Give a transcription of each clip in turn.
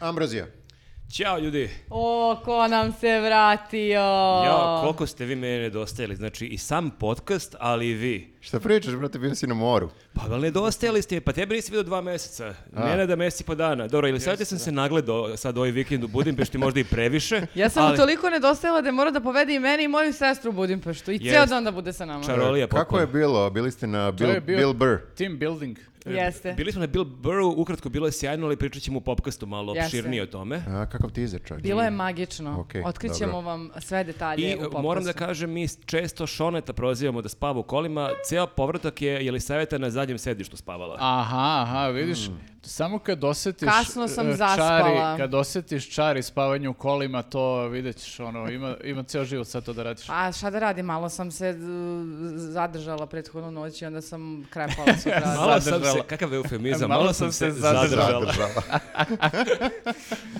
Ambrozija. Ćao ljudi. O, ko nam se vratio. Ja, koliko ste vi mene nedostajali. Znači i sam podcast, ali i vi. Šta pričaš, brate, bio si na moru. Pa vel nedostajali ste, pa tebe nisi vidio dva meseca. Mene da mesec i po dana. Dobro, ili sad sam se nagledao sad ovaj vikend u Budimpešti, možda i previše. Ja sam mu ali toliko nedostajala da je morao da povede i mene i moju sestru u Budimpeštu. I Jest. ceo dan da bude sa nama. Čarolija Eh, Kako potpuno. je bilo? Bili ste na Bill, je bio- Bill Burr. Team building. Jeste. Bili smo na Bill Burru, ukratko bilo je sjajno, ali pričat ćemo u popkastu malo Jeste. opširnije o tome. A, kakav ti izre, čovječe? Bilo je magično. Okej, Otkrićemo dobro. vam sve detalje I e, u podcastu. moram da kažem, mi često Šoneta prozivamo da spava u kolima. Ceo povratak je Jelisaveta na zadnjem sedištu spavala. Aha, aha, vidiš, samo kad osjetiš Kasno sam e, zaspala. čari, kad osjetiš čari spavanja u kolima, to vidjet ćeš, ono, ima, ima ceo život sad to da radiš. A Pa, šta da radi, malo sam se d- zadržala prethodnu noć i onda sam krepala sutra. Malo sam se, Zadržala. kakav eufemizam, Malo malo sam se sam se zadržala. Zadržala.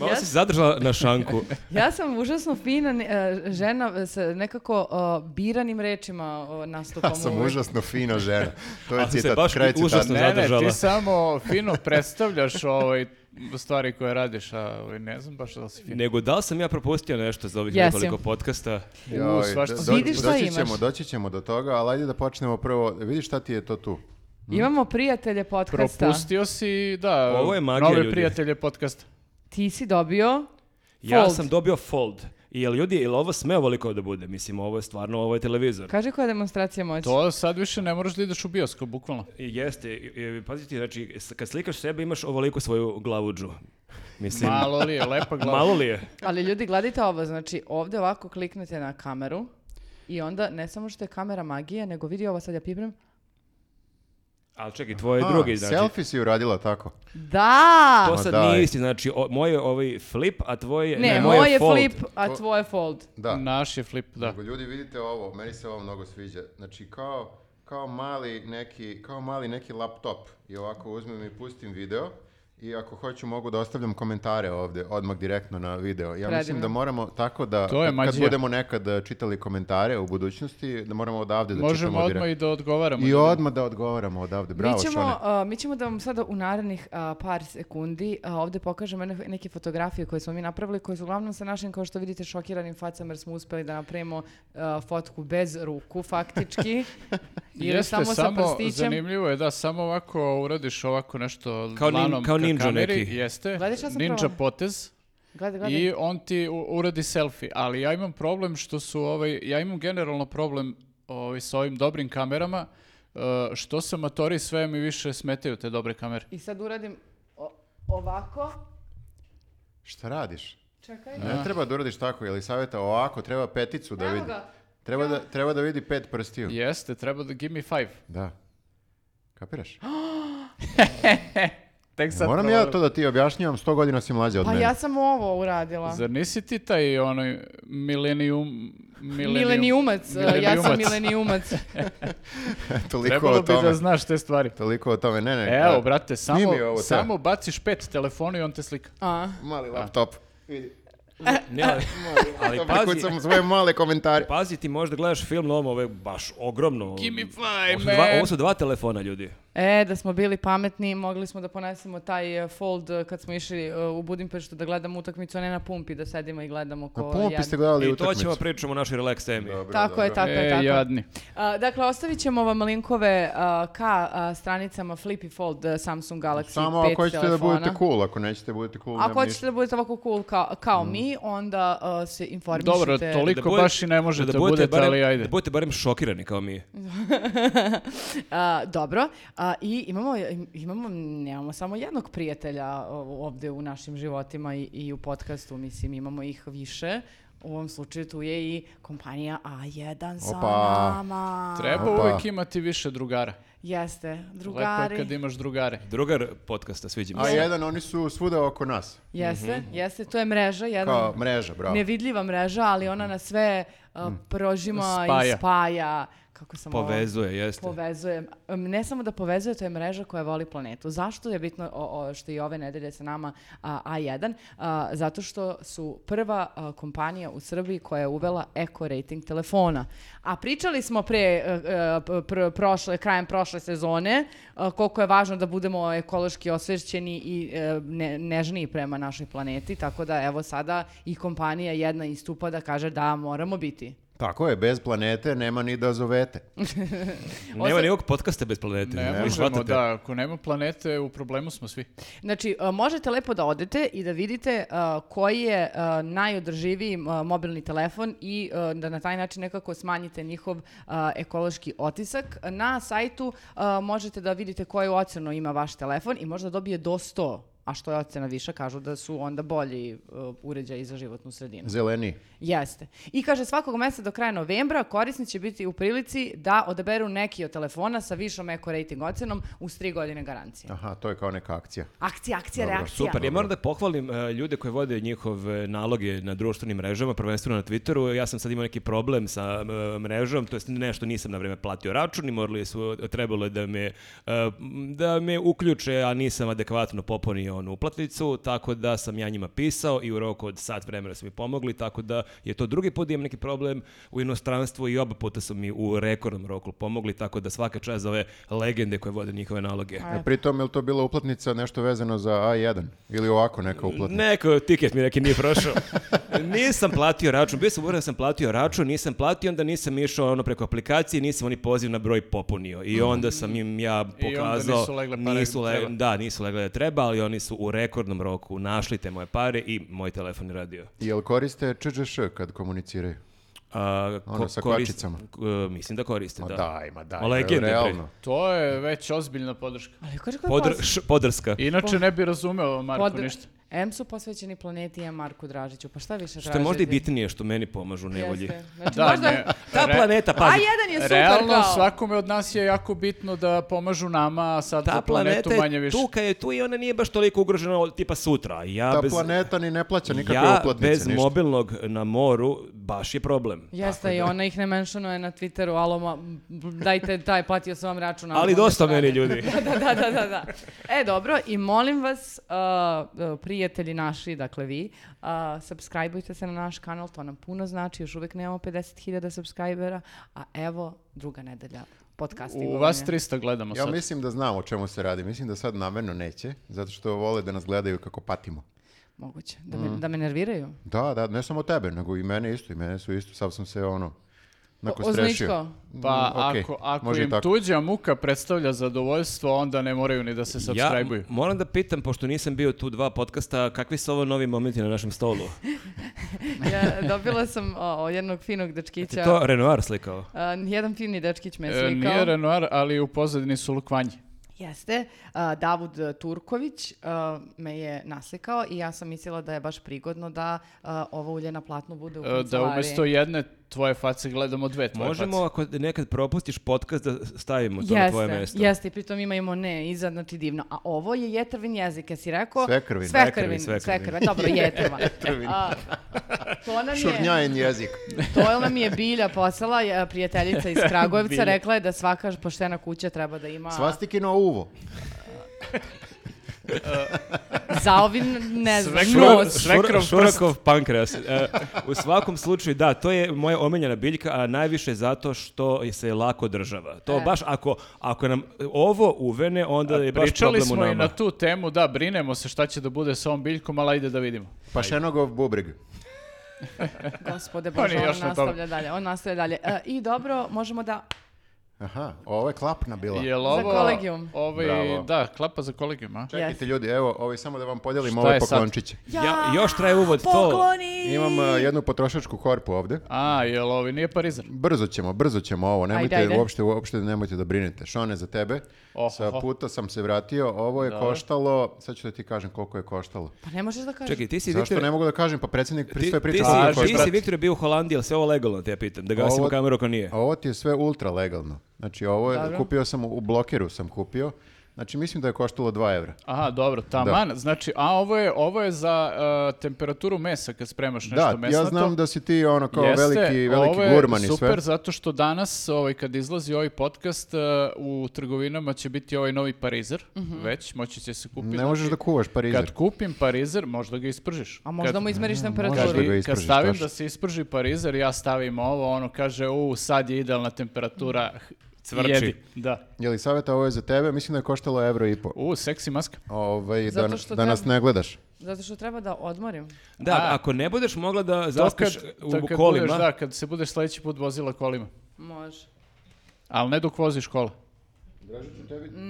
Malo si se zadržala na šanku. Ja sam užasno fina e, žena sa nekako e, biranim rečima e, nastupam. Ja sam uvek. užasno fina žena. To je Ali se citat, baš kraj užasno citata. Ne, ne, zadržala. ti samo fino predstavljaš ovaj, stvari koje radiš, a ovaj, ne znam baš da li si fino. Nego da li sam ja propustio nešto za ovih Jesi. nekoliko podcasta? Joj, U, svašta do- sam do- Vidiš šta doći imaš. ćemo, doći ćemo do toga, ali ajde da počnemo prvo. Vidiš šta ti je to tu? Imamo prijatelje podcasta. Propustio si, da, Ovo je magija, nove ljudi. prijatelje podcast. Ti si dobio Ja Fold. sam dobio fold. I jel ljudi, jel ovo sme ovoliko da bude? Mislim, ovo je stvarno, ovo je televizor. Kaže koja je demonstracija moći. To sad više ne moraš da ideš u bioskop, bukvalno. I Jeste, i- i pazite, znači, s- kad slikaš sebe imaš ovoliko svoju glavuđu. Mislim, malo, Malo li je, lepa glava. li je? Ali ljudi, gledajte ovo, znači ovdje ovako kliknete na kameru i onda ne samo što je kamera magije, nego vidi ovo sad ja pipnem. Ali čekaj, tvoje A, drugi, znači. Selfie si uradila tako. Da! To Ma sad daj. nije isti, znači, o- moj je ovaj flip, a tvoj je... ne, ne, moj moje je fold. flip, a tvoj je fold. Da. Naš je flip, da. Nego, Ljudi, vidite ovo, meni se ovo mnogo sviđa. Znači, kao, kao, mali neki, kao mali neki laptop. I ovako uzmem i pustim video. I ako hoću, mogu da ostavljam komentare ovdje, odmah direktno na video. Ja mislim Predivno. da moramo tako da, To je kad- kad mađija. budemo nekad eh, čitali komentare u budućnosti, da moramo odavde da Možemo čitamo odmah i direktno. da odgovaramo. I odmah da odgovaramo odavde. Bravo, mi, ćemo, Šone. a, mi ćemo da vam sada u narednih a, par sekundi a, ovdje pokažemo ne- neke fotografije koje smo mi napravili, koje su uglavnom sa našim, kao što vidite, šokiranim facama jer smo uspeli da napravimo a, fotku bez ruku, faktički. Ili Jeste, samo, samo, sa prstićem. zanimljivo je da samo ovako uradiš ovako nešto Kao nin- dlanom kao ka ninja kameri, neki. Jeste, Gledaj šta sam ninja probala. potez Gledaj, gledaj. i on ti u- uradi selfie. Ali ja imam problem što su ovaj, ja imam generalno problem ovaj, sa ovim dobrim kamerama, eh, što se matori sve mi više smetaju te dobre kamere. I sad uradim o- ovako. Šta radiš? Čekaj. Ne treba da uradiš tako, je li savjeta ovako, treba peticu da Evo vidi. ga. Treba da, treba da vidi pet prstiju. Jeste, treba da give me five. Da. Kapiraš? Tek sad Moram ja provalim. to da ti objašnjavam, sto godina si mlađa od Pa mene. ja sam ovo uradila. Zar nisi ti taj onaj milenijum... Milenijumac, e, ja sam milenijumac. toliko Trebalo o bi tome. da znaš te stvari. Toliko o tome, ne, ne. Evo, e, brate, samo, snimi ovo, te. samo baciš pet telefona i on te slika. A. Mali laptop. Ne, ali, ali pazi, sam svoje male komentare. pazi, ti možda gledaš film na ovom, ovo je baš ogromno. Give me five, Ovo su dva- man. Ovo su dva telefona, ljudi. E, da smo bili pametni, mogli smo da ponesemo taj e, fold e, kad smo išli e, u Budimpeštu da gledamo utakmicu, a ne na pumpi, da sedimo i gledamo ko Na pumpi jadni. ste gledali Pa I to utakmicu. ćemo pričamo u našoj relax temi. Dobro, Tako je, dobro. tako je, e, tako je. jadni. A, dakle, ostavit ćemo vam linkove a, ka a, stranicama Flip i Fold e, Samsung Galaxy Samo 5 ako hoćete da telefona. budete cool, ako nećete budete cool, Ako nema hoćete ništa. da budete ovako cool kao, kao mi, onda a, se informišite. Mm. Dobro, toliko budete- baš i ne možete da budete, barem, ali ajde. Da budete barem šokirani kao mi. A, dobro, a, i imamo, imamo, nemamo samo jednog prijatelja o- ovdje u našim životima i, i u podcastu, mislim, imamo ih više. U ovom slučaju tu je i kompanija A1 sa Opa. nama. Treba Opa. uvijek imati više drugara. Jeste, Lepo drugari. je kad imaš drugare. Drugar podcasta, sviđa mi A se. jedan, oni su svuda oko nas. Jeste, Mhm. jeste, to je mreža, jedan Kao mreža, bravo. nevidljiva mreža, ali ona nas sve a, prožima i Mhm. Spaja. spaja kako sam ovo- Povezuje, jeste. Povezuje. M, Ne samo da povezuje, to je mreža koja voli planetu. Zašto je bitno o, o, što je i ove nedelje sa nama a, A1? A, zato što su prva a, kompanija u Srbiji koja je uvela eko rating telefona. A pričali smo pre, e, e, p- pr- prošle, krajem prošle sezone a, koliko je važno da budemo ekološki osvešćeni i e, ne, nežniji prema našoj planeti, tako da evo sada i kompanija jedna istupa da kaže da moramo biti. Tako je, bez planete nema ni da zovete. Nema nikog podcasta bez planete. Ne vi možemo, shvatate? da, ako nema planete, u problemu smo svi. Znači, a, možete lepo da odete i da vidite a, koji je a, najodrživiji a, mobilni telefon i a, da na taj način nekako smanjite njihov a, ekološki otisak. Na sajtu a, možete da vidite koju ocenu ima vaš telefon i možda dobije do 100 a što je ocena viša, kažu da su onda bolji a, uređaji za životnu sredinu. Zeleni. Jeste. I kaže, svakog mjeseca do kraja novembra korisnici će biti u prilici da odaberu neki od telefona sa višom eko rating ocenom uz tri godine garancije. Aha, to je kao neka akcija. Akcija, akcija, Dobro, reakcija. Super, ja moram da pohvalim e, ljude koji vode njihov e, naloge na društvenim mrežama, prvenstveno na Twitteru. Ja sam sad imao neki problem sa e, mrežom, to jest nešto nisam na vrijeme platio račun i morali su, trebalo je da me, e, m, da me uključe, a nisam adekvatno popunio onu uplatnicu, tako da sam ja njima pisao i u roku od sat vremena su mi pomogli, tako da je to drugi put da imam neki problem u inostranstvu i oba puta su mi u rekordnom roku pomogli, tako da svaka čast za ove legende koje vode njihove naloge. E, pritom, je li to bila uplatnica nešto vezano za A1? Ili ovako neka uplatnica? Neko tiket mi neki nije prošao. nisam platio račun, bio sam uvjeren da sam platio račun, nisam platio, onda nisam išao ono preko aplikacije, nisam oni poziv na broj popunio. I onda sam im ja Mhm. onda pokazao... nisu legle pare nisu gde le- treba. Da, nisu legle da treba, ali oni su u rekordnom roku našli te moje pare i moj telefon je radio. Jel koriste ČČŠ kad komuniciraju? A, Ono sa korist- kvačicama. k- e, mislim da koriste, Ma da. daj, ma daj. Ma legende, bre. realno. To je već ozbiljna podrška. Ali kaže kako je Podr- pos- š- podrska. Inače ne bi razumeo Marko pod- ništa. Em su posvećeni planeti, em Marku Dražiću. Pa šta više tražiti? Što je možda i bitnije što meni pomažu u nevolji. Jeste. Znači, Da, možda... ne, Ta re- planeta, A pazi, jedan je super Realno kao. svakome od nas je jako bitno da pomažu nama, a sad ta za planetu planeta manje je više. tu kad je tu i ona nije baš toliko ugrožena od tipa sutra. Ja Ta bez, planeta ni ne plaća nikakve ja uplatnice, bez ništa. mobilnog na moru baš je problem. Jeste, i ona ih ne menšunuje na Twitteru, alo, ma, dajte, taj, platio sam vam račun. Ali mogu dosta da meni radim. ljudi. da, da, da, da, da. E, dobro, i molim vas, uh, uh, prijatelji naši, dakle vi, uh, subscribeujte se na naš kanal, to nam puno znači, još uvijek nemamo 50.000 subscribera, a evo druga nedelja podcasti. U vas 300 gledamo Ja sad. mislim da znam o čemu se radi. Mislim da sad namerno neće, zato što vole da nas gledaju kako patimo. Moguće, da me, da me nerviraju. Da, da, ne samo tebe, nego i mene isto, i mene su isto, sav sam se ono, nako O- ozličkao. strešio. Pa Mm, okej, ako, ako može i im tako. tuđa muka predstavlja zadovoljstvo, onda ne moraju ni da se Ja subscribe-uju. m- moram da pitam, pošto nisam bio tu dva podcasta, kakvi su ovo novi momenti na našem stolu? Ja, dobila sam o, o, jednog finog dečkića. Je to Renoir slikao? A, jedan fini dečkić me E, slikao. nije Renoir, ali u pozadini su E, lukvanji. Jeste. A, Davud e, Turković a, me je naslikao i ja sam mislila da je baš prigodno da a, ovo ulje na platnu bude u E, Da kancelariji. umjesto jedne tvoje face gledamo dve tvoje Možemo, ako nekad propustiš podcast, da stavimo to na tvoje Jeste, mesto. jeste, i pritom ima ima ne, iza, znači divno. A ovo je jetrvin jezik, jesi rekao? Svekrvin. Svekrvin, Svekrvin, svekrvin. svekrvin, dobro, jetrva. A, to nam je, Šurnjajen jezik. to nam je Bilja poslala, je, prijateljica iz Kragujevca, rekla je da svaka poštena kuća treba da ima... Svastikino uvo. Za ovim, ne znam, Svekrov- nos. sve- Švekrov Šurakov pankreas. E, u svakom slučaju, da, to je moja omenjena biljka, a najviše zato što se lako država. To E. baš, ako, ako nam ovo uvene, onda je baš Pričali problem u smo i nama. na tu temu, da, brinemo se šta će da bude sa ovom biljkom, ali ajde da vidimo. Pašenogov Pa bubreg. Gospode Pa Bože, nije on još na nastavlja tome. dalje, on nastavlja dalje. E, I dobro, možemo da... Aha, ovo je klapna bila. Jel ovo, kolegijum. Ovaj, Bravo. da, klapa za kolegijum, a? Čekajte ljudi, evo, ovaj, samo da vam podelim Šta ove je sad? poklončiće. Ja- još traje uvod, to- Pokloni! Imam e, jednu potrošačku korpu ovde. A, jel ovi nije parizer? Brzo ćemo, brzo ćemo ovo, nemojte Ajde, ajde. uopšte, uopšte nemojte da brinete. Šone za tebe, Oho. sa puta sam se vratio, ovo je koštalo, sad ću da ti kažem koliko je koštalo. Pa ne možeš da kažeš. Čekaj, ti si Zašto Viktor- ne mogu da kažem, pa predsjednik Ti, sve ti priča. si, koliko je Kaži, ti koštalo. si Viktor bio u Holandiji, ali sve ovo legalno, te ja pitam, da gasimo Ovo- kameru ako nije. A Ovo ti je sve ultra legalno. Znači, ovo je, kupio sam, u blokiru sam kupio, Znači, mislim da je koštalo 2 evra. Aha, dobro, taman. Znači, a ovo je, ovo je za e, temperaturu mesa kad spremaš nešto da, mesnato. ja znam da si ti ono kao Jeste, veliki, veliki ovo je gurman i super sve. zato što danas ovaj, kad izlazi ovaj podcast e, u trgovinama će biti ovaj novi parizer već, moći će se kupiti. Ne možeš da kuvaš Kad parizer. kupim parizer, možda ga ispržiš. A možda Kad- mu izmeriš možda Kad, da temperaturu. ga i- kad ispržiš, stavim tačno. da se isprži parizer, ja stavim ovo, ono kaže, u, sad je idealna temperatura, h- Cvrči. jedi. Da. Je li savjeta ovo je za tebe? Mislim da je koštalo evro i po. U, seksi maska. Ovaj, da, Zato što da nas treba- ne gledaš. Zato što treba da odmorim. Da, A. ako ne budeš mogla da To zaspiš kad- u to kad kolima, budeš, da, kad se budeš sledeći put vozila kolima. Može. Ali ne dok voziš kola.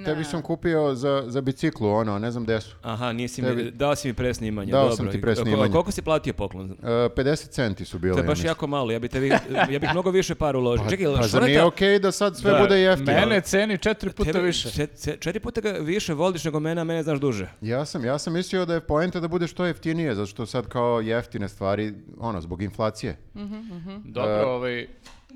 Tebi, sam kupio za, za biciklu, ono, ne znam gde su. aha, nisi mi, Tebi- dao si mi presnimanje. Dao dobro. sam ti I- presnimanje. ko- Koliko si platio poklon? E, 50 centi su bile. To je ja baš mislim. jako malo, ja bi, tebi, ja bih mnogo više par uložio. Čekaj, Pa zar Šoneta- nije okej da sad sve Da, bude jeftino? Mene ceni četiri puta tebe više. čet- čet- četiri puta ga više voliš nego mene, a mene znaš duže. Ja sam, ja sam mislio da je poenta da bude što jeftinije, zato što sad kao jeftine stvari, ono, zbog inflacije. Dobro, ovaj,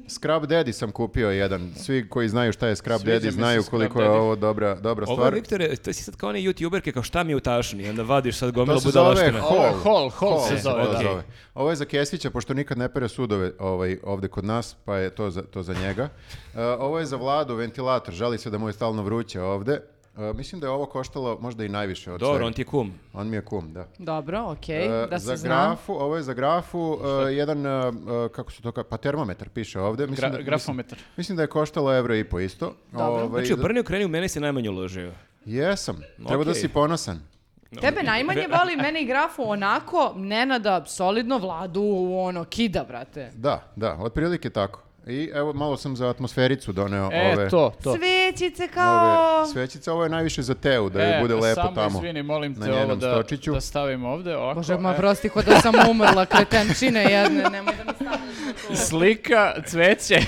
Scrub Daddy sam kupio jedan. Svi koji znaju šta je Scrub Sviđa mi Daddy se znaju Scrub koliko je Daddy. ovo dobra, dobra Ovo je, stvar. Viktore, to si sad kao one youtuberke, kao šta mi je u tašni, onda vadiš sad gomilu To se zove budalaština. Ovo je Hall. Hall, Hall se Hall E, zove, da. zove. Ovo je za Kesića, pošto nikad ne pere sudove ovaj, ovde kod nas, pa je to za, to za njega. E, ovo je za vladu, ventilator, žali se da mu je stalno vruće ovde. E, mislim da je ovo koštalo možda i najviše od Dobro, svega. on ti je kum. On mi je kum, da. Dobro, okej, E, da za se zna. grafu, ovo je za grafu, e, jedan, e, e, kako se to ka, pa termometar piše ovde. Mislim, Gra- da, grafometar. Mislim, mislim da je koštalo evro i po isto. Dobro. Ovaj, Znači, u prvi okreni u mene si najmanje uložio. Jesam, treba da Okej. si ponosan. Tebe najmanje voli, mene i grafu onako, Nenada, solidno vladu, ono, kida, brate. Da, da, otprilike tako. I evo, malo sam za atmosfericu doneo E, ove... to, to. Svećice kao... ove svećice, ovo je najviše za teu, da joj E, bude lepo samo tamo. izvini, molim na te ovo njenom da, stočiću. da stavim ovde. Ovako, Bože, e. ma prosti, ko da sam umrla, kretenčine jedne, nemoj da mi stavljaš tu. Slika, cveće,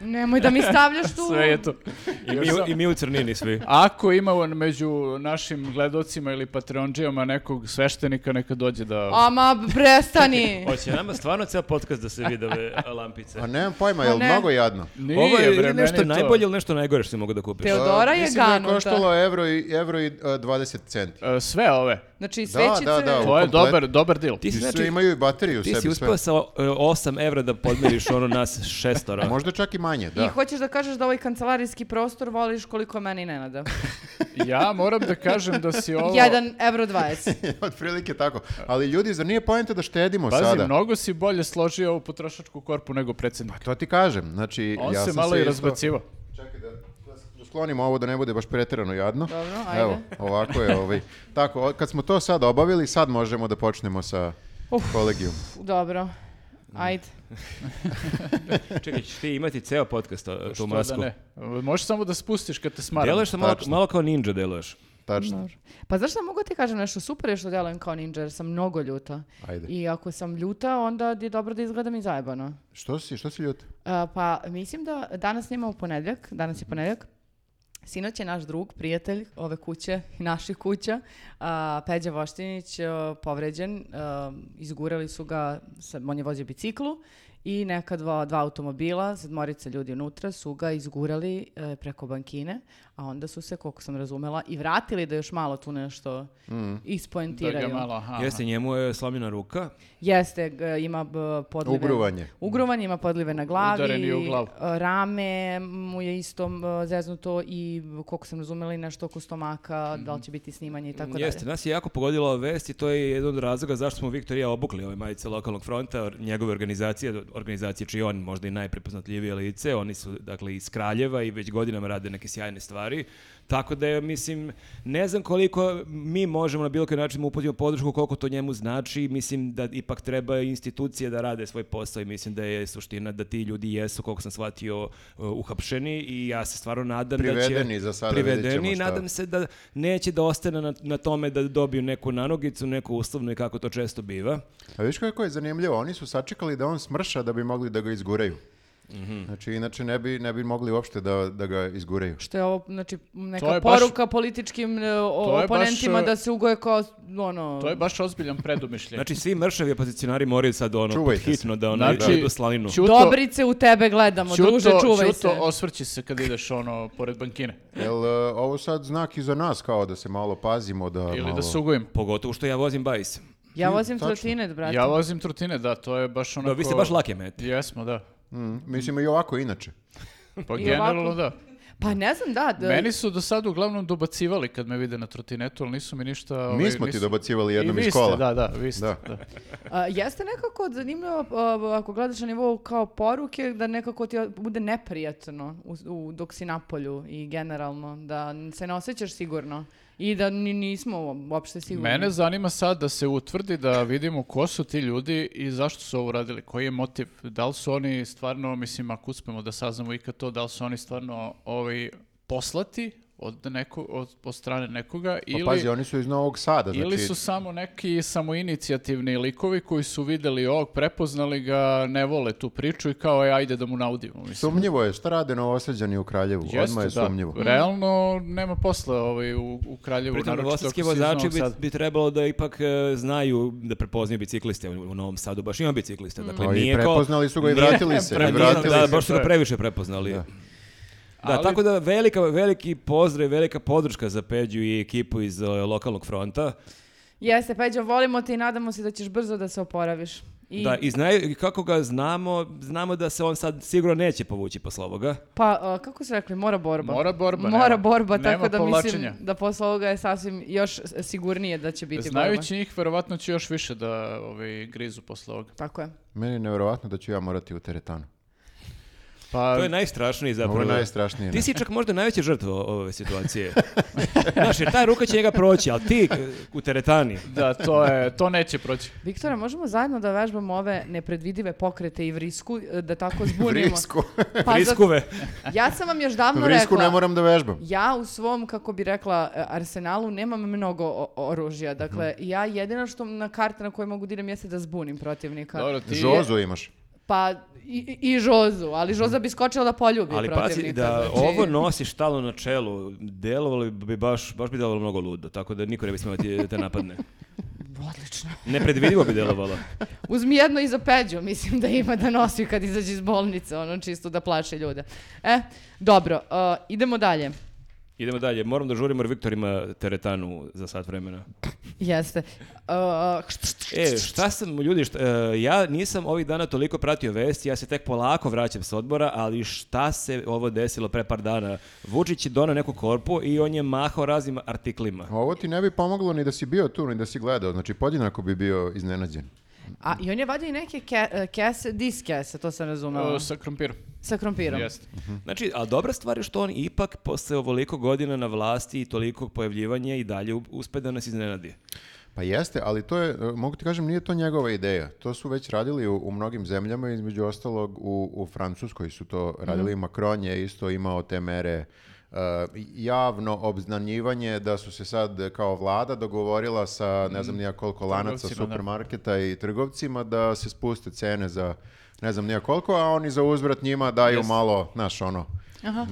Nemoj da mi stavljaš tu. sve je tu. I mi, u- I mi u crnini svi. Ako ima on među našim gledocima ili patreonđijama nekog sveštenika, neka dođe da... Ama, prestani. Hoće nama stvarno ceo podcast da se vide ove lampice. A nemam pojma, je li Pa ne. mnogo jadno? Nije, Ovo je bre, ili nešto meni to- najbolje ili nešto najgore što si mogu da kupiš. Teo- Teodora je E, mislim da ganuta. koštalo evro i, evro i e, 20 centi. E, Sve ove. Znači, Da, da, svećice... da, To je komplet- dobar, dobar deal. Ti si, I sve znači, imaju i bateriju u ti si sebi sve. uspeo sa o- e, 8 evra da podmiriš ono nas šestora. Možda čak i manje, I da. hoćeš da kažeš da ovaj kancelarijski prostor voliš koliko meni Nenada. Ja moram da kažem da si ovo... 1 evro 20. Otprilike tako. Ali ljudi, zar nije poenta da štedimo Pazi, Pa sada? Pa mnogo si bolje složio ovu potrošačku korpu nego predsjednik. To ti kažem, znači... On ja se sam malo i isto- razbacivao. Čekaj da, da s- da sklonimo ovo da ne bude baš pretjerano jadno. Dobro, ajde. Evo, ovako je ovaj. Tako, o- kad smo to sad obavili, sad možemo da počnemo sa Uf. kolegijum. Dobro. Ajde. Čekaj, ćeš ti imati ceo podcast a, tu Pa Što masku. da ne. Možeš samo da spustiš kad te smaram. Deluješ da malo, Tačno. malo kao ninja deluješ. Tačno. Pa znaš šta, mogu ti kažem nešto super je što djelujem kao ninja jer sam mnogo ljuta. Ajde. I ako sam ljuta, onda je dobro da izgledam i zajebano. Što si, što si ljut? A, pa mislim da danas nema u ponedljak, danas je ponedljak. Sinoć je naš drug, prijatelj ove kuće i naših kuća, a, Peđa Voštinić, a, povređen. a, izgurali su ga, sa- on je vozio biciklu i neka dva, dva automobila, sedmorica ljudi unutra, su ga izgurali e, preko bankine, a onda su se, koliko sam razumela, i vratili da još malo tu nešto Mm. Da ispoentiraju. ga malo, aha. Jeste, njemu je slomljena ruka. Jeste, g- ima b- podlive... Ugruvanje. Ugruvanje, ima podlive na glavi. Udaren je u glavu. e, Rame mu je isto m, zeznuto i koliko sam razumela i nešto oko stomaka, Mhm. da li će biti snimanje i Mm, tako Jeste, dalje. nas je jako pogodila ova vest i to je jedan od razloga zašto smo Viktor i ja obukli ove majice lokalnog fronta, or- njegove organizacije, organizacije čiji je on možda i najprepoznatljivije lice, oni su dakle iz Kraljeva i već godinama rade neke sjajne stvari, tako da je, mislim, ne znam koliko mi možemo na bilo koji način mu uputimo podršku, koliko to njemu znači, mislim da ipak treba institucije da rade svoj posao i mislim da je suština da ti ljudi jesu, koliko sam shvatio, uh, uhapšeni i ja se stvarno nadam da će... Privedeni za sada, vidjet ćemo Privedeni, šta. nadam se da neće da ostane na, na tome da dobiju neku nanogicu, neku uslovnu i kako to često biva. A viš kako je zanimljivo, oni su sačekali da on smrša da bi mogli da ga izguraju. Mhm. Znači, inače ne bi, ne bi mogli uopšte da, da ga izgureju. Što je ovo, znači, To neka je baš- poruka političkim e, o- To je baš, oponentima e, da se ugoje kao, ono... To je baš ozbiljan predumišljaj. Znači, svi mršavi opozicionari moraju sad ono, Čuvajte se. hitno da ono, Znači, idu slaninu. Ćuto- Dobrice u tebe gledamo, druže, čuvaj Ćuto, se. osvrći se kad ideš ono pored bankine. Jel e, ovo sad znak i za nas kao da se malo pazimo, da Ili malo... da sugojim. Pogotovo što ja vozim bajs. Ja vozim Tačno. trotinet, brate. Ja vozim trotine, da, to je baš onako... Da, vi ste baš lake mete. Jesmo, da. Mm, mislim i ovako inače. Pa I generalno ovako. da. Pa ne znam, da. da Meni su do sada uglavnom dobacivali kad me vide na trotinetu, ali nisu mi ništa... ovaj, Mi smo ti nisu- dobacivali I jednom vi iz ste, kola. da, da, vi ste. Da. da. a, jeste nekako zanimljivo, a, ako gledaš na nivou kao poruke, da nekako ti bude neprijatno u, u- dok si na polju i generalno, da se ne osjećaš sigurno i da ni, nismo uopšte sigurni. Mene zanima sad da se utvrdi da vidimo ko su ti ljudi i zašto su ovo radili, koji je motiv, da li su oni stvarno, mislim ako uspemo da saznamo ikad to, da li su oni stvarno ovaj, poslati od, neko, od, od strane nekoga Pa ili, pazi, oni su iz Novog Sada, znači... ili su samo neki samoinicijativni likovi koji su videli ovog, prepoznali ga, ne vole tu priču i kao je ajde da mu naudimo. Mislim. Sumnjivo je, šta rade novosađani u Kraljevu? Odmah je Jeste, da. sumnjivo. Realno nema posla ovaj, u, u Kraljevu. Pritom, naročito novosadski ako si iz vozači Novog bi, Sada. bi trebalo da ipak e, znaju da prepoznaju bicikliste u, u Novom Sadu, baš ima biciklista. Dakle, Pa i nije kao- prepoznali su ga i nije- vratili se, i Pre- vratili da, se. baš su to ga je. previše prepoznali. Da. Ali- tako da velika, veliki pozdrav, i velika podrška za Peđu i ekipu iz e, lokalnog fronta. Jeste, Peđo, volimo te i nadamo se da ćeš brzo da se oporaviš. I, Da, i znaju, i kako ga znamo, znamo da se on sad sigurno neće povući posle ovoga. Pa, a, kako su rekli, mora borba. Mora borba, Mora nema- borba, nema tako da povlačenja. mislim da posle ovoga je sasvim još sigurnije da će biti borba. Znajući njih, verovatno će još više da ovaj, grizu posle ovoga. Tako je. Meni je nevjerovatno da ću ja morati u teretanu. Pa, To je najstrašniji zapravo. Ovo je najstrašnije. Ti si čak možda najveća žrtva o- ove situacije. Znaš, jer ta ruka će njega proći, ali ti e, u teretani. da, to, je, to neće proći. Viktora, možemo zajedno da vežbamo ove nepredvidive pokrete i vrisku, e, da tako zbunimo. Vrisku. Pa za- Vriskove. ja sam vam još davno Vrisku rekla. ne moram da vežbam. Ja u svom, kako bi rekla, e, arsenalu nemam mnogo o- oružja. Dakle, Mhm. ja jedino što na karte na koje mogu da idem jeste da zbunim protivnika. Dobro, ti Žozu imaš. Pa i, i Žozu, ali Žoza bi skočila da poljubi Ali pazi protivnika. da znači- ovo nosi štalo na čelu, delovalo bi baš, baš bi delovalo mnogo ludo, tako da niko ne bi smio ti- te napadne. Odlično. Nepredvidivo bi delovalo. Uzmi jedno i za Peđu, mislim da ima da nosi kad izađe iz bolnice, ono čisto da plaše ljude. E, dobro, e, idemo dalje. Idemo dalje, moram da žurimo jer Viktor ima teretanu za sat vremena. Jeste. E, E, šta sam, ljudi, šta- e, ja nisam ovih dana toliko pratio vesti, ja se tek polako vraćam s odbora, ali šta se ovo desilo pre par dana? Vučić je donao neku korpu i on je mahao raznim artiklima. Ovo ti ne bi pomoglo ni da si bio tu, ni da si gledao. Znači, podjednako bi bio iznenađen. a i on je vadio i neke ke, e, kese, dis kese, to sam razumela. e, sa krompirom. Sa krompirom. Jeste. Znači, a dobra stvar je što on ipak posle ovoliko godina na vlasti i toliko pojavljivanja i dalje u- uspe da nas iznenadi. Pa jeste, ali to je, e, mogu ti kažem, nije to njegova ideja. To su već radili u, u mnogim zemljama, između ostalog u, u Francuskoj su to radili. Mhm. Macron je isto imao te mere e, javno obznanjivanje da su se sad e, kao vlada dogovorila sa ne znam nija koliko lanaca Mhm. Trgovcima, da. supermarketa i trgovcima da se spuste cene za ne znam nija koliko, a oni za uzvrat njima daju malo, znaš ono,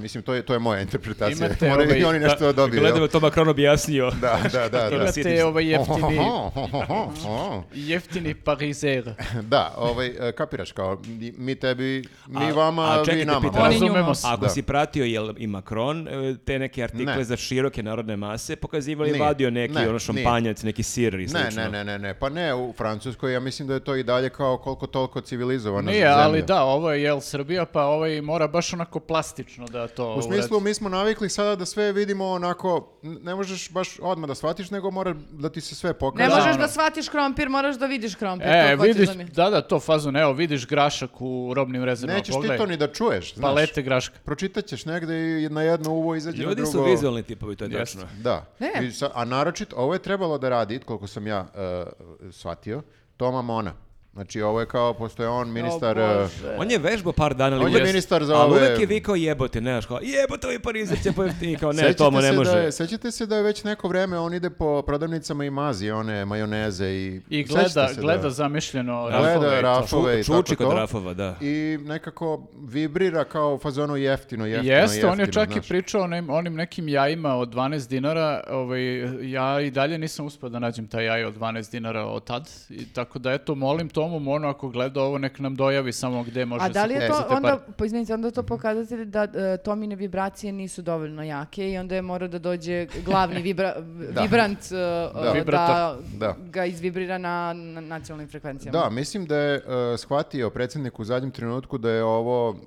mislim to je, to je moja interpretacija. Imate Moraju ovaj- i oni nešto da, dobiju. jel? Gledamo to Macron objasnio. Da, da, da, da. Imate ovaj jeftini, Ohohoho. jeftini parizer. Da, ovaj, e, kapiraš kao, mi- mi tebi, mi A- vama, a čekaj, vi te nama. pitam. da. Oni nju- Razumemo se. Ako Da. si pratio jel i Macron e, te neke artikle Ne. za široke narodne mase, pokazivali Nije. vadio neki Ne, ono šampanjac, neki sir i Ne, slično. ne, ne, ne, ne, pa ne, u Francuskoj ja mislim da je to i dalje kao koliko toliko civilizovana Nije, zemlja. ali da, ovo je jel Srbija, pa ovaj mora baš onako plastično da to U smislu, uradi. mi smo navikli sada da sve vidimo onako, n- ne možeš baš odmah da shvatiš, nego mora da ti se sve Ne pokaže. Da, možeš ono. da shvatiš krompir, moraš da vidiš krompir. E, to hoćeš vidiš, da mi- da, da, to fazon, evo, vidiš grašak u robnim rezervama, Nećeš ti pogledaj. to ni da čuješ, znaš. Palete graška. Pročitat ćeš negde i na jedno uvo izađe na Ljudi drugo. su vizualni tipovi, to je Jeste. tačno. Da. Ne. I sa- a naročito, ovo je trebalo da radi, koliko sam ja uh, shvatio, e, Toma Mona. Znači, ovo je kao, pošto je on ministar... O, eh, Bože. On je vežbo par dana. ali On je uvijek- ministar za Ali ove- uvijek je vikao jebote, ne, znaš, kao, jebote ovi Parizer će pojeftini, kao, ne, Sećate to mu ne se može. Da je, sećate se da je već neko vreme on ide po prodavnicama i mazi one majoneze i... I Sećate gleda, se da- gleda zamišljeno Gleda rafove i to. rafove. Rafove i Ču- tako Čuči kod to. Rafova, da. I nekako vibrira kao u fazonu jeftino, jeftino, Jeste, jeftino. on je čak znaš. i pričao o onim, onim nekim jajima od 12 dinara, ovaj, ja i dalje nisam uspio da nađem taj jaj od 12 dinara od tad, I, tako da eto, molim Tomu Mono ako gleda ovo nek nam dojavi samo gde može A da li se je kupiti to za te onda, pare. pa izvinite, onda je to pokazatelj da e, Tomine vibracije nisu dovoljno jake i onda je morao da dođe glavni vibra, vibrant e, e, da, Vibrator. Da. ga izvibrira na, na nacionalnim frekvencijama. Da, mislim da je uh, shvatio predsjednik u zadnjem trenutku da je ovo, uh,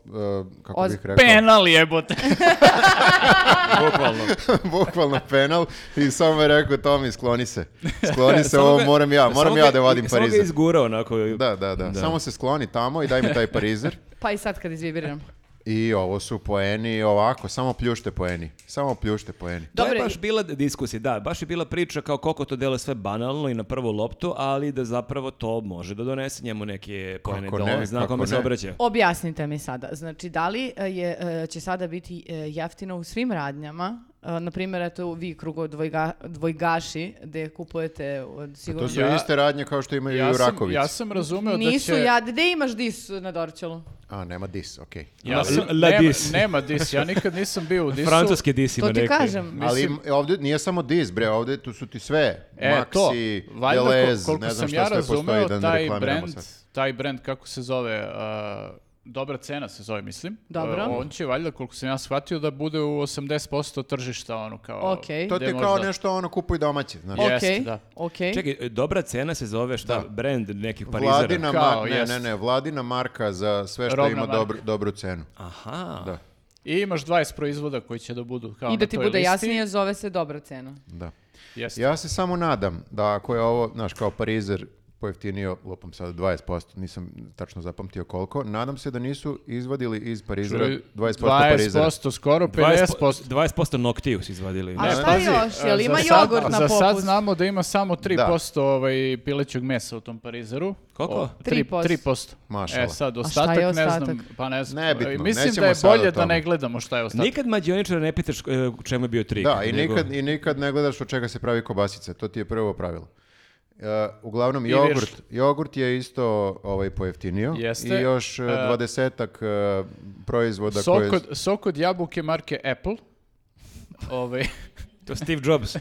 kako Oz- bih rekao, Penal jebote. Bukvalno. bukvalno penal i samo je rekao Tomi skloni se, skloni se, ovo ga- moram ja, E, samo moram ja ga- da vadim Samo ga Parizer. izgurao onako. Da, da, da, samo se skloni tamo i daj mi taj Parizer. Pa i sad kad izvibriram. I ovo su poeni ovako, samo pljušte poeni, samo pljušte poeni. To Dobre. je baš bila diskusija, da, baš je bila priča kao koliko to delo sve banalno i na prvu loptu, ali da zapravo to može da donese njemu neke pojene, Kako da ne, on zna kako kome se ne. obraća. Objasnite mi sada, znači da li e, je, e, će sada biti e, jeftino u svim radnjama? E, Naprimjer, eto vi krugo dvojga, dvojgaši gde kupujete od sigurno... To su Ja- iste radnje kao što imaju i ja, u sam, Rakovici. ja sam razumeo Nisu da će... ja, gde imaš dis na Dorčelu? A, nema dis, okej. Ja La- sam, la nema, dis. nema dis, ja nikad nisam bio u disu. Francuske disima To ti neke. kažem. Ali im- ovdje nije samo dis, bre, ovdje tu su ti sve. E, to, Maxi, valjda ko- Delez, koliko ne znam sam šta ja sve postoji razumeo, da ne taj reklamiramo brand, sad. taj brand, kako se zove, uh, dobra cena se zove, mislim. Dobro. Uh, on će valjda, koliko sam ja shvatio, da bude u 80% tržišta, ono kao... Okej. To gde ti je kao možda- E, nešto ono kupuj domaće, znaš. Je. Okej, Jeste, da. okej. Čekaj, e, dobra cena se zove šta, Da. brand nekih Parizera. Vladina, Kao, mar- ne, jest. ne, ne, vladina marka za sve što Robna ima marka. dobru, dobru cenu. Aha. Da. I imaš 20 proizvoda koji će da budu kao I da na ti toj bude listi. jasnije, zove se dobra cena. Da. Jeste. Ja se samo nadam da ako je ovo, znaš, kao Parizer pojeftinio, lupam sad 20%, nisam tačno zapamtio koliko, nadam se da nisu izvadili iz Parizera 20% Parizera. 20%, skoro 50%. 20%, 20% noktiju su izvadili. A šta pazi, još? a, Jel ima E, za sad- jogurt na Za sad popust? znamo da ima samo 3% ovaj pilećeg mesa u tom parizeru. Koliko? O, tri- 3%. 3%. Mašala. E sad, A šta ostatak, je ne znam. ostatak? Pa ne znam. Nebitno, E, Mislim nećemo da je sad o bolje da tome. ne gledamo šta je ostatak. Nikad mađioničara ne pitaš e, u čemu je bio trik. Da, i nego- nikad, i nikad ne gledaš od čega se pravi kobasica, to ti je prvo pravilo. E, uglavnom, I jogurt, viršt. jogurt je isto ovaj, pojeftinio Jeste. i još e, E, dvadesetak e, proizvoda koje... Sok od, sok od jabuke marke Apple. Ovaj, To Steve Jobs.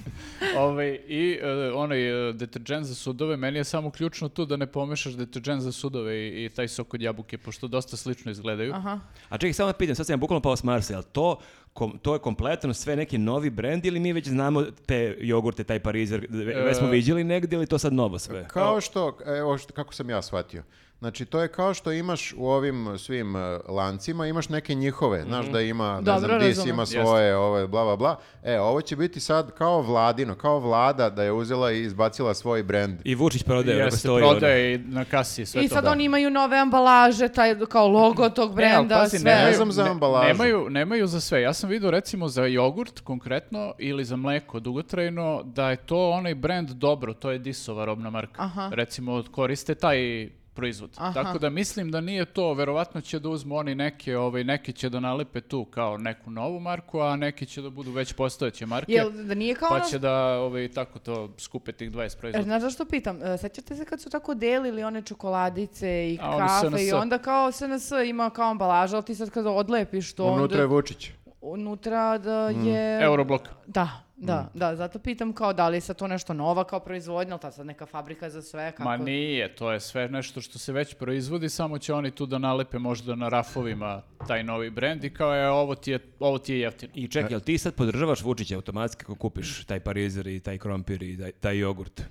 ovaj, I e, onaj e, deterđent za sudove, meni je samo ključno tu da ne pomešaš deterđent za sudove i, i taj sok od jabuke, pošto dosta slično izgledaju. Aha. A čekaj, samo da pitam, sad sam ja bukvalno pao s Marsa, jel to, kom- to je kompletno sve neki novi brend ili mi već znamo te jogurte, taj parizer, ve- već smo viđali negdje ili to sad novo sve? Kao što, evo što- kako sam ja shvatio. Znači, to je kao što imaš u ovim svim e, lancima, imaš neke njihove, znaš da ima, ne Mhm. Dobro, znam, dis razumem. ima svoje, ove, bla, bla, bla. E, ovo će biti sad kao vladino, kao vlada da je uzela i izbacila svoj brand. I Vučić prodaje, Jeste, ono stoji ono. prodaje i na kasi sve I to. sad oni imaju nove ambalaže, taj kao logo tog E, ali brenda, pazi, sve. ne znam za ne- ambalažu. Nemaju, nemaju za sve. Ja sam vidio recimo za jogurt konkretno ili za mleko dugotrajno da je to onaj brand dobro, to je Disova robna marka. Aha. Recimo koriste taj proizvod. Aha. Tako da mislim da nije to, verovatno će da uzmu oni neke, ovaj, neki će da nalepe tu kao neku novu marku, a neki će da budu već postojeće marke. Jel da nije kao pa ono- će da ovaj, tako to skupe tih 20 E, proizvoda. Znaš zašto pitam? E, Sećate se kad su tako delili one čokoladice i A, ono kafe i SNS. onda kao SNS ima kao ambalaža, ali ti sad kad odlepiš to Unutra je onda Vučić. unutra da Mm. je... Euroblok. Da, da, da, zato pitam kao da li je sad to nešto nova kao proizvodnja, ali ta sad neka fabrika za sve, kako... Ma nije, to je sve nešto što se već proizvodi, samo će oni tu da nalepe možda na rafovima taj novi brend i kao je ovo ti je, ovo ti je jeftino. I čekaj, jel ti sad podržavaš Vučića automatski ako kupiš taj parizer i taj krompir i taj, taj jogurt?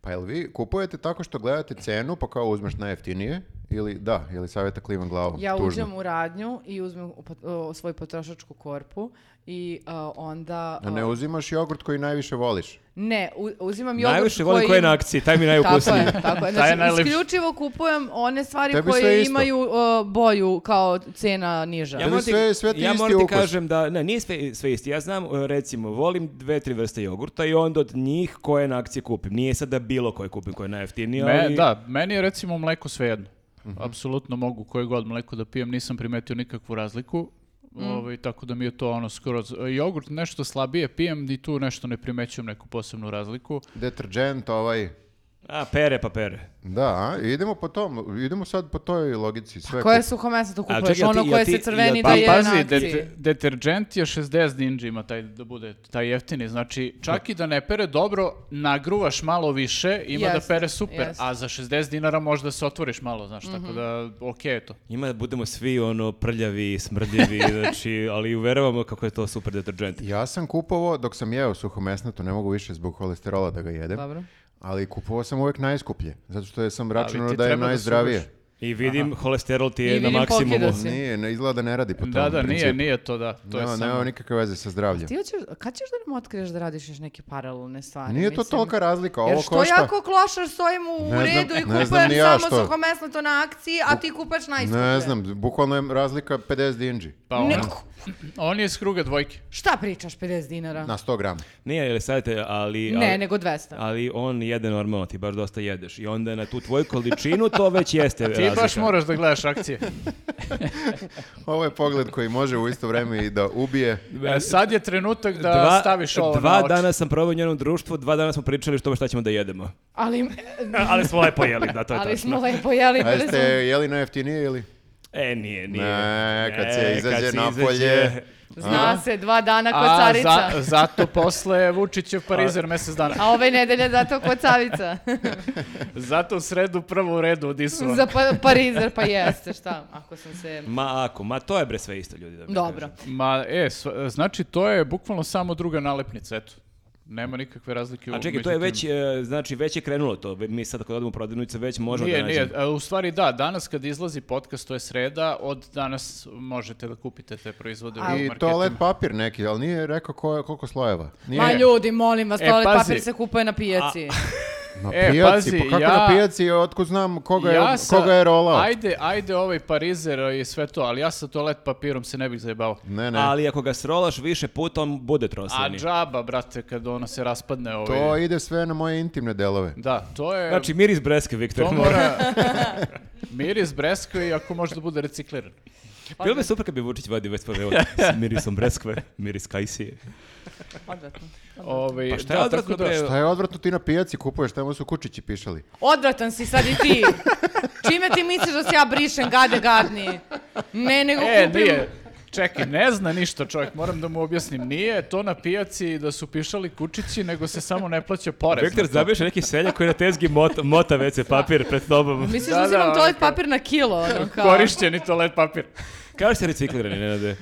Pa jel vi kupujete tako što gledate cenu, pa kao uzmeš najjeftinije Ili, da, ili savjeta klivam glavom. Ja tužno. uđem u radnju i uzmem u pot- o, svoju potrošačku korpu i a, onda... A ne a, uzimaš jogurt koji najviše voliš. ne, u- uzimam jogurt Najviše koji... volim koji je na akciji, taj mi je Tako najukusniji. je, tako je. Taj je Znači, najlepši. isključivo kupujem one stvari Tebi sve koje isto. imaju o, boju kao cena niža. moram- sve- sve ti ja isti moram ti ukus. kažem da, ne, nije sve, sve isti. Ja znam, e, recimo, volim dve, tri vrste jogurta i onda od njih koje na akciji kupim. Nije sad da bilo koje kupim koje je najjeftinije, Me- ali... da, meni je recimo mleko svejedno. Apsolutno mogu koje god mleko da pijem, nisam primetio nikakvu razliku. Ovaj, tako da mi je to ono skroz... Jogurt nešto slabije pijem i tu nešto ne primećujem neku posebnu razliku. Deterđent ovaj... A, pere pa pere. Da, a, idemo po tom, idemo sad po toj logici. Sve Koje kup- suho meso to čekaj, kupuješ? jel ti- Ono jel koje ti- se crveni jel da ti- Pa je pazi, na det- akciji. deterđent je 60 dinđi ima taj, da bude taj jeftini. Znači, čak i da ne pere dobro, nagruvaš malo više, ima da Jeste, pere super. jeste. Mhm. A za 60 dinara možda se otvoriš malo, znaš, tako da okej je to. Ima da budemo svi ono prljavi, smrdljivi, znači, ali uveravamo kako je to super deterđent. Ja sam kupovao, dok sam jeo suhomesnato, ne mogu više zbog holesterola da ga jedem, Dobro. ali kupovao sam uvek najskuplje, zato što je sam računao ti da je treba da najzdravije. I vidim, holesterol ti I je na vidim, maksimumu. pokida si. Nije, ne izgleda da ne radi po tom Da, da, nije, principu. nije to da. To je Nema, samo... nema nikakve veze sa zdravljem. Ti hoćeš, kad ćeš da nam otkriješ da radiš još neke paralelne stvari? Nije to Mislim, tolika razlika, Jer ovo što košta. ja ako klošar stojim u Ne znam- redu i ne kupujem znam ni ja samo što. suho mesno to na akciji, a ti kupaš najskuplje? Ne znam, bukvalno je razlika 50 dinđi Pa on, Ne, on je iz kruga dvojke. šta pričaš 50 dinara? na 100 grama. Nije, jel savjete, ali... ne, ali- nego 200. ali on jede normalno, ti baš dosta jedeš. I onda na tu tvoju količinu to već jeste Ti razlika. baš moraš da gledaš akcije. Ovo je pogled koji može u isto vreme i da ubije. E, Sad je trenutak da Dva- staviš ovo Dva na oči. dana sam probao u njenom društvu, dva dana smo pričali što šta ćemo da jedemo. Ali, ali smo lepo jeli, da, to je ali tačno. smo ovaj lepo jeli. A bili jeste smo- jeli najjeftinije ili? E, nije, nije. Ne, kad se E, izađe kad se napolje. izađe- Zna se, dva dana kod A carica. za- zato posle Vučićev parizer mesec dana. A ove nedelje zato kod cavica. Zato u sredu prvo u redu od Isua. za pa, parizer, pa jeste, šta? Ako sam se... Ma ako, ma to je bre sve isto ljudi. Da mi Dobro. Ma, e, sva- znači to je bukvalno samo druga nalepnica, eto. Nema nikakve razlike. kažu. A u- čekaj, to je među već, tim. e, znači već je krenulo to. Mi sad kad odemo u prodavnicu već možemo Nije, da nije. nađemo. E, U stvari da, danas kad izlazi podcast, to je sreda, od danas možete da kupite te proizvode u I marketima. toalet papir neki, ali nije rekao ko- koliko slojeva. Nije. Ma ljudi, molim vas, E, toalet pazi. papir se kupuje na pijaci. Na E, pijaci, pazi, pa kako ja- na pijaci, otkud znam koga je, sa- koga je rolao? Ajde, ajde ovaj parizer i sve to, ali ja sa toalet papirom se ne bih zajebao. Ne, ne, Ali ako ga srolaš više puta, on bude A trosljeni. džaba, brate, kad ono se raspadne ovaj... to ide sve na moje intimne delove. Da, to je... Znači, miris breske, Viktor. to mora... Miris breskve i ako može da bude recikliran. Bilo bi super kad bi Vučić vadio već prve s mirisom breskve, miris kajsije. Odvratno. Ovaj, Pa šta je odvratno, tako da- bre? Šta je odvratno ti na pijaci kupuješ, tamo su kučići pišali. Odvratan si sad i ti. Čime ti misliš da se ja brišem, gade gadni? Ne, nego E, kupim... nije. Čekaj, ne zna ništa čovjek, moram da mu objasnim. Nije to na pijaci da su pišali kučići, nego se samo ne plaća porez. Viktor, na to. zabiješ neki selja koji na tezgi mota, mota WC papir pred tobom. Misliš Da, da, uzimam da, toalet ono kao- papir na kilo? Ono, kao... Korišćeni toalet papir. Kažeš se reciklirani, Nenade.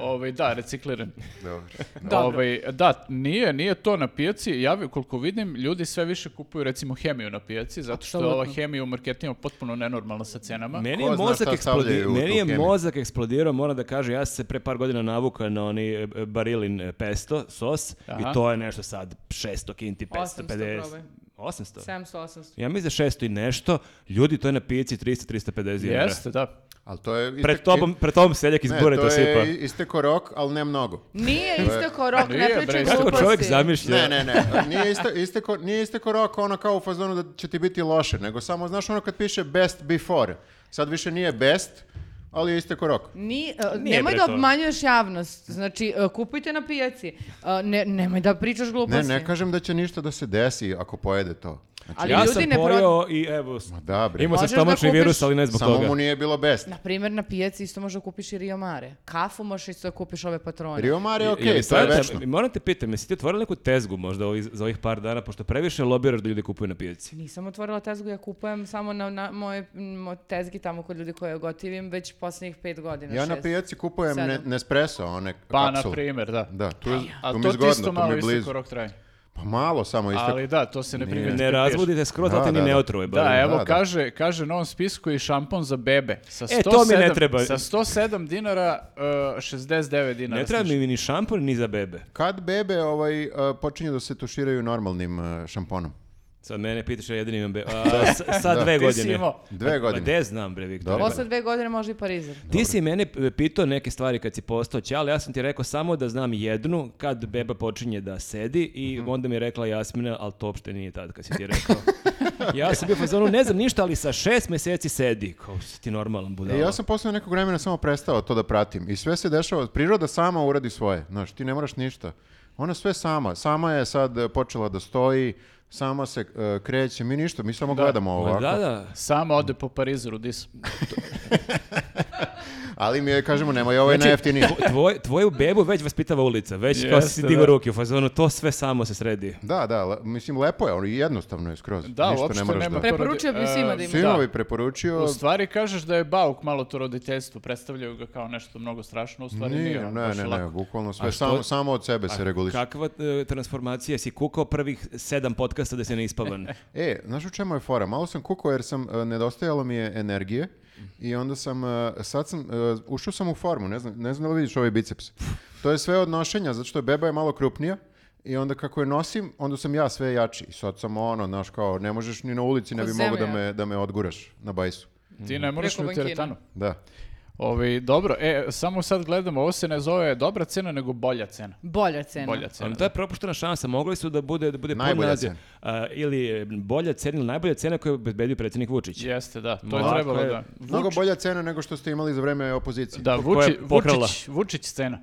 Ovaj, da, recikliran. Dobro. Dobro. Ovaj, da, nije, nije to na pijaci. Ja, vi- koliko vidim, ljudi sve više kupuju recimo hemiju na pijaci, zato što je ova Apsolutno. hemija u marketima potpuno nenormalna sa cenama. Meni Ko je zna mozak šta stavljaju u eksplodirao, tu meni je hemiju? mozak eksplodirao, moram da kažem, ja sam se pre par godina navukao na oni e, e, barilin e, pesto, sos, Aha. i to je nešto sad 600 kinti, 800 550, probaj. 800. 700, 800. Ja mislim za 600 i nešto, ljudi, to je na pijaci 300-350 dinara. Jeste, da. Ali to je... istek- Pred tobom, pred tobom seljak iz Ne, bure to to sipa. je isteko rok, ali ne mnogo. Nije isteko rok, Nije, ne bre, pričaj isteko Kako gluposti. čovjek zamišlja. Ne, ne, ne. Nije, iste, isteko, nije isteko rok ono kao u fazonu da će ti biti loše, nego samo, znaš ono kad piše best before. Sad više nije best, ali je isteko rok. Ni, uh, Nije nemoj bre da to. obmanjuješ javnost. Znači, uh, kupujte na pijaci. Uh, ne, nemoj da pričaš Ne, gluposti. ne kažem da će ništa da se desi ako pojede to. Ali Ja ljudi sam ne pro- pojeo i evo, s- Da, bre. imao sam Možeš da stomačni kupiš- virus, ali ne zbog Samo toga. mu nije bilo best. Na primjer, na pijaci isto možda kupiš i Rio Mare. Kafu možeš isto da kupiš ove patrone. Rio Mare je okej, Je li to je stvarno- večno. Moram te pitam, jesi ti otvorila neku tezgu možda ovih- za ovih par dana, pošto previše lobiraš da ljudi kupuju na pijaci? Nisam otvorila tezgu, ja kupujem samo na, na moje mo- tezgi tamo kod ljudi koje gotivim već posljednjih pet godina, Ja na šest. pijaci kupujem ne, Sedam. Nespresso, one Pa, kapsule. na primjer, da. Da, tu, je- A tu mi to je ti zgodno, isto tu mi malo je blizu. isteko rok traje. Pa malo samo isto. Ali da, to se ne primjeri. Ne razbudite skroz, Da, da, te ni da, ne da. otrovuje. Da, barem. je. evo Da, da. kaže, kaže na ovom spisku i šampon za bebe. Sa E, to mi ne 107 treba. Sa 107 dinara, uh, 69 dinara. Ne treba mi ni šampon, ni za bebe. Kad bebe ovaj, e, počinju da se tuširaju normalnim e, šamponom? Sad mene pitaš, ja jedini imam bebe. A, sa, sa dve Ti si godine. imao- Dve Pa godine. de znam, bre, Viktor. Dobro. Posle dve godine može i parizer. Ti si mene p- pitao neke stvari kad si postao ćal, ja sam ti rekao samo da znam jednu, kad beba počinje da sedi i onda mi je rekla Jasmina, ali to uopšte nije tad kad si ti rekao. ja sam bio u fazonu, ne znam ništa, ali sa šest meseci sedi. Kao si ti normalan budala. I ja sam posle nekog vremena samo prestao to da pratim. I sve se dešava, priroda sama uradi svoje. Znaš, ti ne moraš ništa. Ona sve sama. Sama je sad e, počela da stoji, sama se e, kreće. Mi ništa, mi samo gledamo Ma ovako. Pa Da, da. Sama ode po Parizeru, di sam. Ali mi joj kažemo, nemoj, ovo je Znači, najjeftiniji. tvo- tvoj, tvoju bebu već vaspitava ulica, već kao si Jeste, digao da. ruke u fazonu, to sve samo se sredi. Da, da, le- mislim, lepo je, ono, i jednostavno je skroz. Da, ništa uopšte ne moraš nema da... to radi- Preporučio bi svima E, da ima. Svima bi preporučio... U stvari kažeš da je Bauk malo to roditeljstvo, predstavljaju ga kao nešto mnogo strašno, u stvari nije, Nije, ono, ne, baš ne, ne, lako. bukvalno A sve, što- samo, samo od sebe se reguliše. Kakva e, transformacija si kukao prvih sedam podcasta da se ne ispavan? E, znaš u čemu je fora? Malo sam kukao jer sam, e, nedostajalo mi je energije i onda sam, e, sad sam, e, ušao sam u formu, ne znam, ne znam da li vidiš ovaj biceps. To je sve od nošenja, zato što je beba je malo krupnija i onda kako je nosim, onda sam ja sve jači. I sad sam ono, znaš, kao, ne možeš ni na ulici, ne Ko bi mogo da zemlja. me, da me odguraš na bajsu. Ti ne moraš Preko ni u bankina. teretanu. Da. Ovi, dobro, e, samo sad gledamo, ovo se ne zove dobra cena, nego bolja cena. Bolja cena. Bolja cena. Ali to je propuštena šansa, mogli su da bude da bude pun Najbolja naziv. cena. A, ili e, bolja cena, ili najbolja cena koju je obezbedio predsjednik Vučić. Jeste, da, to Lako je trebalo je. da... Znači- Mnogo bolja cena nego što ste imali za vreme opozicije. Da, koja je Vuči, pokrala. Vučić, Vučić cena.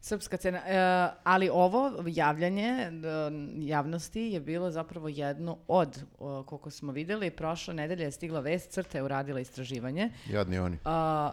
Srpska cena. E, ali ovo javljanje d- javnosti je bilo zapravo jedno od, o, koliko smo videli, prošle nedelje je stigla vest, Crta je uradila istraživanje. Jadni oni. A,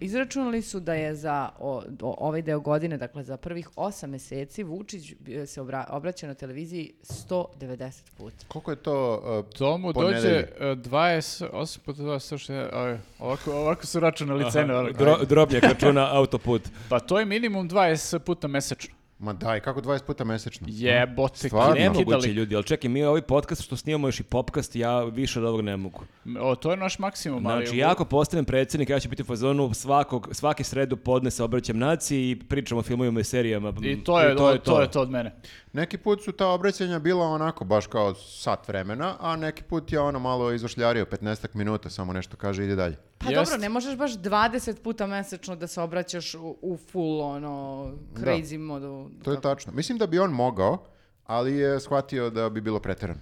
izračunali su da je za o- o- ovaj deo godine, dakle za prvih osam meseci, Vučić bi- se obra, obraća na televiziji 190 puta. Koliko je to... e, To mu Po dođe nedelji. e, 28 puta 2, aj, ovako, ovako su računali cene. ono, Dro, drobnjak računa autoput. Pa to je minimum 20 puta mesečno. ma daj, kako 20 puta mesečno? Jebote, Stvarno? kidali. Nemoguće ljudi, ali čekaj, mi ovaj podcast što snimamo još i popkast, ja više od ovog ne mogu. O, to je naš maksimum. Znači, ali, ja ako postanem predsjednik, ja ću biti u fazonu svakog, svake sredu podne se obraćam naciji i pričamo o filmovima i serijama. I to je, to, je to. to. je to od mene. Neki put su ta obraćanja bila onako baš kao sat vremena, a neki put je ono malo izvršljario 15 minuta, samo nešto kaže ide dalje. Pa Jest. dobro, ne možeš baš 20 puta mesečno da se obraćaš u, u full ono crazy modu. To je tačno. Mislim da bi on mogao, ali je shvatio da bi bilo preterano.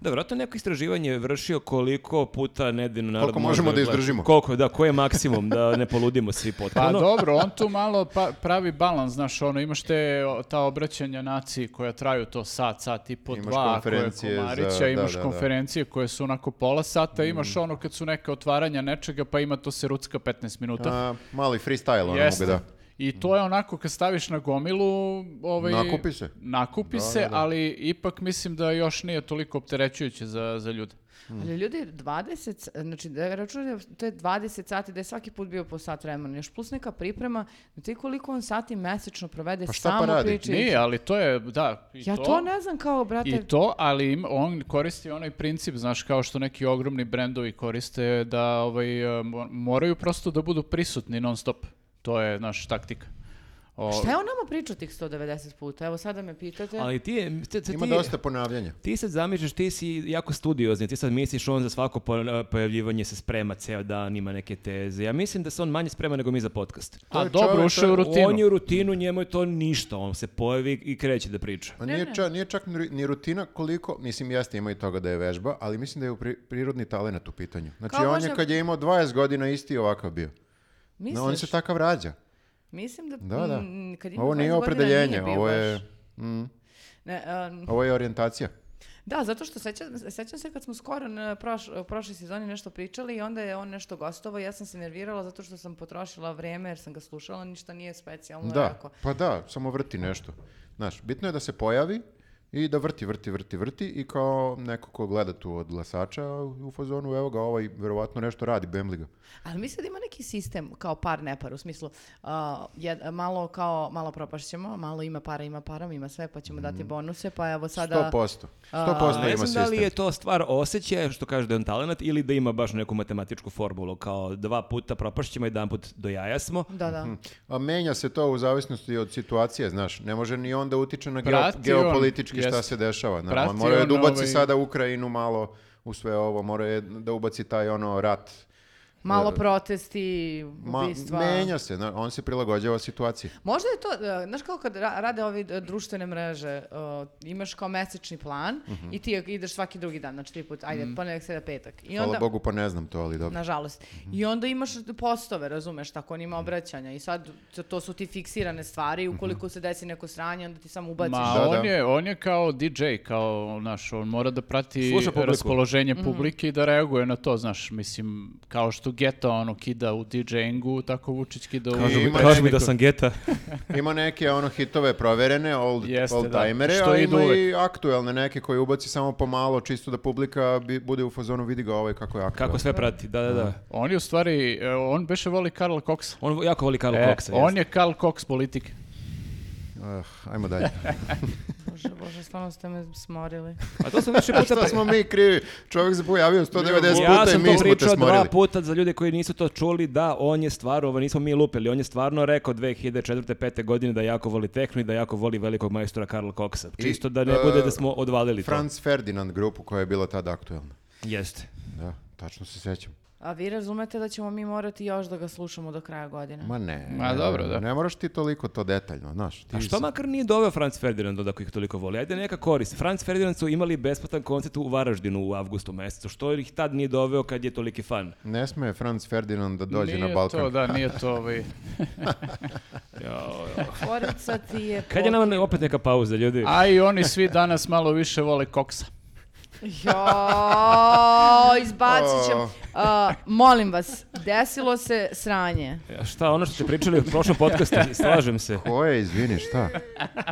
Da, vjerojatno neko istraživanje je vršio koliko puta nedeljno narod Koliko može možemo da gleda. izdržimo. Koliko, da, koji je maksimum, da ne poludimo svi Pa potpuno. dobro, on tu malo pa- pravi balans, znaš, ono, imaš te o, ta obraćanja naciji koja traju to sat, sat i po Imaš dva, ako je konferencije za- Komarića, da, imaš da, Mm. da. konferencije koje su onako pola sata, imaš ono kad su neka otvaranja nečega, pa ima to se rucka 15 minuta. A, mali freestyle ono Jeste. mogu da. I to je onako kad staviš na gomilu, ovaj Nakupi se. Nakupi se, ali ipak mislim da još nije toliko opterećujuće za za ljude. Ali ljudi, 20, s- znači da računate, to je 20 sati, da je svaki put bio po sat vremena, još plus neka priprema, no ti koliko on sati mesečno provede Pa šta pa samo radi? pričajući. Nije, ali to je da i Znači, Ja to ne znam kao, brate, I to, ali im- on koristi onaj princip, znaš, kao što neki ogromni brendovi koriste da ovaj, e, mo- moraju prosto da budu prisutni non stop. To je naš taktika. O, šta je on nama pričao tih 190 puta? Evo sada me pitate. Ali ti, je- ti, ti, Ima dosta ponavljanja. Ti sad zamišljaš, ti si jako studiozni, ti sad misliš on za svako po- pojavljivanje se sprema ceo dan, ima neke teze. Ja mislim da se on manje sprema nego mi za podcast. To a je dobro, čovek- ušao je u rutinu. On je u rutinu, njemu je to ništa, on se pojavi i kreće da priča. Pa nije, ča- nije čak ni, ru- ni rutina koliko, mislim jeste ima i toga da je vežba, ali mislim da je u pri- prirodni talenat u pitanju. Znači Kao on možda- je kad je imao 20 godina isti ovakav bio. Misliš? No, on se takav rađa. Mislim da, Da, da. mm, kad ima Ovo 20 nije godina opredeljenje, nije bio ovo baš. je, Ne, um, ovo je orijentacija. Da, zato što sećam, sećam se kad smo skoro na proš- u prošloj sezoni nešto pričali i onda je on nešto gostovao i ja sam se nervirala zato što sam potrošila vreme jer sam ga slušala, ništa nije specijalno Da, rekao. pa da, samo vrti nešto. Znaš, bitno je da se pojavi i da vrti, vrti, vrti, vrti i kao neko ko gleda tu od glasača u fazonu, evo ga, ovaj verovatno nešto radi, bemliga. Ali mislim da ima neki neki sistem kao par nepar u smislu a, jed- malo kao malo propašćemo, malo ima para, ima para, ima sve, pa ćemo Mhm. dati bonuse, pa evo sada 100%. 100% A, Ne ima znam da sistem. li je to stvar osjećaja, što kaže da je on talenat, ili da ima baš neku matematičku formulu, kao dva puta propašćemo, jedan put do jaja smo. da da. A menja se to u zavisnosti od situacije, znaš. Ne može ni onda utiče na geo- Prati on, geopolitički šta jest. se dešava. Znaš. Prati On mora je da on ubaci ovaj- sada Ukrajinu malo u sve ovo, mora je da ubaci taj ono rat. Malo Da. protesti, Ma, ubistva. menja se, znaš, on se prilagođava situaciji. Možda je to, e, znaš kako kad ra- rade ovi e, društvene mreže, e, imaš kao mesečni plan i ti ideš svaki drugi dan, znači tri put, ajde, ponedjeljak, sada petak. I Hvala onda, Bogu pa ne znam to, ali dobro. Nažalost. I onda imaš postove, razumeš, tako on ima obraćanja i sad to- to su ti fiksirane stvari, ukoliko se desi neko sranje, onda ti samo ubaciš. Ma, Da, on, da. Je, on je kao DJ, kao, naš, on mora da prati Sluša publiku. raspoloženje Mhm. publike i da reaguje na to, znaš, mislim, kao što Geta, ono, kida u DJ-ingu, tako Vučić kida u... Kažu mi- Ima kažu mi neku- geta. Ima neke ono hitove proverene, old, Jeste, old da. timere, Što a idu ima i uvek. aktuelne neke koje ubaci samo pomalo, čisto da publika bi- bude u fazonu, vidi ga ovaj kako je aktuelno. Kako sve prati, da, da, da. On je u stvari, e, on beše voli Karla Coxa. On jako voli Karl E, Coxa. on On je Karl Cox politike. Ah, ajmo dalje. Bože, bože, stvarno ste me smorili. A to sam više puta... Šta smo mi krivi? Čovjek se pojavio 190 Ja puta i sam to mi smo te pričao dva smorili. puta za ljude koji nisu to čuli da on je stvarno, ovo nismo mi lupili, on je stvarno rekao 2004. 5. godine da jako voli tehnu i da jako voli velikog majstora Karla Coxa. I, Čisto da ne e, bude da smo odvalili Franz Ferdinand grupu koja je bila tada aktuelna. to. Jeste. Da, tačno se sjećam. A vi razumete da ćemo mi morati još da ga slušamo do kraja godine. Ma ne. Ma dobro, da. Ne moraš ti toliko to detaljno, znaš. Ti A što si- makar nije doveo Franz Ferdinand od ako ih toliko voli? Ajde neka korist. Franz Ferdinand su imali besplatan koncert u Varaždinu u avgustu mesecu. Što ih tad nije doveo kad je toliki fan? Ne sme Franz Ferdinand da dođe Nije na Balkan. to, da, nije to ovaj... Tvorica ti je... Kad je pok- nama ne- opet neka pauza, ljudi? A i oni svi danas malo više vole Coxa. Jo, izbacit ćemo. O. A, molim vas, desilo se sranje. Šta, ono što ste pričali u prošlom podcastu, slažem se. Ko je, izvini, šta?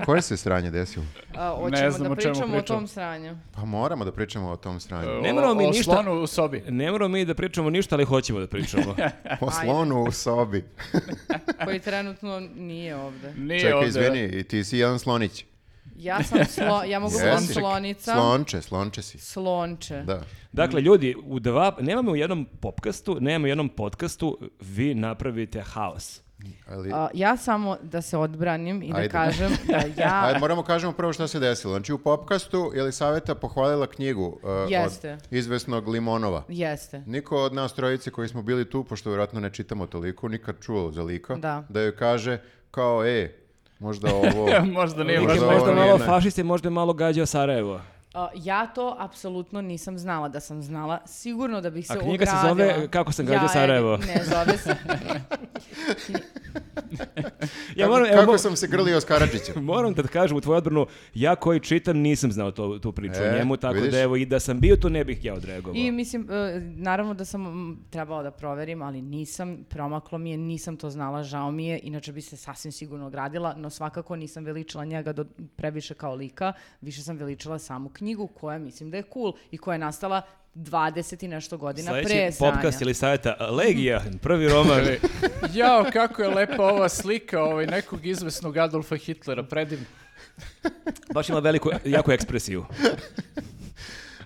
Koje se sranje desilo? A, hoćemo Ne znam da o čemu pričamo o pričam. tom sranju. Pa moramo da pričamo o tom sranju. Ne O- moramo mi o ništa- slonu u sobi. Ne moramo mi da pričamo ništa, ali hoćemo da pričamo. O slonu u sobi. koji trenutno nije ovde. Nije Čekaj, ovde, izvini, i ti si jedan slonić. Ja sam slo, ja mogu Jesi. budem slonica. Slonče, slonče si. Slonče. Da. Dakle, ljudi, u dva, nemamo u jednom popkastu, nemamo u jednom podcastu, vi napravite haos. Ali, A, ja samo da se odbranim i Ajde. da kažem da ja Ajde, moramo kažemo prvo šta se desilo. Znači, u popkastu je li Saveta pohvalila knjigu uh, Jeste. od izvesnog Limonova. jeste. Niko od nas trojice koji smo bili tu, pošto vjerojatno ne čitamo toliko, nikad čuo za lika, Da. joj kaže kao, e, možda ovo... da. Možda nije Možda Lik je ovo možda nije malo naj- fašist i možda je malo gađao Sarajevo. A, ja to apsolutno nisam znala da sam znala. Sigurno da bih se A ogradila. knjiga se zove Kako sam gađao Ja, e, Sarajevo. Ne, zove se. Ja kako, moram, evo, kako mo- sam se grlio s Karadžićem. moram da kažem u tvoju odbranu, ja koji čitam nisam znao to, tu priču E, o njemu, tako vidiš? da evo i da sam bio tu ne bih ja odreagovao. I mislim, e, naravno da sam mm, trebala da proverim, ali nisam, promaklo mi je, nisam to znala, žao mi je, inače bi se sasvim sigurno ogradila, no svakako nisam veličila njega do, previše kao lika, više sam veličila samu knjigu koja mislim da je cool i koja je nastala 20 i nešto godina pre Sljedeći sranja. popkast ili savjeta Legija, prvi roman. Jao, kako je lepa ova slika ovaj, nekog izvesnog Adolfa Hitlera, predivno. Baš ima veliku, jako ekspresiju.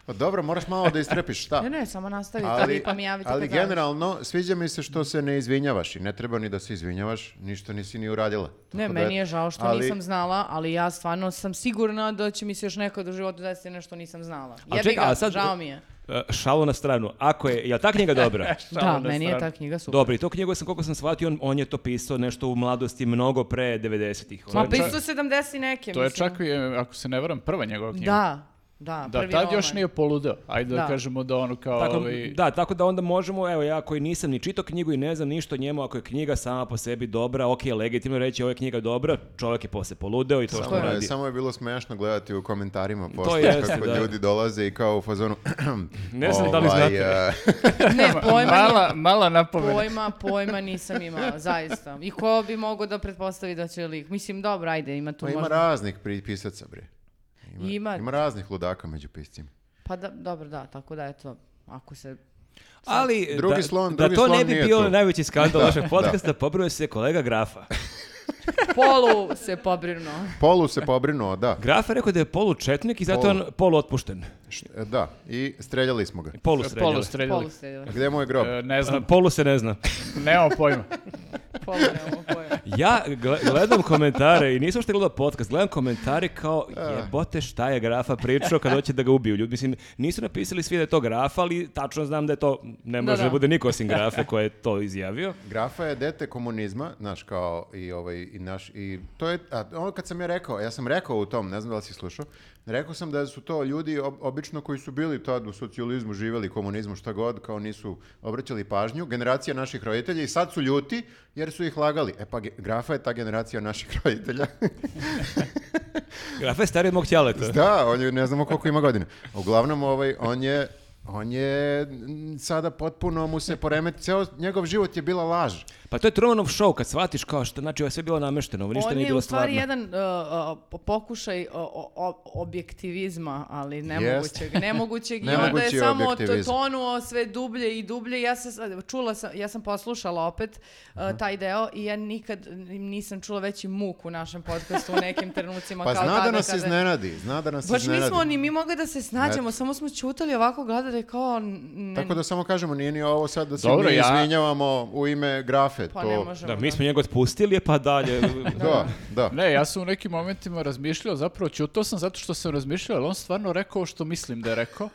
Pa dobro, moraš malo da istrepiš, šta? Ne, ne, samo nastavite, Ali, vi pa mi javite ali kad završite. generalno, sviđa mi se što se ne izvinjavaš i ne treba ni da se izvinjavaš, ništa nisi ni uradila. Ne, Tako da- meni je žao što ali- nisam znala, ali ja stvarno sam sigurna da će mi se još nekad u životu desiti nešto nisam znala. A Jebi čekaj, ga, a sad- žao mi je. E, Šalu na stranu. Ako je, je li ta knjiga dobra? Da, meni je ta knjiga super. Dobro, i to knjigu sam, koliko sam shvatio, on, on je to pisao nešto u mladosti mnogo pre 90-ih. Ma Ono- pisao 70 i neke, To je mislim. čak, i, e, ako se ne varam, prva njegova knjiga. Da, da, Da, prvi tad roman. još nije poludeo. Ajde da, Da. kažemo da ono kao... Tako, ovaj, Da, tako da onda možemo, evo ja koji nisam ni čitao knjigu i ne znam ništa o njemu, ako je knjiga sama po sebi dobra, ok, legitimno je reći ovo je knjiga dobra, čovjek je posle poludeo i to što Samo je, radi. samo je bilo smešno gledati u komentarima pošto jeste, kako da. ljudi dolaze i kao u fazonu Ne znam da li ovaj, znate. e, Ne, pojma, mala, mala napomena. pojma, pojma nisam imala, zaista. I ko bi mogao da pretpostavi da će lik? Mislim, dobro, ajde, ima tu pa ima možda... raznih pri- pisaca, bre. Ima, Ima. ima raznih ludaka među piscima. Pa da, dobro, da, tako da, eto, ako se Ali Drugi da, slon- da drugi to slon ne bi nije bio tu. najveći skandal Da, vašeg podcasta, pobrojao se kolega Grafa. Polu se pobrinuo. Polu se pobrinuo, da. Graf je rekao da je polučetnik i zato je Polu. on poluotpušten. E, Da, i streljali smo ga. Polu Polu streljali. streljali. Polu se. Gde je moj grob? E, ne znam, Polu se ne zna. nemam pojma. Polu nemamo pojma. Ja gle- gledam komentare i nisam što gledao podcast, gledam komentare kao jebote šta je Grafa pričao kad hoće da ga ubiju. Ljudi, mislim, nisu napisali svi da je to Grafa, ali tačno znam da je to, ne može da, da. bude niko osim Grafe koji je to izjavio. Grafa je dete komunizma, znaš, kao i ovaj, i naš, i to je, a ono kad sam ja rekao, ja sam rekao u tom, ne znam da li si slušao, rekao sam da su to ljudi ob- obično koji su bili tad u socijalizmu, živeli komunizmu, šta god, kao nisu obraćali pažnju, generacija naših roditelja i sad su ljuti jer su ih lagali. E pa, ge- Grafa je ta generacija naših roditelja. Grafa je stariji od mog ćaleta. da, on je, ne znamo koliko ima godina. Uglavnom, ovaj, on je, on je m, sada potpuno mu se poremeti, ceo njegov život je bila laž. Pa to je Trumanov show kad shvatiš kao što, znači ovo je sve bilo namešteno, ovo ništa On nije je u bilo stvari stvarno. jedan uh, uh, pokušaj uh, o- o- objektivizma, ali nemogućeg. Nemogućeg i onda je Nemogući je samo to- objektivizam. tonuo sve dublje i dublje. Ja se sad- čula sam, ja sam poslušala opet uh, taj deo i ja nikad nisam čula veći muk u našem podcastu u nekim trenucima. Pa kao zna da tada nas kada- iznenadi, zna da nas Baš iznenadi. nismo ni mi mogli da se snađemo, Ne. samo smo čutali ovako gledali kao... n- Tako da samo kažemo, nije ni ovo sad da se Dobro, mi ja- izvinjavamo u ime grafe. Pa to... ne možemo. Da, mi smo njega otpustili, pa dalje. Da, da. Ne, ja sam u nekim momentima razmišljao, zapravo ćutao sam zato što sam razmišljao, ali on stvarno rekao ovo što mislim da je rekao.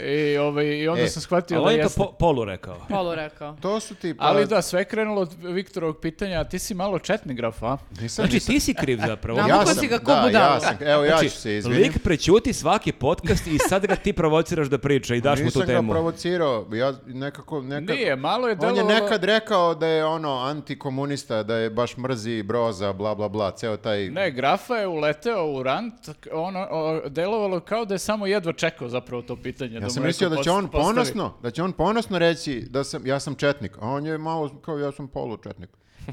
I, ovaj, i onda E, sam shvatio Ali da on je to jeste. po- polu rekao. Polu rekao. To su ti... Pa... Ali da, sve je krenulo od Viktorovog pitanja, a ti si malo četni graf, a? Nisam, Znači ti si kriv zapravo. Da, Navukao si ga ko da, budalo. ja sam, evo ja ću Znači, se izviniti. lik prećuti svaki podcast i sad ga ti provociraš da priča i daš mu tu Nisam ga temu. provocirao, ja nekako... Nekad... Nije, malo je On je delovalo... nekad rekao da je ono antikomunista, da je baš mrzi broza, bla, bla, bla, ceo taj... Ne, grafa je uleteo u rant, ono, o, delovalo kao da je samo jedva čekao zapravo to pitanje. Ja mu sam neko mislio da će post- on postavi. ponosno, da će on ponosno reći da sam, ja sam četnik, a on je malo kao ja sam polučetnik.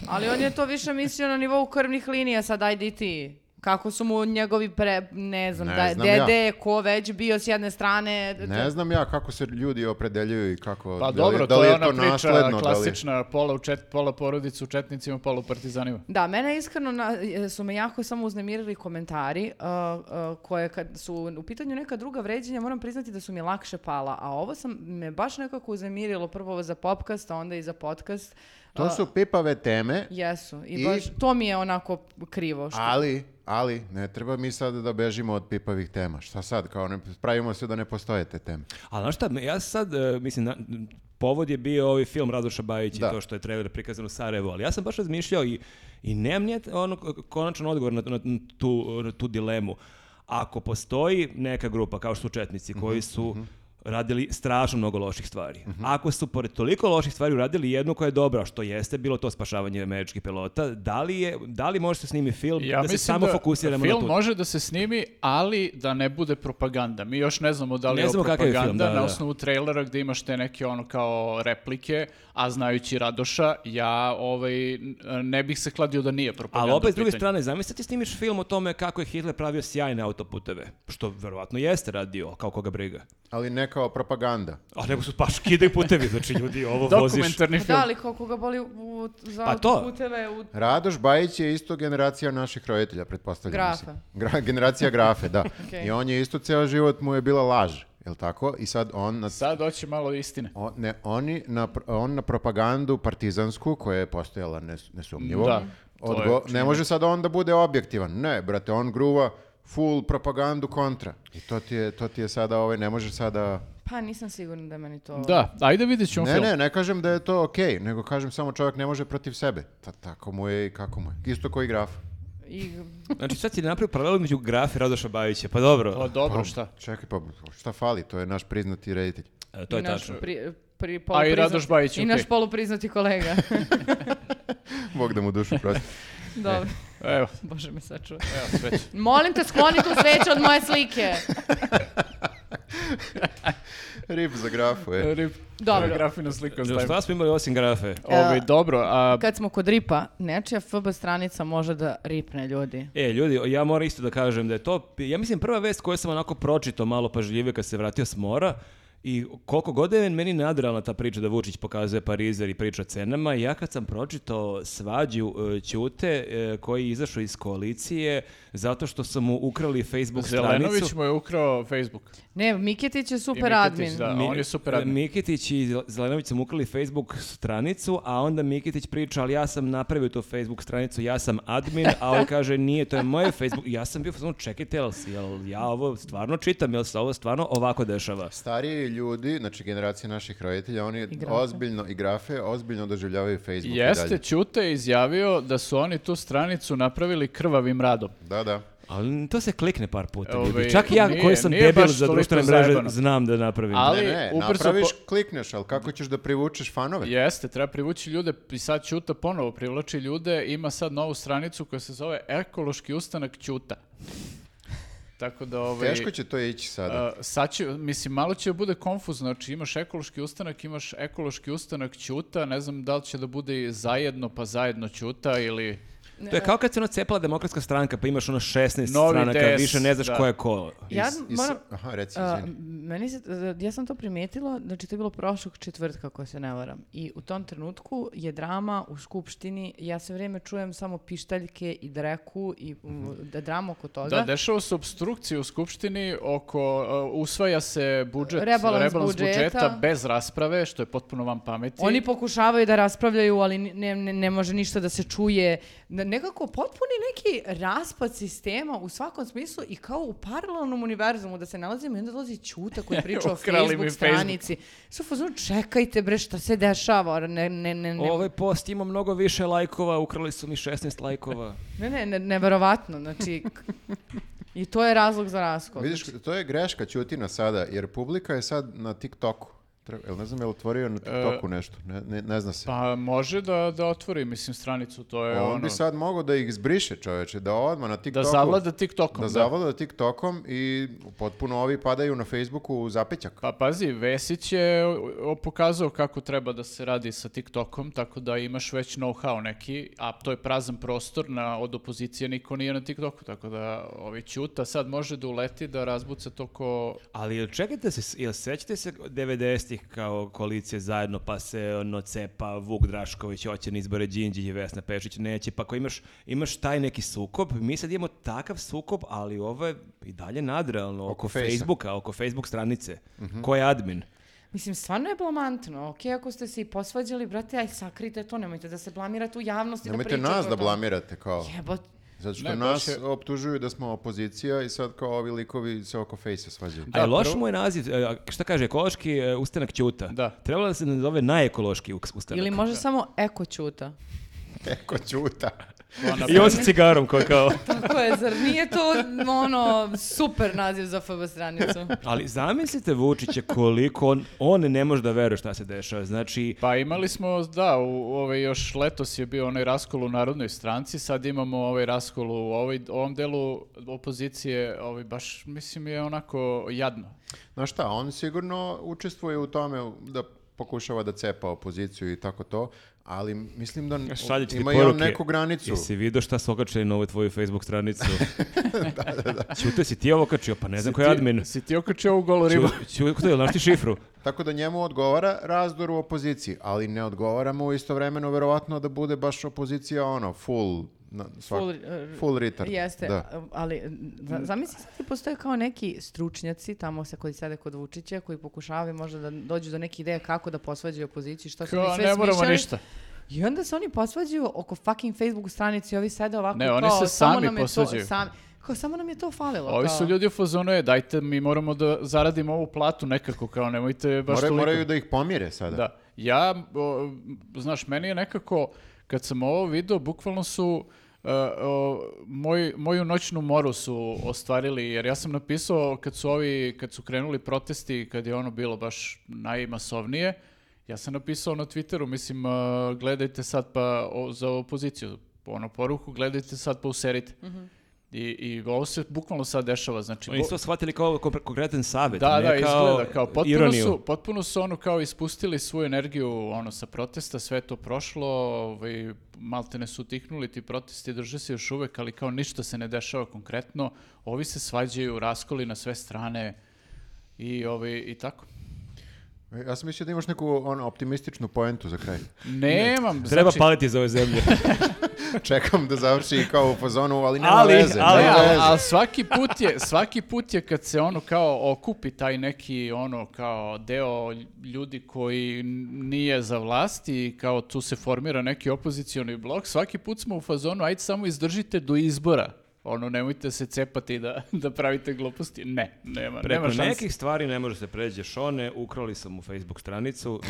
Ali on je to više mislio na nivou krvnih linija, sad ajde i ti. Kako su mu njegovi pre, ne znam, Ne da, znam dede, ko već bio s jedne strane. Ne znam ja kako se ljudi opredeljuju i kako... Pa da li- dobro, da to li je je ona to priča nasledno, da li- klasična, pola, u čet, pola porodicu u četnicima, pola u partizanima. Da, mene iskreno na- su me jako samo uznemirili komentari uh, uh, koje kad su u pitanju neka druga vređenja moram priznati da su mi lakše pala, a ovo sam me baš nekako uznemirilo prvo za popkast, a onda i za podcast. To Uh, su pipave teme, Jesu, i, I- baš to mi je onako krivo. Što... ali, ali ne treba mi sad da bežimo od pipavih tema. Šta sad, kao ne, pravimo se da ne postoje te teme. Ali znaš šta, ja sad, e, mislim, na- m, povod je bio ovaj film Radoša Bajić Da. i to što je trailer prikazan u Sarajevu, ali ja sam baš razmišljao i, i nemam nije ono k- konačan odgovor na, na tu, na tu dilemu. Ako postoji neka grupa, kao što su Četnici, Mhm, koji su radili strašno mnogo loših stvari. Mhm. Ako su pored toliko loših stvari uradili jednu koja je dobra, što jeste bilo to spašavanje američkih pilota, da li, je, da li može se snimi film Ja da se mislim samo da fokusiramo na film tu? može da se snimi, ali da ne bude propaganda. Mi još ne znamo da li Ne je ovo znamo kakav je film, propaganda da, na da. osnovu trailera gdje imaš te neke ono kao replike, a znajući Radoša, ja ovaj, n- ne bih se kladio da nije propaganda. Ali opet s u druge pitanju. strane, zamisli ti snimiš film o tome kako je Hitler pravio sjajne autoputeve, što verovatno jeste radio, kao koga briga. Ali ne kao propaganda. A nego su paš kidaju putevi, znači ljudi ovo voziš. Dokumentarni Pa film. Da, ali koliko ga boli u, u- za Pa to. puteve u Radoš Bajić je isto generacija naših roditelja, pretpostavljam. Grafe. mislim. Gra- generacija grafe, da. Okej. I on je isto ceo život mu je bila laž, jel tako? I sad on na Sad hoće malo istine. O, ne, oni na, pr- on na propagandu partizansku koja je postojala nes, nesumnjivo. Da, to je odgo- ne činjenica. može sad on da bude objektivan. Ne, brate, on gruva full propagandu kontra. I to ti je, to ti je sada, ovaj, ne može sada... Pa nisam sigurna da je meni to... Da, ajde vidjet ćemo Ne, film. ne, ne kažem da je to okej, nego kažem samo čovjek ne može protiv sebe. Ta, tako mu je i kako mu je. Isto koji graf. I, Znači sad si napravio paralelu između grafe i Radoša Bajića, pa dobro, Pa dobro, šta? Čekaj, pa šta fali, to je naš priznati reditelj. e, to je i naš tačno. Pri, pri, A i polupriznati- Radoš Bajić, I okej. naš polupriznati kolega. Bog da mu dušu prosti. Dobro, Evo, bože me sačuvaj. evo, sve će. Molim te, skloni tu sveću od moje slike. Rip za grafu, e. je. Rip. Dobro. Grafinu sliku Znači, ostavimo. Šta smo imali osim grafe? Ovaj, dobro, a Kad smo kod ripa, nečija FB stranica može da ripne ljudi. E, ljudi, ja moram isto da kažem da je to, ja mislim, prva vest koju sam onako pročito malo pažljivije kad se vratio s mora, I koliko god je meni nadrealna ta priča da Vučić pokazuje Parizer i priča o cenama, ja kad sam pročitao svađu e, Ćute e, koji je izašao iz koalicije zato što su mu ukrali Facebook Zelenović stranicu. mu je ukrao Facebook. Ne, Miketić je super Miketić, admin. da. A, on je super admin. e, Mikitić i Zel- Zelenović su mu ukrali Facebook stranicu, a onda Mikitić priča, ali ja sam napravio tu Facebook stranicu, ja sam admin, a on kaže, nije, to je moj Facebook. Ja sam bio, samo čekajte, jel, se- jel ja ovo stvarno čitam, jel se ovo stvarno ovako dešava? Stariji ljudi, znači generacija naših roditelja, oni grafe. ozbiljno i grafe, ozbiljno doživljavaju Facebook i Jeste, dalje. Ćuta je izjavio da su oni tu stranicu napravili krvavim radom. Da, da. Ali to se klikne par puta. Ovaj, ljudi. Čak i ja nije- koji sam nije debil baš za toliko društvene mreže zajebano. znam da napravim. Ali ne, ne, ubrzo napraviš, po- klikneš, ali kako ćeš da privučeš fanove? Jeste, treba privući ljude i sad Ćuta ponovo privlači ljude, ima sad novu stranicu koja se zove Ekološki ustanak Ćuta. Tako da ovaj... Teško će to ići sada. a, sad će, mislim, malo će da bude konfuzno, znači imaš ekološki ustanak, imaš ekološki ustanak Ćuta, ne znam da li će da bude i zajedno pa zajedno Ćuta ili... To je kao kad se ono cepala demokratska stranka, pa imaš ono 16 Novi stranaka, DS, više ne znaš da. ko je ko. Ja Is- is- moram... Aha, reci, A, izvini. meni se, ja sam to primijetila, znači to je bilo prošlog četvrtka ako se ne varam i u tom trenutku je drama u skupštini, ja sve vrijeme čujem samo pištaljke i dreku i mm, da drama oko toga. Mhm. Da, dešava se obstrukcija u Skupštini oko, uh, usvaja se budžet, Rebalans rebalans, budžeta. budžeta. bez rasprave, što je potpuno van pameti. Oni pokušavaju da raspravljaju, ali ne, ne, ne može ništa da se čuje. Ne- Nekako potpuni neki raspad sistema u svakom smislu i kao u paralelnom univerzumu da se nalazimo i onda dolazi Ćuta koji priča o Ukrali mi Facebook Facebook. stranici. Sve u fazonu, čekajte bre šta se dešava, Ono, ne, ne, ne, ne, Ovaj post ima mnogo više lajkova, ukrali su mi 16 lajkova. Ne, ne, ne, neverovatno, znači... k- I to je razlog za raskol. Znači, Vidiš, to je greška Ćutina sada, jer publika je sad na TikToku. Treba, jel ne znam, je li otvorio E, na TikToku nešto? Ne, ne, ne zna se. Pa može da, da otvori, mislim, stranicu, to je On ono... bi sad mogao da ih zbriše, čoveče, da odmah na Da TikToku... zavlada TikTokom. da da. zavlada TikTokom i potpuno ovi padaju na Facebooku u zapećak. Pa pazi, Vesić je o- o- pokazao kako treba da se radi sa TikTokom, tako da imaš već know-how neki, a to je prazan prostor, na, od opozicije niko nije na TikToku, tako da ovi Ćuta sad može da uleti da razbuca to ko... Ali jel čekajte se, jel sećate se 90-ih kao koalicije zajedno, pa se ono cepa Vuk Drašković, hoće na izbore Đinđić i Vesna Pešić, neće, pa ako imaš, imaš taj neki sukob, mi sad imamo takav sukob, ali ovo je i dalje nadrealno, oko, fejsa. Facebooka, oko Facebook stranice, Mhm. ko je admin. Mislim, stvarno je blamantno. Ok, ako ste se i posvađali, brate, aj sakrite to, nemojte da se blamirate u javnosti. da Nemojte pričate nas o da tome. blamirate, kao. Jebot. Zato što Ne, nas baš je- optužuju da smo opozicija i sad kao ovi likovi se oko fejsa svađaju. Da, A je loš prvo- mu je naziv, e, a šta kaže, ekološki e, ustanak Ćuta. Da. Trebalo da se ne zove najekološki uk- ustanak. Ili može samo eko ćuta. Eko Ćuta. ona I on sa cigarom koji kao... Tako je, zar nije to ono super naziv za FB stranicu? Ali zamislite Vučića koliko on, on ne može da veruje šta se dešava. Znači, Pa imali smo, da, u, ovaj, još letos je bio onaj raskol u Narodnoj stranci, sad imamo ovaj raskol u ovoj, ovom delu opozicije, ovaj, baš mislim je onako jadno. Znaš šta, on sigurno učestvuje u tome da pokušava da cepa opoziciju i tako to, ali mislim E, da Šaljeći ti ima i poruke. on neku granicu. Jesi vidio šta su okačili na ovoj tvoju Facebook stranicu? Ćute, si ti ovo okačio? Pa ne znam ko je admin. Si ti okačio ovu golu ribu? Ću- Ćute, jel znaš ti šifru? Tako da njemu odgovara razdor u opoziciji, ali ne odgovara mu istovremeno verovatno da bude baš opozicija ono, full, na, svak- Full, full, eh, retard. Jeste, Da. a- ali za- zamisli sad ti postoje kao neki stručnjaci tamo se koji sede kod Vučića koji pokušavaju možda da dođu do neke ideje kako da posvađaju opoziciju, što su mi Kao, sve ne moramo smišljali. ništa. I onda se oni posvađaju oko fucking Facebook stranice i ovi sede ovako Ne, kao, oni samo se sami nam je to- posvađaju. sami- kao, samo nam je to falilo. Ovi kao. su ljudi u fazonu je, dajte, mi moramo da zaradimo ovu platu nekako, kao nemojte baš Moraju, toliko. moraju da ih pomire sada. Da. Ja, o, znaš, meni je nekako, kad sam ovo video, bukvalno su e, o, moj, moju noćnu moru su ostvarili, jer ja sam napisao kad su ovi, kad su krenuli protesti, kad je ono bilo baš najmasovnije, ja sam napisao na Twitteru, mislim, e, gledajte sad pa o- za opoziciju, ono poruku, gledajte sad pa userite. I, I ovo se bukvalno sad dešava, znači... Oni bo- su to shvatili kao ko- konkretan savjet. da, ne da, kao izgleda kao potpuno ironiju. su, potpuno su ono kao ispustili svu energiju ono sa protesta, sve je to prošlo, ovaj maltene su utihnuli ti protesti, drže se još uvek, ali kao ništa se ne dešava konkretno. Ovi se svađaju, raskoli na sve strane i ovaj i tako. E, Ja sam mislio da imaš neku ono, optimističnu poentu za kraj. Nemam, Treba znači, paliti iz ove zemlje. Čekam da završi kao u fazonu, ali nema Ali, veze. ali, nema ali, veze. ali svaki put je, svaki put je kad se ono kao okupi taj neki ono kao deo ljudi koji nije za vlast i kao tu se formira neki opozicioni blok, svaki put smo u fazonu ajde samo izdržite do izbora. Ono, nemojte se cepati da, da pravite gluposti. Ne, nema, Preko nema šanse. nekih stvari ne može se pređe. Šone, ukrali sam mu Facebook stranicu.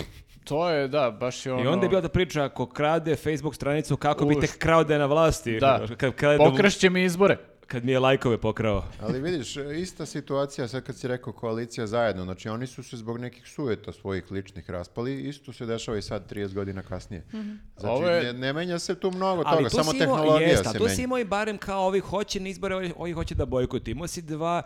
To je, da, baš je ono... I onda je bila ta priča, ako krade Facebook stranicu, kako bi Uš. tek krao da je na vlasti. Da, Kad, kad, pokrašće mi izbore. kad mi je lajkove pokrao. Ali vidiš, e, ista situacija sad kad si rekao koalicija zajedno, znači oni su se zbog nekih sujeta svojih ličnih raspali, isto se dešava i sad 30 godina kasnije. Mhm. Znači Ovo je- ne, ne menja se tu mnogo Ali toga, tu samo si imao- tehnologija jest, ali se tu menja. si imao i barem kao ovi hoće na izbore, ovi, ovi hoće da bojkotuju. Imao si dva,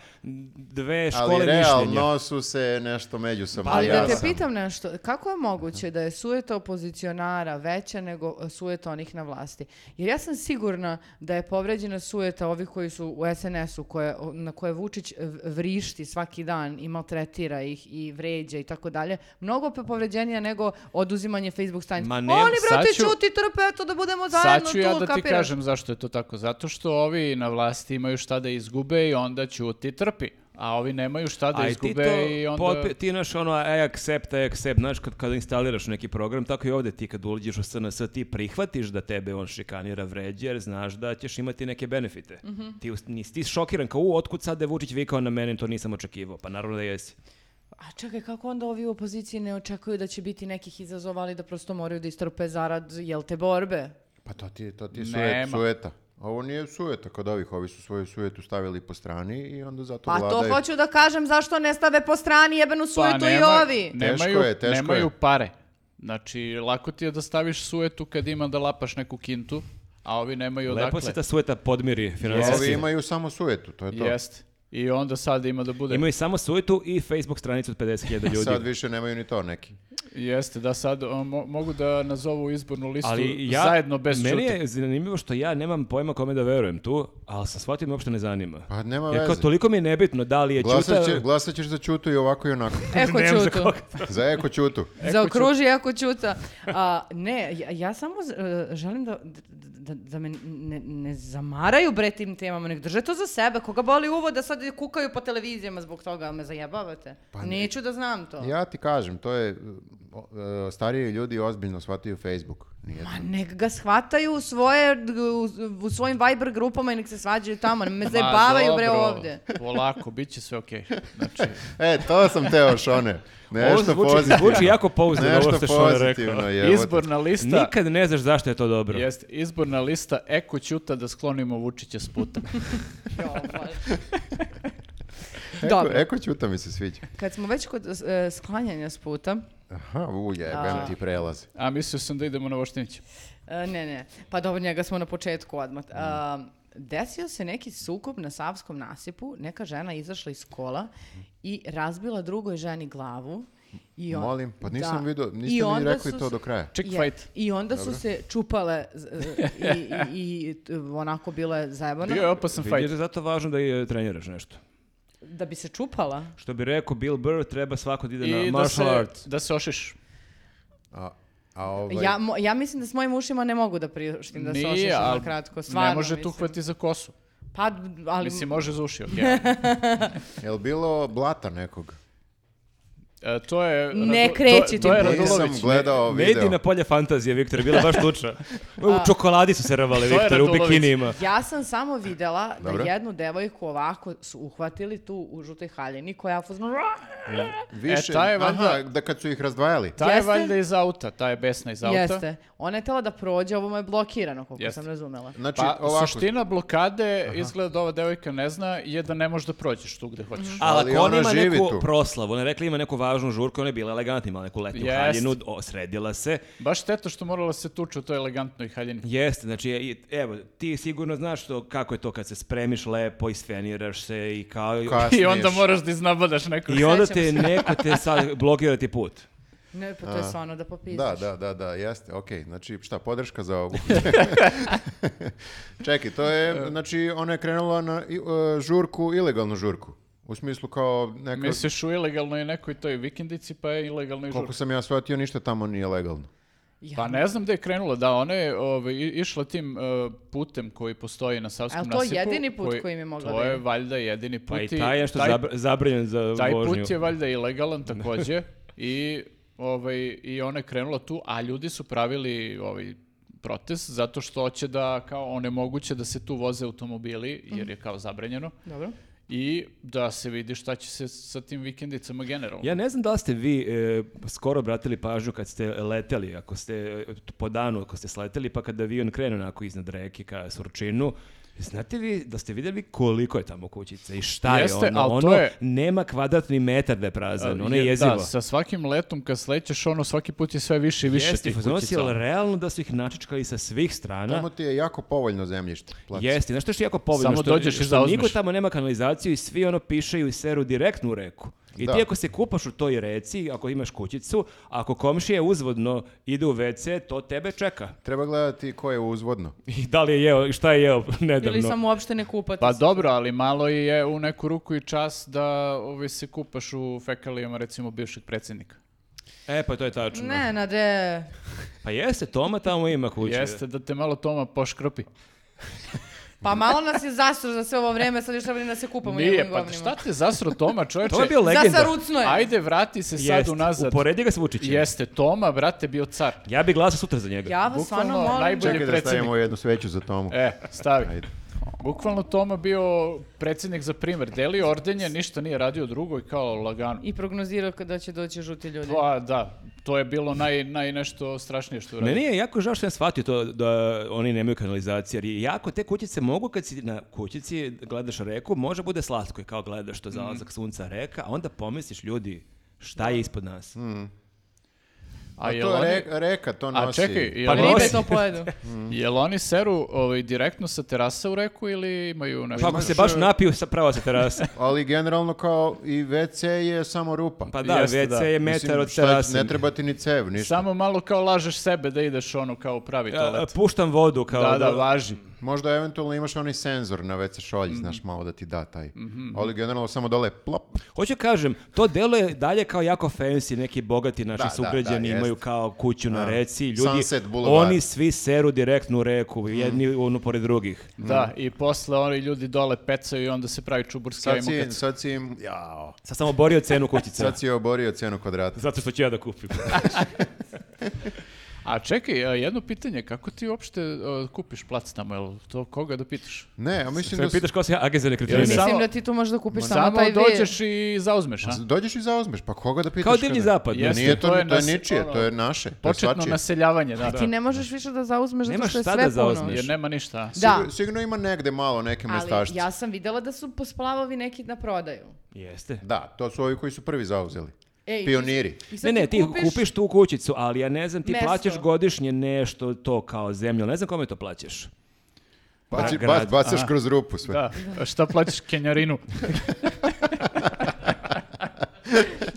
dve škole Ali mišljenja. Pa, realno su se nešto Pa međusobno Ali da te jasno. pitam nešto, kako je moguće da je sujeta opozicionara veća nego e, sujeta onih na vlasti? Jer ja sam sigurna da je povređena sujeta ovih koji su u SNS-u, koje, o- na koje Vučić v- vrišti svaki dan i maltretira ih i vređa i tako dalje, mnogo pe- povređenija nego oduzimanje Facebook stranica. Ma Oni, ne, sad brate, ću- ćuti, trpe, eto, da budemo zajedno Sad tu, ću ja da ti kapiraš? kažem zašto je to tako. Zato što ovi na vlasti imaju šta da izgube i onda ćuti trpi. A ovi nemaju šta da A i ti izgube to, i onda... potpi- ti naš ono, I accept, I accept, znaš, kad, kada instaliraš neki program, tako i ovdje ti kad uđeš u SNS, ti prihvatiš da tebe on šikanira vređa, jer znaš da ćeš imati neke benefite. Ti, us- nisi ti šokiran kao, u, otkud sad je Vučić vikao na mene, to nisam očekivao. Pa naravno da jesi. A čekaj, kako onda ovi u opoziciji ne očekuju da će biti nekih izazova, ali da prosto moraju da istrpe zarad, jel te, borbe? Pa to ti, to ti je Nema. sujet, sujeta. Ovo nije sujeta kod ovih, ovi su svoju sujetu stavili po strani i onda zato Pa to vladaju. hoću da kažem zašto ne stave po strani jebenu Pa sujetu i nema- ovi. Nemaju, Teško je, teško je. nemaju pare. Znači, lako ti je da staviš suetu kad ima da lapaš neku kintu, a ovi nemaju Lepo odakle. se ta sueta podmiri Ovi finansijski. imaju samo sujetu, to je to. Jeste. I onda sad ima da bude... Imaju samo suetu i Facebook stranicu od 50.000 ljudi. Sad više nemaju ni to neki. Jeste, da sad o, mo- mogu da nazovu izbornu listu Ali ja, zajedno bez meni ćute. je zanimljivo što ja nemam pojma kome da verujem tu, ali sam shvatio da me uopšte ne zanima. Pa nema Jer kao, veze. toliko mi je nebitno da li je Glasat, Ćuta- će, glasat ćeš za Ćutu i ovako i onako. Eko Nemam za ćutu. koga. za Eko Ćutu. Zaokruži eko ćuta. A, ne, ja, ja samo e, želim da, da, da me ne, ne zamaraju bre tim temama, nek drže to za sebe. Koga boli uvo da sad kukaju po televizijama zbog toga, ali me zajebavate. Neću da znam to. Pa Ja ti kažem, to je, o, e, stariji ljudi ozbiljno shvataju Facebook. Nije Ma nek ga shvataju u, svoje, u, u svojim Viber grupama i nek se svađaju tamo. Ne me zajebavaju bre Pa, dobro, ovde. Polako, bit će sve okej. Znači, E, to sam teo, Šone. Ovo Nešto zvuči, pozitivno. zvuči jako pouzdano Nešto ovo što je Šone pozitivno, rekao. jebote. izborna lista... Nikad ne znaš zašto je to dobro. Jeste, izborna lista Eko Ćuta da sklonimo Vučića s puta. Jo, Bože. Eko, Dobro. Eko Ćuta mi se sviđa. Kad smo već kod e, sklanjanja s puta, Aha, u jebem A. ti prelazi. A mislio sam da idemo na Voštinića. e, ne, ne, pa dobro, njega smo na početku odmah. Mm. A, desio se neki sukob na Savskom nasipu, neka žena izašla iz kola i razbila drugoj ženi glavu. I on- Molim, pa nisam Da. vidio, I niste mi onda rekli su to se- do kraja. Chick Je. fight. I onda su se čupale z- i, i, i t- onako bilo je zajebano. Bio je opasan Vidiš fight. da je zato važno da i e, treniraš nešto. Da bi se čupala. Što bi rekao Bill Burr, treba svako da ide na I da martial se, arts. da se ošiš. A, a ovaj, Ja, mo- ja mislim da s mojim ušima ne mogu da priuštim da se Nije, ošišam ali na kratko. Stvarno, Ne može tu mislim. uhvati za kosu. Pa, ali... Mislim, može za uši, okej. jel bilo blata nekog? E, to je... Radu- Ne kreći to, to je ti Nisam Radulović. gledao Ne video. idi na polje fantazije, Viktor, je bila baš tuča. U čokoladi su se ravale, To je Viktor, u Radulović. bikinijima. Ja sam samo videla da Dobro. jednu devojku ovako su uhvatili tu u žutoj haljini koja je fuzno... Više, E, taj je valjda- aha, da kad su ih razdvajali. Ta je Jeste? valjda iz auta, ta je besna iz auta. Jeste. Ona je tela da prođe, ovo mu je blokirano, koliko Jeste. sam razumela. Znači, Pa, ovako, suština blokade, izgleda da ova devojka ne zna, je da ne možeš da prođeš tu gde hoćeš. Mhm. Ali Ali ako ona ona ima živi neku tu. proslavu, ona je rekla ima neku važnu žurku, ona je bila elegantna, imala neku letnju Jest. haljinu, o, sredila se. Baš šteta što morala se tuče u toj elegantnoj haljini. Jeste, znači, e, i- evo, ti sigurno znaš što, kako je to kad se spremiš lepo, isfeniraš se i kao... kasniješ. I onda moraš da iznabadaš nekog. I onda te Sećam neko te sad blokira ti put. Ne, pa to je stvarno da Da, popisaš. da, da, da, jeste, okej, znači šta, podrška za ovu. ono Čekaj, to je, znači ona je krenula na i- e, žurku, e, ilegalnu žurku. U smislu kao neka... Misliš u ilegalno je nekoj toj vikendici, pa je ilegalno i Koliko žurka. sam ja shvatio, ništa tamo nije legalno. Ja, Pa ne znam gde je krenula, da, ona je ovaj, i- išla tim eh, putem koji postoji na Savskom Ali nasipu. to je jedini put kojim je mogla To da je ide. valjda jedini put. Pa i i taj je što taj zabra- zabranjen za Taj vožnju. put je valjda ilegalan takođe i ovaj i ona je krenula tu, a ljudi su pravili ovaj protest zato što hoće da kao onemoguće da se tu voze automobili jer Mhm. je kao zabranjeno Dobro. i da se vidi šta će se sa tim vikendicama generalno. Ja ne znam da li ste vi e, skoro obratili pažnju kad ste leteli, ako ste e, po danu, ako ste sleteli, pa kad avion krene onako iznad reke ka Surčinu, Znate vi da ste vidjeli koliko je tamo kućica i šta Jeste, je ono? ali to Ono je- nema kvadratni metar da je prazan, ono Jer je jezivo. Pa, Da, sa svakim letom kad slećeš ono svaki put je sve više i više Jeste, tih fazonu si, kućica. ono. ali realno da su ih načičkali sa svih strana. Tamo ti je jako povoljno zemljište. plac. Jeste, znaš što je što je jako povoljno? Samo što, dođeš i što zauzmeš. Niko tamo nema kanalizaciju i svi ono pišaju i seru direktno u reku. I Da. ti ako se kupaš u toj reci, ako imaš kućicu, ako komšija uzvodno ide u WC, to tebe čeka. Treba gledati ko je uzvodno. I da li je jeo, i šta je jeo nedavno. Ili sam uopšte ne kupati. Pa se. dobro, ali malo je u neku ruku i čas da ovaj, se kupaš u fekalijama recimo bivšeg predsjednika. E, pa to je tačno. Ne, nade. Pa jeste, Toma tamo ima kuće. Jeste da te malo Toma poškropi. Pa malo nas je zastro za sve ovo vreme, sad još treba ni da se kupamo u Nije, njegovim pa govnima. šta te zasro Toma, čoveče? To je bio legenda. Zasarucno je. Ajde, vrati se sad Jeste, unazad. Uporedi ga s Vučićem. Jeste, Toma, brate, bio car. Ja bih glasao sutra za njega. Ja vas Bukvalno stvarno molim. najbolje- Čekaj da predsjednik. stavimo jednu sveću za Tomu. E, stavi. Ajde. Bukvalno Toma bio predsjednik za primjer. Delio ordenje, ništa nije radio drugo i kao lagano. I prognozirao da će doći žuti ljudi. Pa da, to je bilo naj, naj nešto strašnije što je uradio. Meni je jako žao što sam shvatio to da oni nemaju kanalizacije, jer je jako te kućice mogu kad si na kućici gledaš reku, može bude slatko i kao gledaš to zalazak Mm. sunca reka, a onda pomisliš ljudi šta je ispod nas. Mm. A jel Pa to oni- re- reka to A nosi. čekaj, jel, Pa oni- Ribe nosi. to pojedu. Mm. jel oni seru ovaj, direktno sa terasa u reku ili imaju nešto? Pa ako se e, baš napiju, sa prava se terasa. Ali generalno kao i WC je samo rupa. Pa da, Jeste, WC da. je Mislim, metar od šta će- terase. Ne treba ti ni cev, ništa. Samo malo kao lažeš sebe da ideš ono kao u pravi Ja, toalet. E, puštam vodu kao Da, da... Mm. da, važi. Možda eventualno imaš onaj senzor na WC šolji, znaš, malo da ti da taj. Ali generalno samo dole plop. Hoću kažem, to delo je dalje kao jako fancy, neki bogati naši Da, da, sugrađani da, imaju jest. kao kuću na Da. reci, ljudi, Sunset Boulevard. Mm. oni svi seru direktno u reku, jedni ono pored drugih. Da, i posle oni ljudi dole pecaju i onda se pravi čuburski Sad ajmo si, kad... sad si im- jao. Sad sam oborio cenu kućica. Sad si je oborio cenu kvadrata. Zato što ću ja da kupim. Znači, A čekaj, a, jedno pitanje, kako ti uopšte a, kupiš plac tamo, jel to koga da pitaš? Ne, ja mislim Sve da... me s- pitaš kao se ja agent za nekretnine. Jel Mislim samo- da ti tu možeš da kupiš samo, pa Samo taj vir. dođeš i zauzmeš, a? Dođeš i zauzmeš, pa koga da pitaš? Kao divlji kada? zapad. Pa Jeste, Nije to, to to je je, nas- ničije, ono, to je naše, to je Početno svačije. naseljavanje, da. Ti ne možeš više da zauzmeš zato Nemaš što je šta sve da puno. zauzmeš. Jer nema ništa. a? Da. Sigur- sigurno ima negde malo neke Ali mestašce. ja sam videla da su posplavovi neki na prodaju. Jeste. Da, to su ovi koji su prvi zauzeli. Ej, Pioniri. I sad Ne, ne, ti kupiš, tu kućicu, ali ja ne znam, ti Mesto. plaćaš godišnje nešto to kao zemlju, ali ne znam kome to plaćaš. Baci, grad, bac, bacaš kroz rupu sve. Da, a šta plaćaš kenjarinu?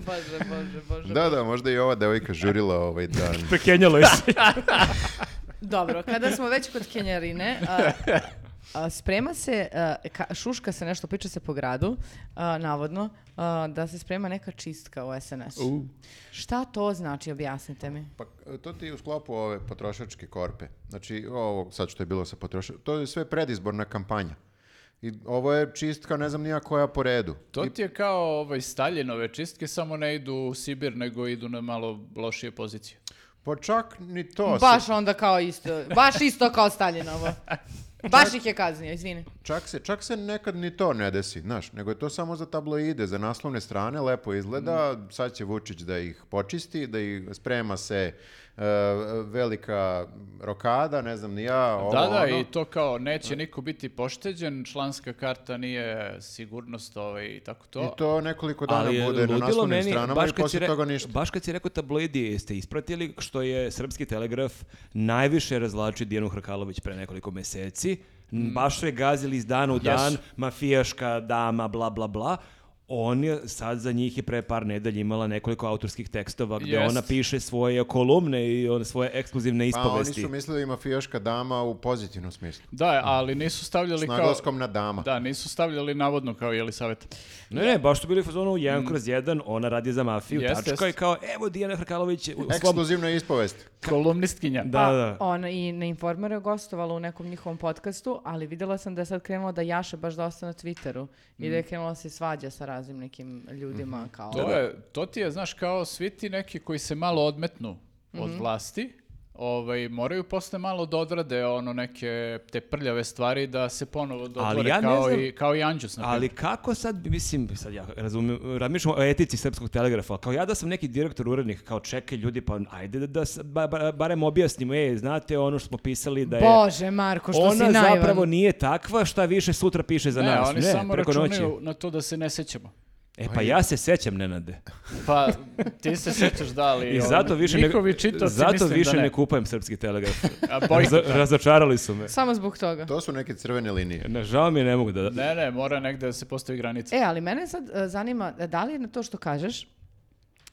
Bože, bože, bože. Da, da, možda i ova devojka žurila ovaj dan. Prekenjalo je se. Dobro, kada smo već kod Kenjarine, a, a, sprema se, a, ka- šuška se nešto, priča se po gradu, a, navodno, a, da se sprema neka čistka u SNS. u Šta to znači, objasnite mi. Pa to ti je u sklopu ove potrošačke korpe. Znači, ovo sad što je bilo sa potrošačkom, to je sve predizborna kampanja. I ovo je čistka, ne znam nija koja po redu. To ti je kao ovaj, Staljinove čistke, samo ne idu u Sibir, nego idu na malo lošije pozicije. Pa čak ni to. Baš Se, onda kao isto, baš isto kao Staljinovo. Baš ih je kaznio, izvini. čak, se, čak se nekad ni to ne desi, znaš, nego je to samo za tabloide, za naslovne strane, lepo izgleda, sad će Vučić da ih počisti, da ih sprema se e, velika rokada, ne znam ni ja, ovo, da, da, ono. i to kao neće niko biti pošteđen, članska karta nije sigurnost ovaj, i tako to. I to nekoliko dana Ali bude na ludilo naslovnim meni, stranama baš i kad, si posle re- toga ništa. baš kad si rekao tabloidi, ste ispratili što je Srpski telegraf najviše razlačio Dijanu Hrkalović pre nekoliko Mm. meseci. Baš su je gazili iz dana u dan, mafijaška dama, bla, bla, bla. on je sad za njih je pre par nedelja imala nekoliko autorskih tekstova gdje Jest. ona piše svoje kolumne i on svoje ekskluzivne Pa oni ispovesti. su mislili mafijaška dama u pozitivnom smislu. Da, ali nisu stavljali S kao... naglaskom na dama. Da, nisu stavljali navodno kao Jelisaveta. Ne, ne, baš su bili u fazonu 1 Mm. kroz 1, ona radi za mafiju, Jeste, tačka jeste. i kao, evo Dijana Hrkalović je u svom... Ekskluzivna ispovest. Kolumnistkinja. Da, A da. Ona Pa, ono, i na Informeru je gostovala u nekom njihovom podcastu, ali vidjela sam da je sad krenula da jaše baš dosta na Twitteru i Mm. da je krenula da se svađa sa raznim nekim ljudima Mhm. kao... ono, To, je, to ti je, znaš, kao svi ti neki koji se malo odmetnu od Mhm. vlasti, ovaj, moraju posle malo da odrade ono neke te prljave stvari da se ponovo dodvore ja ne kao, znam- i, kao i Anđus. na Ali kako sad, bi- mislim, sad ja razumijem, razmišljam o etici srpskog telegrafa, ali kao ja da sam neki direktor urednik, kao čekaj ljudi, pa ajde da, da s- ba- ba- barem objasnimo, ej, znate ono što smo pisali da je... Bože, Marko, što si ona naivan. zapravo nije takva, šta više sutra piše za Ne, nas. oni ne, samo preko noći. računaju na to da se ne sećamo. E pa ja se sećam, Nenade. Pa ti se sećaš da ali... I ovaj, zato više, njihovi ne, čitaoci zato mislim da više ne. ne kupujem srpski telegraf. A Razo- bojkot, da. razočarali su me. Samo zbog toga. To su neke crvene linije. Ne, žao mi je, ne mogu da... Ne, ne, mora negde da se postavi granica. E, ali mene sad e, zanima, e, da li je na to što kažeš,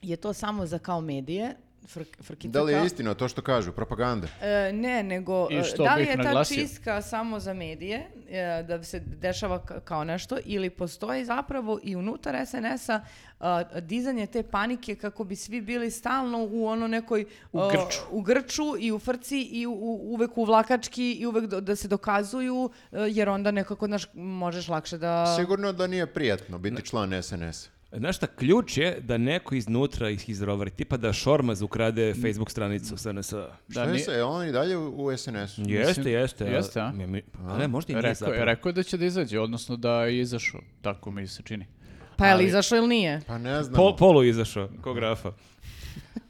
je to samo za kao medije, Frk- frkica Da li je kao- istina to što kažu? Propaganda. E, ne, nego I e, što da li bih je ta naglasio? čiska samo za medije, e, da se dešava ka- kao nešto, ili postoji zapravo i unutar SNS-a e, dizanje te panike kako bi svi bili stalno u ono nekoj... U e, grču. u grču i u frci i u, u- uvek u vlakački i uvek do- da se dokazuju, e, jer onda nekako, znaš, možeš lakše da... Sigurno da nije prijatno biti član SNS. Znaš šta, ključ je da neko iznutra ih izrovari, tipa da Šormaz ukrade Facebook stranicu SNS. Da, ni- je sa, je on i dalje u u SNS-u? Jeste, jeste. ali- jeste, a? mi- mi- pa ne, možda i nije Rekao, zapravo. je- rekao je da će da izađe, odnosno da je izašao, tako mi se čini. Pa je li izašao ili nije? Pa ne znam. Pol, polu izašao, ko grafa.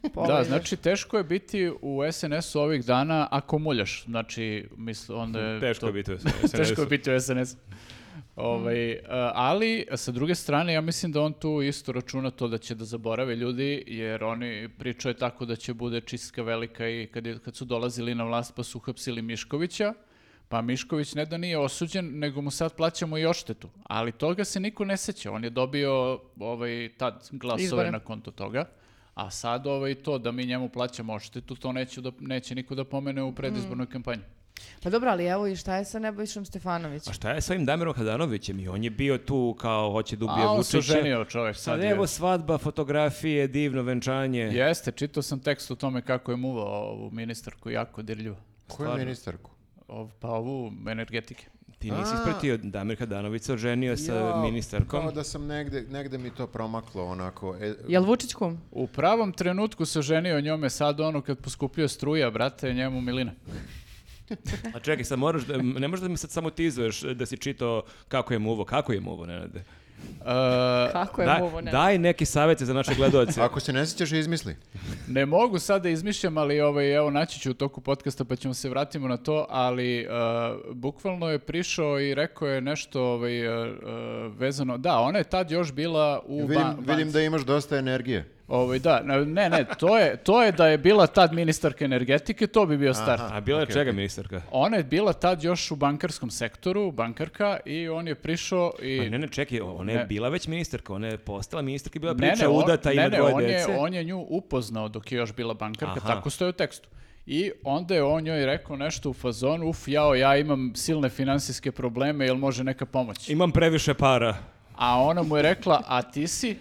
Da, Pogledaj. znači teško je biti u SNS-u ovih dana ako muljaš. Znači, misl, onda je Teško to- je biti u teško je SNS-u. biti u SNS. Ovaj, e, ali, sa druge strane, ja mislim da on tu isto računa to da će da zaborave ljudi, jer oni pričaju tako da će bude čistka velika i kad, je- kad su dolazili na vlast pa su uhapsili Miškovića, pa Mišković ne da nije osuđen, nego mu sad plaćamo i odštetu. Ali toga se niko ne seća. On je dobio ovaj, tad glasove Izbore. na konto toga. A sad ovaj, to da mi njemu plaćamo odštetu, to neće, da, neće niko da pomene u predizbornoj kampanji. Pa dobro, ali evo i šta je sa Nebojšom Stefanovićem? A šta je s ovim Damirom Hadanovićem? I on je bio tu kao hoće da ubije A on se Vučića. oženio čovjek sad. Sad je. evo svadba, fotografije, divno venčanje. Jeste, čitao sam tekst o tome kako je muvao ovu ministarku jako dirljivo. Koju ministarku? Ov, pa ovu energetike. Ti nisi A. ispratio, Damir Hadanović se oženio sa Jao, ministarkom. Kao da sam negde, negde mi to promaklo onako. E, Jel Vučić kum? U pravom trenutku se ženio njome sad ono kad poskupljuje struja, brate, njemu milina. A čekaj, sad moraš, da, ne možeš da mi sad samo tizuješ da si čitao kako je muvo, kako je muvo, Nenade. E, Kako je Daj, mu ovo ne? daj neki savjete za naše gledoce. Ako se ne sjećaš, izmisli. ne mogu sad da izmišljam, ali ovaj, evo naći ću u toku podcasta pa ćemo se vratimo na to, ali e, bukvalno je prišao i rekao je nešto ovaj, e, e, vezano. Da, ona je tad još bila u Vidim, ban- vidim da imaš dosta energije. Ovaj, da, ne, ne, to je, to je da je bila tad ministarka energetike, to bi bio start. A bila je Okej, čega ministarka? Ona je bila tad još u bankarskom sektoru, bankarka, i on je prišao i... A Pa ne, ne, čekaj, ona je Ne. bila već ministarka, ona je postala ministarka, bila Ne, ne, priča udata, on, ima ne, ne, dvoje on je, dece. on je nju upoznao dok je još bila bankarka, Aha. tako stoje u tekstu. I onda je on njoj rekao nešto u fazonu, uf, jao, ja imam silne finansijske probleme, jel može neka pomoć? Imam previše para. A ona mu je rekla, a ti si?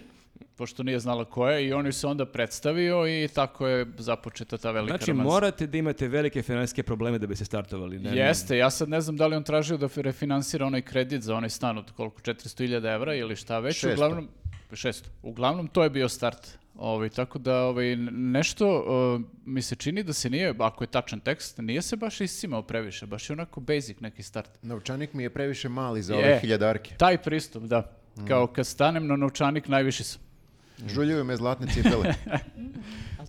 pošto nije znala ko je i on ju se onda predstavio i tako je započeta ta velika Znači, romansa. morate da imate velike financijske probleme da bi se startovali. Ne, ne. Jeste, ja sad ne znam da li on tražio da f- refinansira onaj kredit za onaj stan od koliko, 400.000 evra ili šta već. 600. Uglavnom, 600. Uglavnom, to je bio start. Ovaj, tako da ovaj, n- nešto eh, mi se čini da se nije, ako je tačan tekst, nije se baš iscimao previše, baš je onako basic neki start. Novčanik mi je previše mali za Je. ove hiljadarke. Taj pristup, da. Kao kad stanem na novčanik, najviši sam. Žuljuju me zlatne cipele.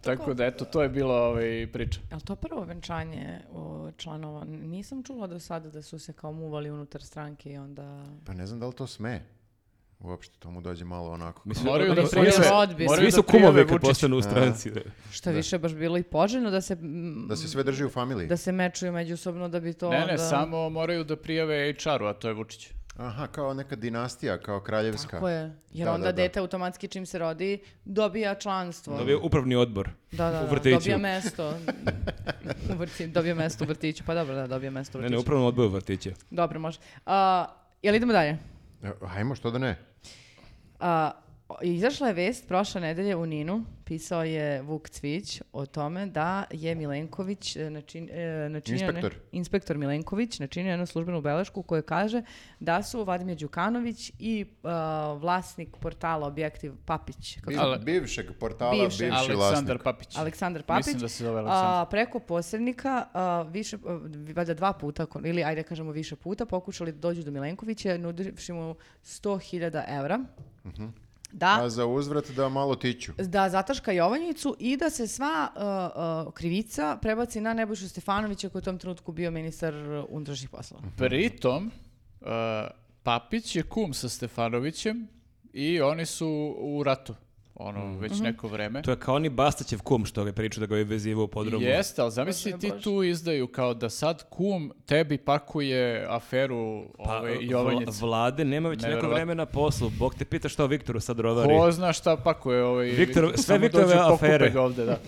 Tako da, eto, to je bila ovaj, priča. Jel to prvo venčanje o, članova? N- Nisam čula do sada da su se kao muvali unutar stranke i onda... Pa ne znam da li to sme. Uopšte, to mu dođe malo onako. Mislim, Moraju da oni- prijave- oni su- Odbije. moraju Svi da su prijave kumovi kad Vučića. postanu u stranci. da. Što više baš bilo i poželjno da se, mm, Da se sve drži u familiji. da se mečuju međusobno da bi to Ne, onda... ne, samo moraju da prijave HR-u, a to je Vučić. Aha, kao neka dinastija, kao kraljevska. Tako je. Jer Da, onda da, da. dete automatski čim se rodi dobija članstvo. Dobio upravni odbor. Da, da, u da, vrtiću. Dobija mesto. U vrti, dobija mesto u vrtiću. Pa dobro, da, dobija mesto u Ne, vrtiću. ne, upravni odbor vrtića. Dobro, može. A, jel idemo dalje? E, Ajmo, što da ne? A, o- izašla je vest prošle nedelje u Ninu, pisao je Vuk Cvić o tome da je Milenković e, način, e, načinio... ne- Inspektor. inspektor Milenković načinio jednu službenu belešku koja kaže da su Vladimir Đukanović i a, vlasnik portala Objektiv Papić, kako Bi- Ale- bivšeg portala, Bivšeg. bivši Aleksandar vlasnik. Papić. Aleksandar Papić. Mislim da se zove a, Aleksandar. preko posrednika, a, više, a, valjda dva puta, ko- ili ajde kažemo više puta, pokušali da dođu do Milenkovića, nudivši mu 100.000 evra. Mhm. Da, A za uzvrat da malo tiću. da zataška Jovanjicu i da se sva a, a, krivica prebaci na Nebojšu Stefanovića koji je u tom trenutku bio ministar a, unutrašnjih poslova. Mhm. Pritom, uh, Papić je kum sa Stefanovićem i oni su u ratu. Ono, već neko vreme. Mhm. To je kao oni Bastaćev kum što ga priča da ga je vezivao u podromu. Jeste, ali zamisli ti tu izdaju kao da sad kum tebi pakuje aferu Pa, ove, vla- Jovanjice. vlade nema već neko Neverovatno. vreme na poslu. Bog te pita što Viktoru sad rovari. Ko zna šta pakuje ovaj... Viktor- Samo sve Viktorove dođu, pokupe afere. ga ovde, da.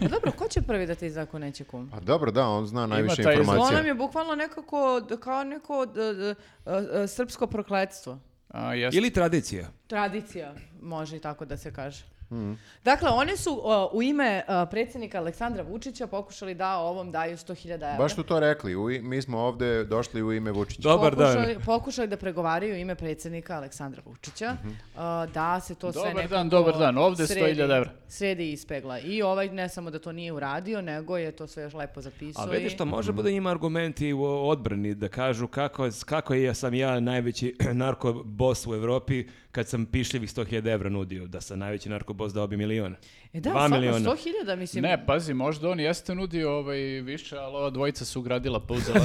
Pa dobro, ko će prvi da te izda ako neće kum? Pa dobro, da, on zna najviše taj informacija. Ovo nam je bukvalno nekako, d- kao neko d- d- a, a, srpsko prokledstvo. A, jeste. Ili tradicija. Tradicija, može i tako da se kaže. Mhm. Dakle, oni su o, u ime o, predsjednika Aleksandra Vučića pokušali da ovom daju 100.000 evra. Baš su to rekli, u i- mi smo ovde došli u ime Vučića. Dobar dan. pokušali, pokušali da pregovaraju u ime predsjednika Aleksandra Vučića Mhm. o, da se to sve Dobar nekako dan, dobar dan, ovde sredi- 100.000 evra. Sredi i ispegla. I ovaj ne samo da to nije uradio, nego je to sve još lepo A zapisao. vidi i- što može Mhm. bude ima argumenti u odbrani da kažu kako, kako ja sam ja najveći narkobos u Evropi kad sam pišljivih 100.000 evra nudio, da sam najveći narkobos dao bi milion. E da, Dva stvarno, miliona. 100.000, mislim. Ne, pazi, možda on jeste nudio ovaj više, ali ova dvojica su ugradila pa uzela.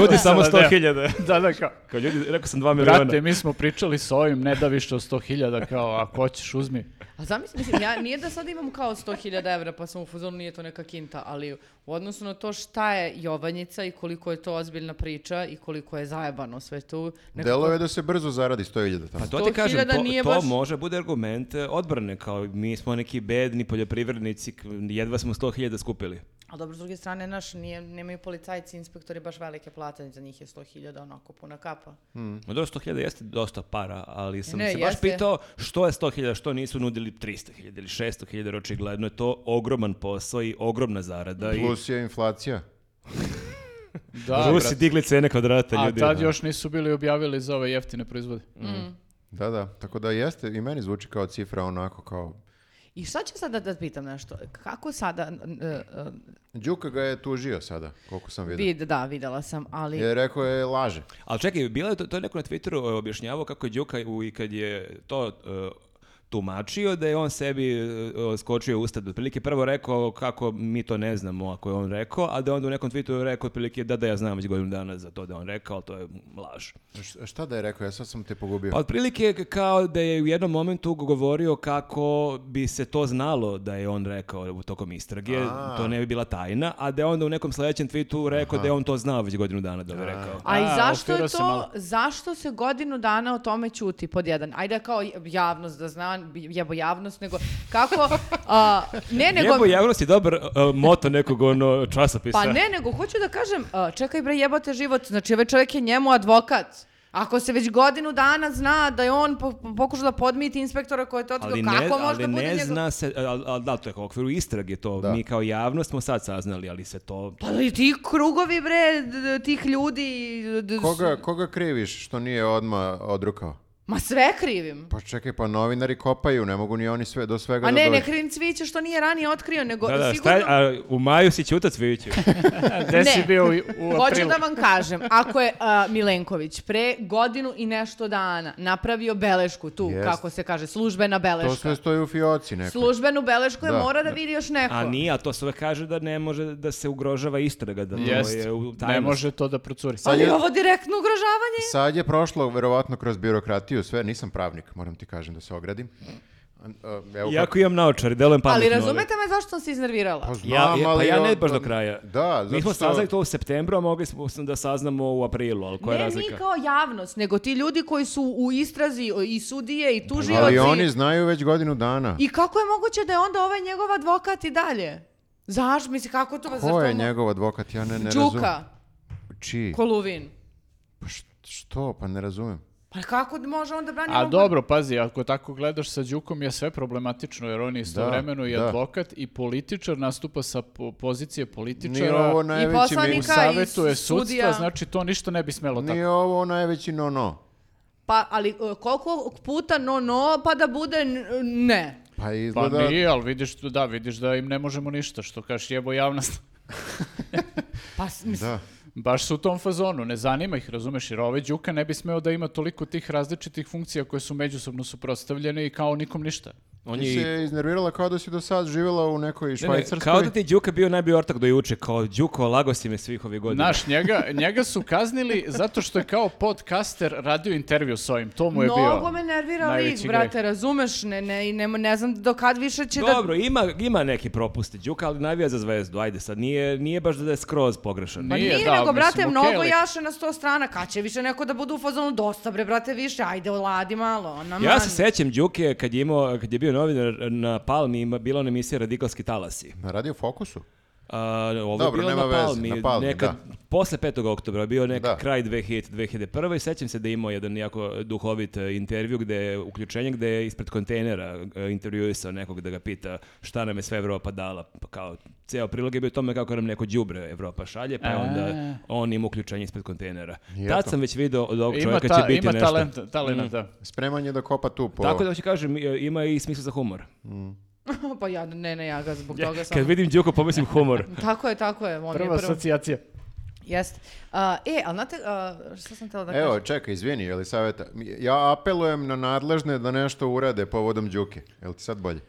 Nudi samo Sada 100.000. da, da, kao. Kao ljudi, rekao sam 2 miliona. Brate, mi smo pričali s ovim, ne da više od 100.000, kao, ako hoćeš, uzmi. A zamisli, mislim, ja, nije da sad imam kao 100.000 evra, pa sam u fuzonu, nije to neka kinta, ali u odnosu na to šta je Jovanjica i koliko je to ozbiljna priča i koliko je zajebano sve tu. nekako- Delo je da se brzo zaradi 100.000 tamo. Pa to ti 100.000 kažem, to, nije to baš- može bude argument e, odbrane, kao mi smo neki bedni poljoprivrednici, k- jedva smo 100.000 skupili. A dobro, s druge strane, naš, nije, nemaju policajci, inspektori baš velike plate, za njih je 100.000 onako puna kapa. Ma dobro, 100.000 jeste dosta para, ali sam Ne, se baš jeste. pitao što je 100.000, što nisu nudili 300.000 ili 600.000, jer očigledno je to ogroman posao i ogromna zarada. i Plus je inflacija. Da, Rusi brate. digli cene kvadrata A ljudi. ono. tad još nisu bili objavili za ove jeftine proizvode. Da, da, tako da jeste, i meni zvuči kao cifra onako kao... I šta će sada da pitam nešto? Kako sada... n- e, Đuka ga je tužio sada, koliko sam e, vidio. vid, da, videla sam, ali... Je rekao je laže. Ali čekaj, bilo je to, to je neko na Twitteru e, objašnjavao kako je Đuka u- i kad je to e, tumačio da je on sebi e, skočio u usta. Otprilike prvo rekao kako mi to ne znamo ako je on rekao, a da je onda u nekom tweetu rekao otprilike da da ja znam već godinu dana za to da je on rekao, ali to je laž. Š- šta da je rekao, ja sad sam te pogubio. Pa otprilike k- kao da je u jednom momentu govorio kako bi se to znalo da je on rekao u tokom istrage, A. to ne bi bila tajna, a da je onda u nekom sledećem tweetu rekao da je on to znao već godinu dana da bi rekao. A i A, zašto je ofirao se to, malo. zašto se godinu dana o tome ćuti pod jedan? Ajde kao javnost da zna, jebo javnost, nego kako, a, ne nego... Jebo javnost je dobar uh, moto nekog ono časopisa. Pa ne, nego hoću da kažem, a, čekaj bre, jebate život, znači ovaj čovjek je njemu advokat. Ako se već godinu dana zna da je on po, po- pokušao da podmiti inspektora koji je to otkrio, Ali ne, kako može ali da bude ne njegov- zna se, ali al, da, to je kao u okviru istrage to, Da. mi kao javnost smo sad saznali, ali se to... Pa i ti krugovi bre, d- d- tih ljudi... d- d- Koga, koga kriviš što nije odma odrukao? Ma sve krivim. Pa čekaj, pa novinari kopaju, ne mogu ni oni sve, do svega A da ne, ne dođu. krivim cviće što nije ranije otkrio, nego Da, da, Pa, sigurno... šta je- a u maju si ćutac vidiću. Gde si Ne. bio u, u Hoću aprilu? da vam kažem, ako je a, Milenković pre godinu i nešto dana napravio belešku tu, Jest. kako se kaže, službena To beleška. sve stoji u fioci neko. Službenu belešku je Da. mora da vidi još neko. A nije, a to sve kaže da ne može da se ugrožava istraga, da to Jeste, je u ne tajnosti. može to da procuri. Ali je- ovo direktno ugrožavanje. Sad je prošlo verovatno kroz birokratiju sve, nisam pravnik, moram ti kažem da se ogradim. Evo, kako- Iako imam naočar, delujem pametno. Ali razumete me zašto sam se iznervirala? Pa Ja, ja- znam, pa ali ja ne on- baš do kraja. Da, Mi zato smo što... saznali to u septembru, a mogli smo sam da saznamo u aprilu, ali koja je ne razlika? mi kao javnost, nego ti ljudi koji su u istrazi o, i sudije i tužioci. Ali oni znaju već godinu dana. I kako je moguće da je onda ovaj njegov advokat i dalje? Zaš, misli, kako to... zar Ko to je mo- njegov advokat? Ja ne, ne razumem. Đuka, Čiji? Koluvin. Pa š- što? Pa ne razumem. Pa kako može onda braniti... A dobro, pazi, ako tako gledaš sa Đukom je sve problematično, jer on je istovremeno i da. advokat i političar, nastupa sa po- pozicije Nije političara, ovo najveći... mi- poslanika. savetuje i sudija. sudstva, znači to ništa ne bi smelo tako. Nije ovo najveći no-no. Pa, ali e, koliko puta no no, pa da bude n- ne. Pa Pa izgleda... nije, ali vidiš, tu- da, vidiš da im ne možemo ništa, što kažeš jebo javnost. Pa, s- mislim, Da. Baš su u tom fazonu, ne zanima ih, razumeš, jer ovaj Đuka ne bi smeo da ima toliko tih različitih funkcija koje su međusobno suprotstavljene i kao nikom ništa. On Ti je i- se iznervirala kao da si do sad živjela u nekoj Ne, ne, Švajcarskoj. kao da ti je Đuka bio najbolji ortak do juče, kao Đuko, lago si me svih ovih godina. Znaš, njega, njega su kaznili zato što je kao podcaster radio intervju s ovim, to mu je bio mnogo me nervira lik, najveći brate, greh. razumeš? Ne, ne, i ne, ne znam do kad više će da... Dobro, ima, ima neki propusti Đuka, ali navija za zvezdu, ajde sad, nije, nije baš da je skroz pogrešan. Pa Nije, nije, da, nego, mislim, brate, okej, mnogo ali- jaše na sto strana, kad će više neko da bude u fazonu, dosta bre, brate, više, ajde, oladi malo, ono, ona Ja se sećam Đuke kad je, imao, kad je bio novinar na Palmi, ima, bila ona emisija Radikalski talasi. Na radio Fokusu? A, ovo Dobro, je bilo nema na veze, Palmi, na Palmi, nekad, da. posle 5. oktobra, bio nek Da. kraj 2000, 2001. I sećam se da je imao jedan jako duhovit e, intervju, gde je uključenje, gde je ispred kontejnera e, intervjuisao nekog da ga pita šta nam je sve Evropa dala. Pa kao, ceo prilog je bio o tome kako nam neko đubre Evropa šalje, E. pa je onda on ima uključenje ispred kontejnera. Tad sam već video od ovog Ima, čovjeka ta- će biti ima nešto. talent, talenata. Spreman je da kopa tu po... Tako da hoću kažem, i- ima i smisla za humor. pa ja, ne, ne, ja ga zbog toga sam... Kad vidim Đuko, pomislim humor. Tako je, tako je, on Prva je prvo. asocijacija. Jeste. A, e, ali znate, a, šta sam htjela da kažem? Evo, čekaj, izvini, je li savjeta? Ja apelujem na nadležne da nešto urade povodom Đuke. Jel ti sad bolje?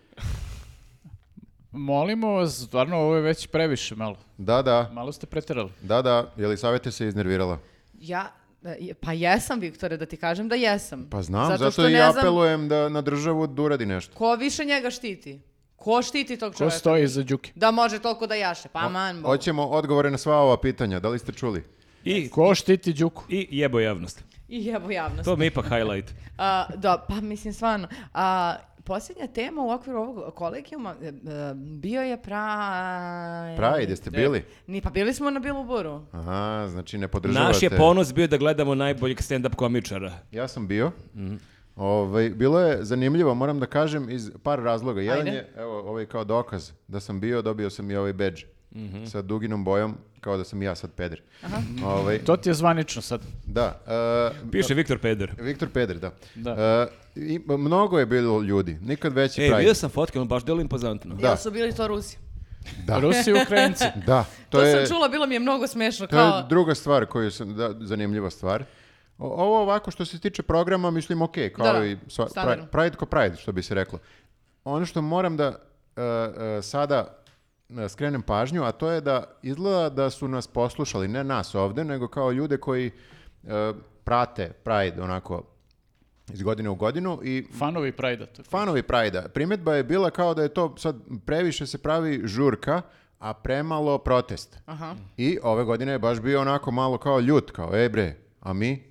Molimo vas, stvarno ovo je već previše malo. Da, da, Malo ste preterali. da, da, je li savjeta se iznervirala? Ja, e, pa jesam, Viktore, da ti kažem da jesam. Pa znam, zato, što i ne znam apelujem da na državu da uradi nešto. ko više njega štiti. Ko štiti tog Ko čovjeka? stoji iza Đuke? Da može toliko da jaše, pa man bo. Hoćemo odgovore na sva ova pitanja, da li ste čuli? I, Ko štiti Đuku? I jebo javnost. I jebo javnost. To mi je ipak highlight. A, da, pa mislim stvarno. A, posljednja tema u okviru ovog kolegijuma e, e, bio je pra... Pride, E. jeste bili? Ni, pa bili smo na Biluburu. Aha, znači ne podržavate. Naš je ponos bio da gledamo najboljeg stand-up komičara. Ja sam bio. Ovaj, bilo je zanimljivo, moram da kažem, iz par razloga. Jedan Ajde. je, evo, ovaj kao dokaz da sam bio, dobio sam i ovaj badge sa duginom bojom, kao da sam i ja sad peder. Ovaj, To ti je zvanično sad. da, e, Piše Viktor Peder. Viktor Peder, da. Da. E, i, mnogo je bilo ljudi, nikad veći Ej, Pride. E, vidio sam fotke, on baš delo impozantno. Da. Jel su bili to Rusi? Da. Rusi i Ukrajinci. Da, to, To, je, sam čula, bilo mi je mnogo smešno. to je Kao, druga stvar koju sam, da, zanimljiva stvar. O- ovo ovako što se tiče programa, mislim, ok, kao Da, da, i sva, pra- standardno. Pride ko Pride, što bi se reklo. Ono što moram da e, e, sada e, skrenem pažnju, a to je da izgleda da su nas poslušali, ne nas ovde, nego kao ljude koji e, prate Pride onako iz godine u godinu i Fanovi Prajda. fanovi Prajda. Primetba je bila kao da je to sad previše se pravi žurka, a premalo protest. Aha. I ove godine je baš bio onako malo kao ljut, kao ej bre, a mi?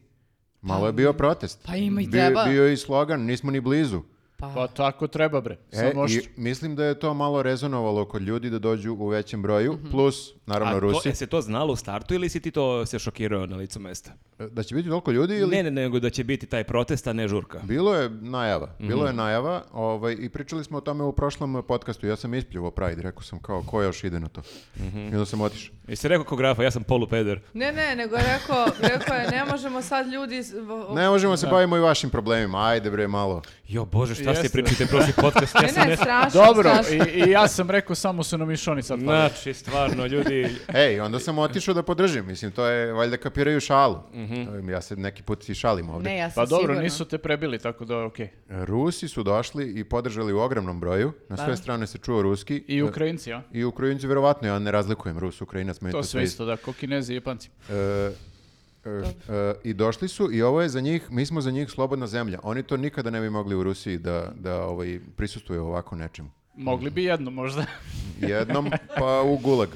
Malo je bio protest. Pa ima i Bio- treba. Bio, je i slogan, nismo ni blizu. Pa, Pa tako treba bre. E, Sad možeš- i mislim da je to malo rezonovalo kod ljudi da dođu u većem broju, Mhm. plus, naravno, A to, Rusi. je se to znalo u startu ili si ti to se šokirao na licu mesta? E, Da će biti toliko ljudi ili... Ne, ne, nego da će biti taj protest, a ne žurka. Bilo je najava, bilo Mhm. je najava ovaj, i pričali smo o tome u prošlom podcastu. Ja sam ispljuvo Pride, rekao sam kao ko još ide na to. Mhm. I onda sam otišao. I se rekao ko grafa, ja sam polupeder. Ne, ne, nego je rekao, rekao je, ne možemo sad ljudi... s- v- v- Ne možemo se bavimo i vašim problemima, ajde bre malo. Jo, bože, šta Jeste. ste pričate prošli podcast? Ja sam Ne, ne, ne... strašno, Dobro, strašno. i, i ja sam rekao samo su nam i šoni sad pali. Znači, stvarno, ljudi... Ej, onda sam otišao da podržim, mislim, to je, valjda kapiraju šalu. Ja se neki put i šalim ovdje. Ne, ja sam Pa dobro, sigurna. nisu te prebili, tako da okej. Rusi su došli i podržali u ogromnom broju, na sve strane se čuo ruski. I Ukrajinci, a? I Ukrajinci, verovatno, ja ne razlikujem Rus, Ukrajinac, meni to, To sve sve isto, da, ko Kinezi i Japanci. E, E, š- e, I došli su i ovo je za njih, mi smo za njih slobodna zemlja. Oni to nikada ne bi mogli u Rusiji da, da ovaj, prisustuju ovako nečemu. Mhm. Mogli bi jedno možda. Jednom pa u gulag.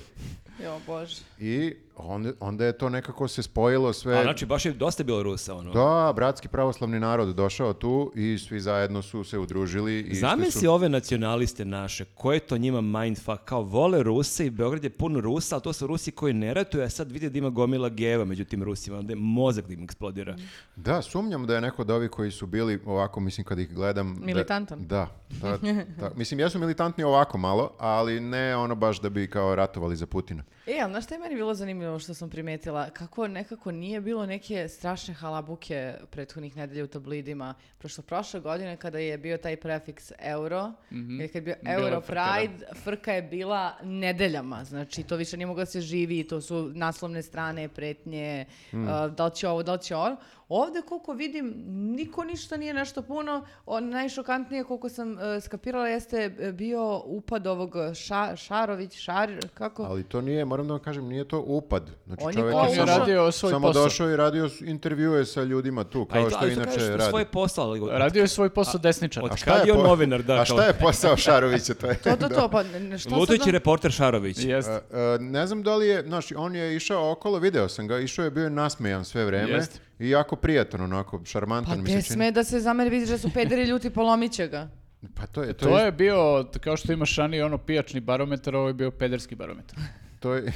Jo, bože. I onda, onda je to nekako se spojilo sve. A znači, baš je dosta bilo Rusa, ono. Da, bratski pravoslavni narod došao tu i svi zajedno su se udružili. I išli su- Zamisli ove nacionaliste naše, koje to njima mindfuck, kao vole Ruse i Beograd je pun Rusa, ali to su Rusi koji ne ratuju, a sad vide da ima gomila geva među tim Rusima, onda je mozak da im eksplodira. Da, sumnjam da je neko od ovih koji su bili ovako, mislim, kad ih gledam... da- Militantan. Da. da, da. Mislim, jesu militantni ovako malo, ali ne ono baš da bi kao ratovali za Putina. E, ali znaš šta je meni bilo zanimljivo što sam primetila? Kako nekako nije bilo neke strašne halabuke prethodnih nedelja u tablidima. Prošlo prošle godine kada je bio taj prefiks euro, kada je bio Mhm. Bila je euro frka, da. pride, frka je bila nedeljama. Znači, to više nije moglo da se živi, to su naslovne strane, pretnje, a, da li će ovo, da li će ono. Ovde, koliko vidim, niko ništa nije nešto puno. O, najšokantnije, koliko sam e, skapirala, jeste e, bio upad ovog Ša- Šarović, Šar, kako? Ali to nije, moram da vam kažem, nije to upad. Znači, On je čovjek kao je ušao- samo, radio svoj samo posao. došao i radio s- intervjue sa ljudima tu, Pa i kao to- što ali to inače kažeš radi. što je svoje posao, ali Radio je svoj posao desničara. od- A šta kad je on po- novinar, da, A kao- šta je posao Šarovića? To je... To, to, to, pa ne- šta Lutajući sad? reporter Šarović. Jeste. E, e, ne znam da li je, znaš, on je išao okolo, video sam ga, išao je, bio je nasmejan sve vreme Jeste. i jako prijatan, onako, šarmantan. Pa mi se te čini. sme da se zameri, vidiš da su pederi ljuti, polomiće ga. Pa to je, to, To je, je bio, kao što ima Šani, ono pijačni barometar, ovo je bio pederski barometar. To je...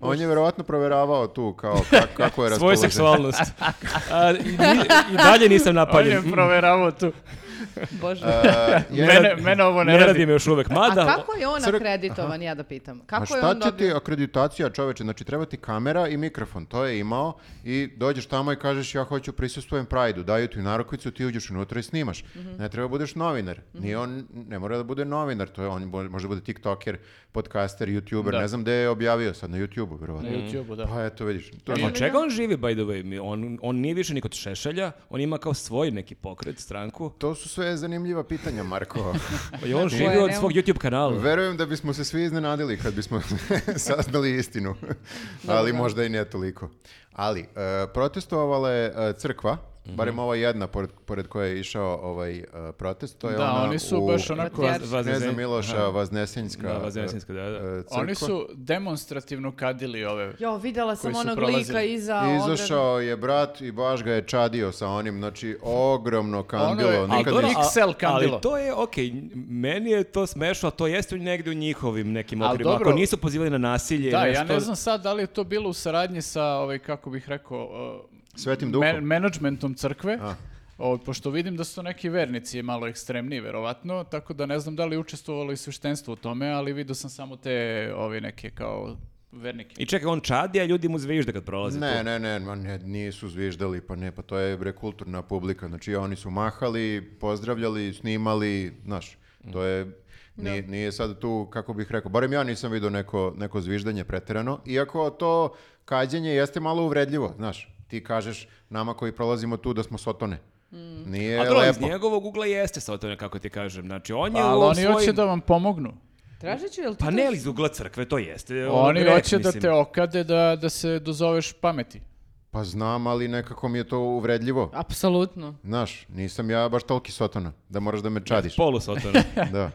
On je vjerovatno provjeravao tu kao ka- kako je Svoju raspoložen. seksualnost. A, i, i- i dalje nisam Pa On napaljen. je proveravao tu. Bože. E, Mene- mene ovo ne radi. me još uvek. Mada, A kako je on crk- akreditovan, ja da pitam? Kako A je šta on će ti dobio? akreditacija čoveče? Znači treba ti kamera i mikrofon, to je imao i dođeš tamo i kažeš ja hoću prisustvujem Prajdu, daju ti narukvicu, ti uđeš unutra i snimaš. Ne treba budeš novinar, ni on ne mora da bude novinar, to je on bo- može da bude tiktoker, podcaster, youtuber, Da. ne znam gde je objavio sad na YouTubeu verovatno. Na YouTube-u, da. Pa eto vidiš, to je Od čega on živi, by the way? Mi- On, on nije više niko Šešelja, on ima kao svoj neki pokret, stranku. To su sve zanimljiva pitanja, Marko. I on Tako živi je, od nemam- svog YouTube kanala. Verujem da bismo se svi iznenadili kad bismo saznali istinu, ali možda i ne toliko. Ali, e, protestovala je e, crkva, Mhm. barem ova jedna pored, pored koje je išao ovaj e, protest, to je Da, ona oni su u baš onako... Vaz- Vaz- Kneza Miloša Vaznesenjska, Da, Vaznesenjska, da, da. e, e, crkva. Oni su demonstrativno kadili ove. Jo, videla sam Koji su onog lika prolazili. iza I ograde. Izašao je brat i baš ga je čadio sa onim, znači ogromno kandilo. Ono je- nikad Ali dobro, nisam- a- XL kandilo. Ali to je, okej, meni je to smešno, a to jeste negde u njihovim nekim Ali okvirima. dobro- Ako nisu pozivali na nasilje, Da, ja nešto- ne znam sad da li je to bilo u saradnji sa, ovaj, kako bih rekao, uh, Svetim duhom. men- menadžmentom crkve, ovaj, pošto vidim da su to neki vernici malo ekstremniji, verovatno, tako da ne znam da li je učestvovalo i sveštenstvo u tome, ali vidio sam samo te ove neke kao vernike. I čekaj, on čadi, a ljudi mu zvižde kad prolaze Ne, tu. ne, ne, ma ne, nisu zviždali, pa ne, pa to je bre kulturna publika, znači oni su mahali, pozdravljali, snimali, znaš, to je, nije, nije sad tu, kako bih rekao, barem ja nisam vidio neko, neko zviždanje preterano, iako to kađenje jeste malo uvredljivo, znaš, ti kažeš nama koji prolazimo tu da smo sotone, nije A dobro, iz lepo. njegovog ugla jeste sa to kako ti kažem. Znači, on e, Pa, je ali u oni hoće svojim- da vam pomognu. Tražit ću, jel ti Pa to- ne, ali iz ugla crkve, to jeste. ono, Oni greh, hoće da mislim. te okade da, da se dozoveš pameti. Pa znam, ali nekako mi je to uvredljivo, Apsolutno. znaš, nisam ja baš toliki sotona, da moraš da me čadiš, Polu sotona. da.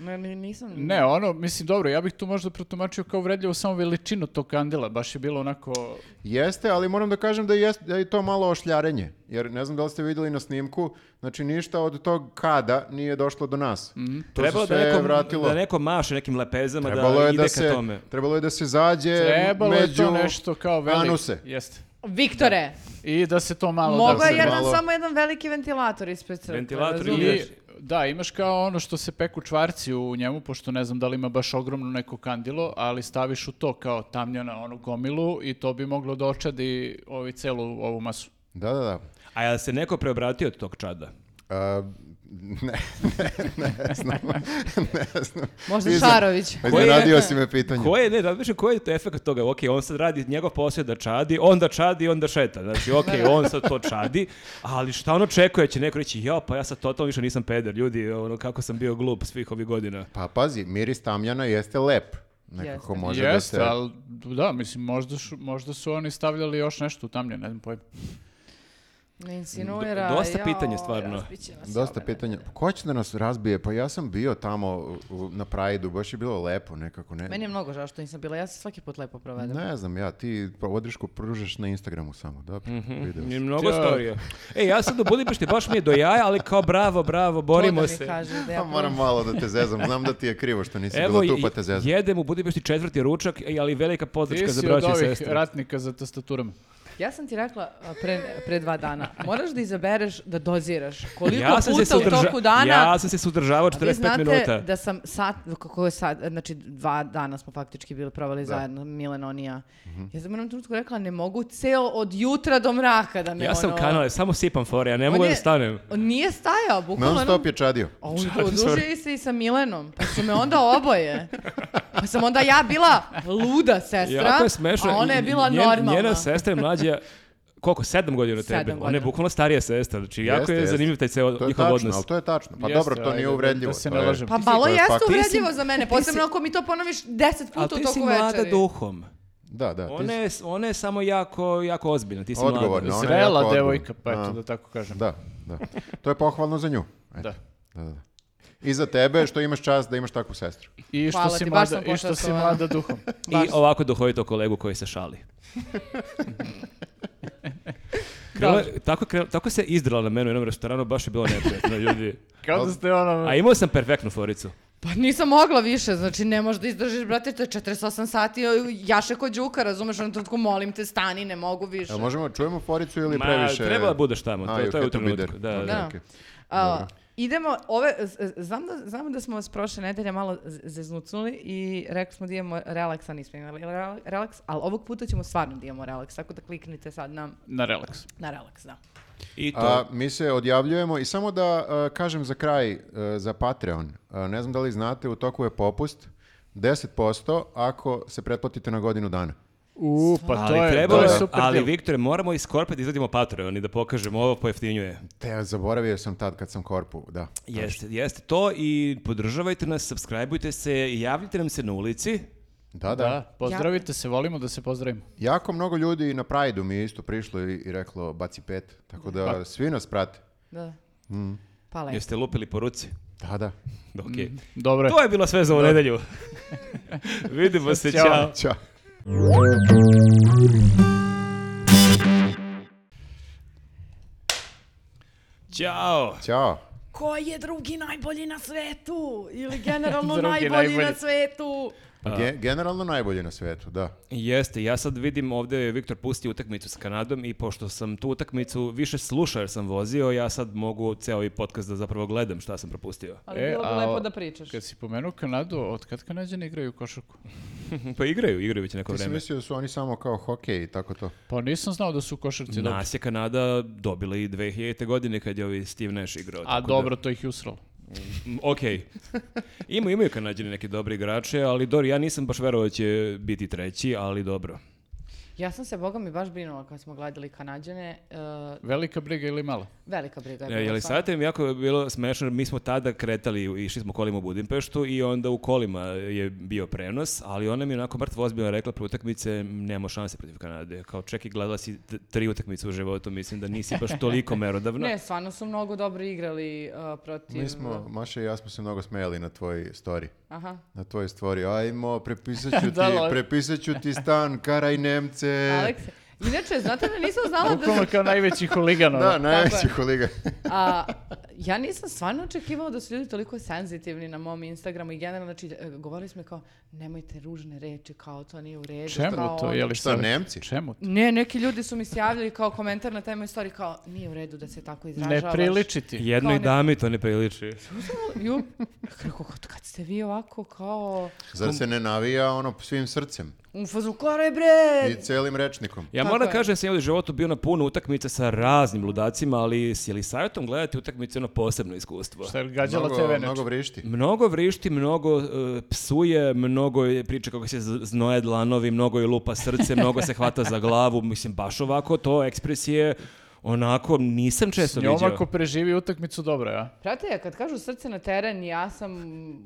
Ne, ni- nisam... Ne, ono, mislim, dobro, ja bih tu možda protumačio kao vredljivo samo veličinu tog kandila, baš je bilo onako... Jeste, ali moram da kažem da, jest, da je to malo ošljarenje, jer ne znam da li ste vidjeli na snimku, znači ništa od tog kada nije došlo do nas. To Mhm. Trebalo se da sve neko, vratilo. da neko maše nekim lepezama trebalo da je ide da ka se, tome. trebalo je da se zađe Trebalo E, među je to nešto kao veliko. anuse. Jeste. Viktore, I da se to malo... mogo da se je jedan, malo- samo jedan veliki ventilator ispred crkve. Ventilator I- razumiješ? Ideš. da, imaš kao ono što se peku čvarci u njemu, pošto ne znam da li ima baš ogromno neko kandilo, ali staviš u to kao tamnjana onu gomilu i to bi moglo da očadi ovi celu ovu masu. Da, da, da. A jel se neko preobratio od tog čada? A, ne, ne, ne znam. ne znam. Možda Nisam- Šarović. Pa Ko je- Iznenadio si me pitanje. Ko je, ne, da više koji je to efekt toga? Ok, on sad radi njegov posao je da čadi, onda čadi, onda šeta. Znači, ok, on sad to čadi, ali šta on očekuje? Će neko reći, jo, pa ja sad totalno više nisam peder, ljudi, ono, kako sam bio glup svih ovih godina. Pa pazi, miris tamjana jeste lep. Nekako Jeste. može da Jeste, se... ali da, mislim, možda, šu- možda su oni stavljali još nešto u tamlje, ne znam pojma. Ne insinuira. D- dosta jao, pitanja stvarno. razbiće nas Dosta ove, pitanja. ne, Pa Ko će da nas razbije? Pa ja sam bio tamo u- u- na Prajdu, baš je bilo lepo nekako. Ne, ne. Meni je mnogo žao što nisam bila, ja se svaki put lepo provedem. ne znam ja, ti podršku pružaš na Instagramu samo, dobro, video sam. Mnogo Ja. storija. E, ja sam do Budimpešte, baš mi je do jaja, ali kao bravo, bravo, borimo to da mi se. Kažeš, da Pa ja moram malo da te zezam, znam da ti je krivo što nisi Evo, bila tu i- pa te zezam. jedem u Budimpešti četvrti ručak, e, ali velika Ti podrška za si od braće i ovih sestre. ratnika za tastaturama. Ja sam ti rekla a, pre, pre dva dana, moraš da izabereš da doziraš koliko Ja sam se puta u sudrža- toku dana... Ja sam se sudržavao A Vi 45 znate minuta. da sam sat, kako je sat, znači dva dana smo faktički bili provali zajedno, Milen, on i ja. Mhm. Ja sam u jednom trenutku rekla, ne mogu ceo od jutra do mraka da me Ja sam ono- kanale, samo sipam fore, ja ne On mogu je- da stanem. On nije stajao, bukvalno. Non stop je čadio. A on- odužio se i sa Milenom, pa su me onda oboje. Pa sam onda ja bila luda sestra, Jako je smešno. a ona je bila Njen- normalna. Njena sestra je mlađa koliko, sedam godina od tebe. Sedam Ona je godina. bukvalno starija sestra, znači jako Jeste, je jeste. zanimljiv taj ceo To je njihov tačno, odnos. ali to je tačno. Pa Jeste, dobro, to ajde, nije da- uvredljivo. da se to ne je- lažemo. Pa ti si- malo to je jeste fakt. uvredljivo za mene, posebno si- ako mi to ponoviš deset puta Ali u ti si toku mlada večeri. duhom. Da, da. ti Ona si- je, ona je samo jako, jako ozbiljna. Ti si mlada. Odgovorna. Ona je jako Zrela odgovorna. devojka, pa eto A. da tako kažem. Da, da. To je pohvalno za nju. Eto, Da. da, da, da. I za tebe što imaš čast da imaš takvu sestru. I što Hvala si ti, baš mlada, sam i što si pošastovana. mlada duhom. I ovako dohojito kolegu koji se šali. Krelo, je- tako, je krelo- tako se izdrala na mene u jednom restoranu, baš je bilo neprijatno, ljudi. Kao da ste ono... A imao sam perfektnu foricu. Pa nisam mogla više, znači ne možeš da izdržiš, brate, to je 48 sati, jaše ko đuka, razumeš, ono trenutku, molim te, stani, ne mogu više. Jel možemo, čujemo foricu ili Ma, previše? trebala budeš tamo, to- A, you to je had u to be there. trenutku, da, Ok, da. ok. A, idemo, ove, z- znam da, znam da smo vas prošle nedelje malo z- zeznucnuli i rekli smo da imamo relaksa, nismo imali rela- relaks, ali ovog puta ćemo stvarno da imamo relaks, tako da kliknite sad na, Na relaks. na relaks, da. I to, A, mi se odjavljujemo i samo da a, kažem za kraj e, za Patreon. A, ne znam da li znate, u toku je popust 10% ako se pretplatite na godinu dana. U, pa to ali je, trebalo to je je- super ali deal. Viktore, moramo iz korpe da izvadimo Patreon i da pokažemo ovo pojeftinjuje. Te, zaboravio sam tad kad sam korpu, da. Jeste, jeste to i podržavajte nas, subscribeujte se i javljite nam se na ulici. Da, da. Da, pozdravite se, volimo da se pozdravimo. Jako mnogo ljudi na Prajdu mi je isto prišlo i, i reklo baci pet, tako da svi nas prate. Da. Pa lepo. Mm. Jeste lupili po ruci? Da, da. Da, okej. Mhm. Dobro. To je bilo sve za ovu nedelju. Vidimo se, Ćao. čao. Ćao. Ćao. Ćao. Ko je drugi najbolji na svetu? Ili generalno najbolji, na najbolji. svetu? Pa ge- generalno najbolje na svetu, da. Jeste, ja sad vidim ovdje je Viktor pusti utakmicu s Kanadom i pošto sam tu utakmicu više slušao jer sam vozio, ja sad mogu ceo i podcast da zapravo gledam šta sam propustio. Ali E, bilo bi a- lepo da pričaš. Kad si pomenuo Kanadu, od kad Kanadjani igraju košarku? Pa igraju, igraju već neko Ti si vreme. mislio da su oni samo kao hokej i tako to. Pa nisam znao da su košarci dobri. Nas je Kanada dobila i 2000. godine kad je ovi Steve Nash igrao. A tako da- dobro, to ih je usralo. Mm, Okej. Ima, imaju Kanadjani neke dobre igrače, ali Dori, ja nisam baš verovao da će biti treći, ali dobro. Ja sam se, boga mi, baš brinula kad smo gledali Kanadjane. e, Velika briga ili mala? velika briga je E, je bila li stvarno. sad je jako bilo smešno, mi smo tada kretali, išli smo kolima u Budimpeštu i onda u kolima je bio prenos, ali ona mi je onako mrtvo ozbiljno rekla pre utakmice, nema šanse protiv Kanade. Kao čekaj, gledala si t- tri utakmice u životu, mislim da nisi baš toliko merodavna. Ne, stvarno su mnogo dobro igrali uh, protiv... Mi smo, Maša i ja smo se mnogo smejali na tvoj story. Aha. Na tvoj story. Ajmo, prepisat ću ti, Da, lol. prepisat ću ti stan, karaj E. Nemce. Alekse, inače, znate da nisam znala da... Bukvalno kao najveći huligan. ono. Da, najveći kolega. A, ja nisam stvarno očekivala da su ljudi toliko senzitivni na mom Instagramu i generalno, znači, e, govorili smo i kao, nemojte ružne reči, kao to nije u redu. Čemu kao to? ono." Je li Šta, Nemci? Čemu to? Ne, neki ljudi su mi se javljali kao komentar na taj moj story, kao, nije u redu da se tako Ne izražavaš. priliči ti. Jednoj Kao ne- dami to ne priliči. Ju, kako, kad- kad ste vi ovako kao, Zar se ne navija ono svim srcem u fazu, "Koraj, bre! i celim rečnikom? Ja Tako moram da je. kažem da sam ja u životu bio na puno utakmica sa raznim ludacima, ali s Jelisavjetom gledati utakmice je ono posebno iskustvo. Šta je gađala Mnogo, TV mnogo neče? vrišti. Mnogo vrišti, mnogo uh, psuje, mnogo je priča kako se z- znoje dlanovi, mnogo je lupa srce, mnogo se hvata za glavu, mislim baš ovako, to ekspresije onako nisam često S njom viđao. ako preživi utakmicu, dobro, ja. Prate, kad kažu srce na teren, ja sam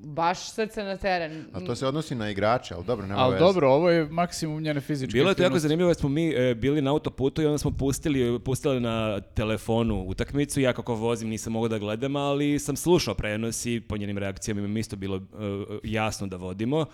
baš srce na teren. A to se odnosi na igrače, ali dobro, nema Ali veze. dobro, ovo je maksimum njene fizičke Bilo je to jako aktivnosti. zanimljivo jer smo mi e, bili na autoputu i onda smo pustili, pustili na telefonu utakmicu. Ja kako vozim nisam mogao da gledam, ali sam slušao prenos i po njenim reakcijama mi je isto bilo e, jasno da vodimo.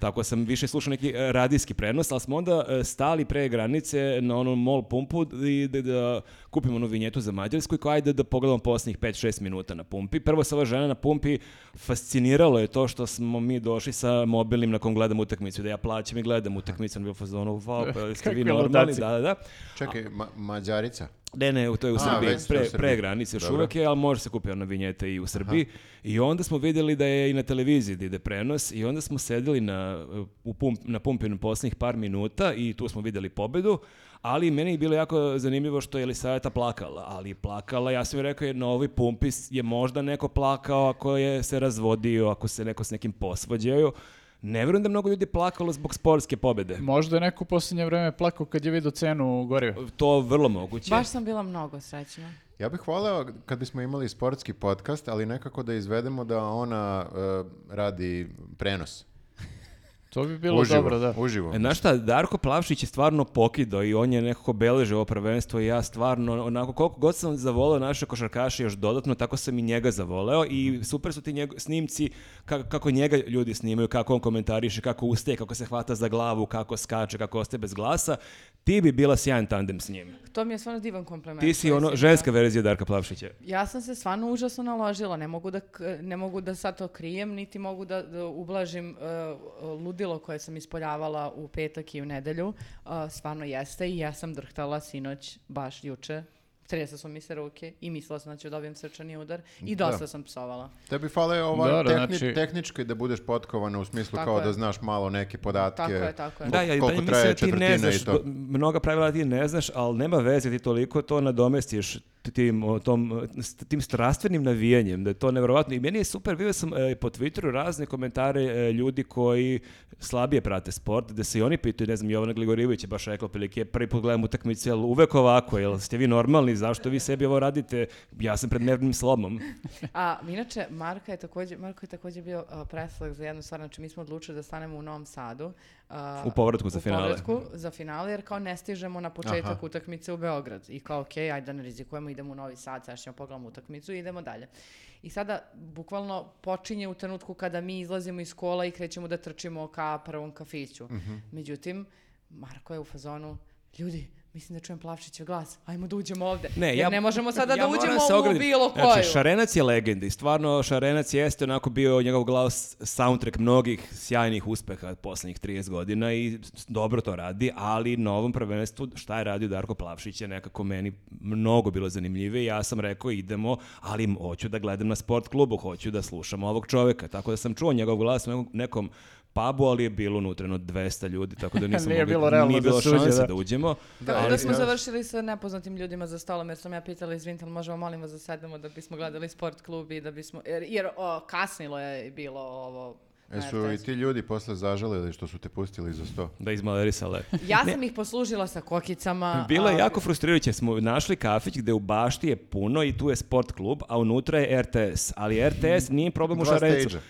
Tako sam više slušao neki e, radijski prenos, ali smo onda e, stali pre granice na onom mall pumpu i da, da kupimo onu vinjetu za Mađarsku i kao ajde da pogledamo posljednjih 5-6 minuta na pumpi. Prvo sa ova žena na pumpi fasciniralo je to što smo mi došli sa mobilnim na kom gledam utakmicu, da ja plaćam i gledam utakmicu, on bio u fazonu, wow, pa jeste vi Kakvi normalni, ludaci. da, da, da. Čekaj, ma Mađarica. Ne, ne, to je u A, Srbiji, već ste u pre, Srbiji. pre granice, još Dobro. uvek je, ali može se kupiti ona vinjeta i u Srbiji. I onda smo vidjeli da je i na televiziji da ide prenos i onda smo sedeli na, uh, u pump, na pumpinu posljednjih par minuta i tu smo vidjeli pobedu, ali meni je bilo jako zanimljivo što je Elisaveta plakala, ali je plakala, ja sam joj rekao, je, na ovoj pumpi s- je možda neko plakao ako je se razvodio, ako se neko s nekim posvađao. Ne vjerujem da je mnogo ljudi plakalo zbog sportske pobede. Možda je neko u posljednje vreme plakao kad je vidio cenu goriva. To vrlo moguće. Baš sam bila mnogo srećna. Ja bih voleo kad bismo imali sportski podcast, ali nekako da izvedemo da ona e, radi prenos. To bi bilo uživo, dobro, da. Uživo. E, Znaš šta, Darko Plavšić je stvarno pokidao i on je nekako beležio ovo prvenstvo i ja stvarno, onako koliko god sam zavoleo naše košarkaše još dodatno, tako sam i njega zavoleo i super su ti njego, snimci kako, kako njega ljudi snimaju, kako on komentariše, kako ustaje, kako se hvata za glavu, kako skače, kako ostaje bez glasa. Ti bi bila sjajan tandem s njim. To mi je stvarno divan kompliment. Ti si koji ono, mi ženska dao. verzija Darka Plavšića. Ja sam se stvarno užasno naložila, ne mogu da, k- ne mogu da sad to krijem, niti mogu da, da ublažim e, ludilo koje sam ispoljavala u petak i u nedelju. E, stvarno jeste i ja sam drhtala sinoć, baš juče. Tresa su mi se ruke i mislila sam da ću dobijem srčani udar i Da. dosta sam psovala. Tebi fale ova Da, da, tehni- znači- tehnički da budeš potkovana u smislu Tako kao je. da znaš malo neke podatke. Tako je, tako je. Da, ja i Koliko dalje mislim traje da ti ne četvrtina i znaš, to. do- mnoga pravila ti ne znaš, ali nema veze, ti toliko to nadomestiš t- tim, o, tom, e, st- tim strastvenim navijanjem, da je to nevjerovatno. I meni je super, vidio sam e, po Twitteru razne komentare e, ljudi koji slabije prate sport, da se i oni pitaju, ne znam, Jovana Gligorijević je baš rekla, prilike, prvi put gledam utakmice, ali uvek ovako, jel ste vi normalni, zašto vi sebi ovo radite? Ja sam pred nervnim slomom. A inače, Marka je također, Marko je također bio uh, preslak za jednu stvar, znači mi smo odlučili da stanemo u Novom Sadu. uh, U povratku za finale. U povratku za finale, jer kao ne stižemo na početak Aha. utakmice u Beograd. I kao, okej, ajde da ne rizikujemo, idemo u Novi Sad, sad ćemo pogledamo utakmicu i idemo dalje. I sada, bukvalno, počinje u trenutku kada mi izlazimo iz kola i krećemo da trčimo ka prvom kafiću. Mhm. Međutim, Marko je u fazonu, ljudi, mislim da čujem Plavšićev glas, ajmo da uđemo ovde. jer ne možemo sada da ja moram uđemo se u ogradim. bilo koju. Znači, Šarenac je legenda i stvarno Šarenac jeste onako bio njegov glas soundtrack mnogih sjajnih uspeha posljednjih 30 godina i s- dobro to radi, ali na ovom prvenstvu šta je radio Darko Plavšić je nekako meni mnogo bilo zanimljivije. Ja sam rekao idemo, ali m- hoću da gledam na sport klubu, hoću da slušam ovog čoveka. Tako da sam čuo njegov glas u nekom- nekom pubu, ali je bilo unutra jedno 200 ljudi, tako da nisam Nije mogao- bilo realno nije da bilo se uđe, šanse da. da uđemo. Da, Onda ali- smo završili sa nepoznatim ljudima za stolom, jer sam ja pitala, izvinite, ali možemo molim vas da sedemo da bismo gledali sport klub i da bismo, jer, jer, o, kasnilo je bilo ovo. na Jesu i RTS-u. ti ljudi posle zažalili što su te pustili za sto? Da izmalerisale. Ja sam ih poslužila sa kokicama. Bilo je a- jako frustrirajuće, smo našli kafić gde u bašti je puno i tu je sport klub, a unutra je RTS, ali RTS nije problem u Dva šarencu. stage-a.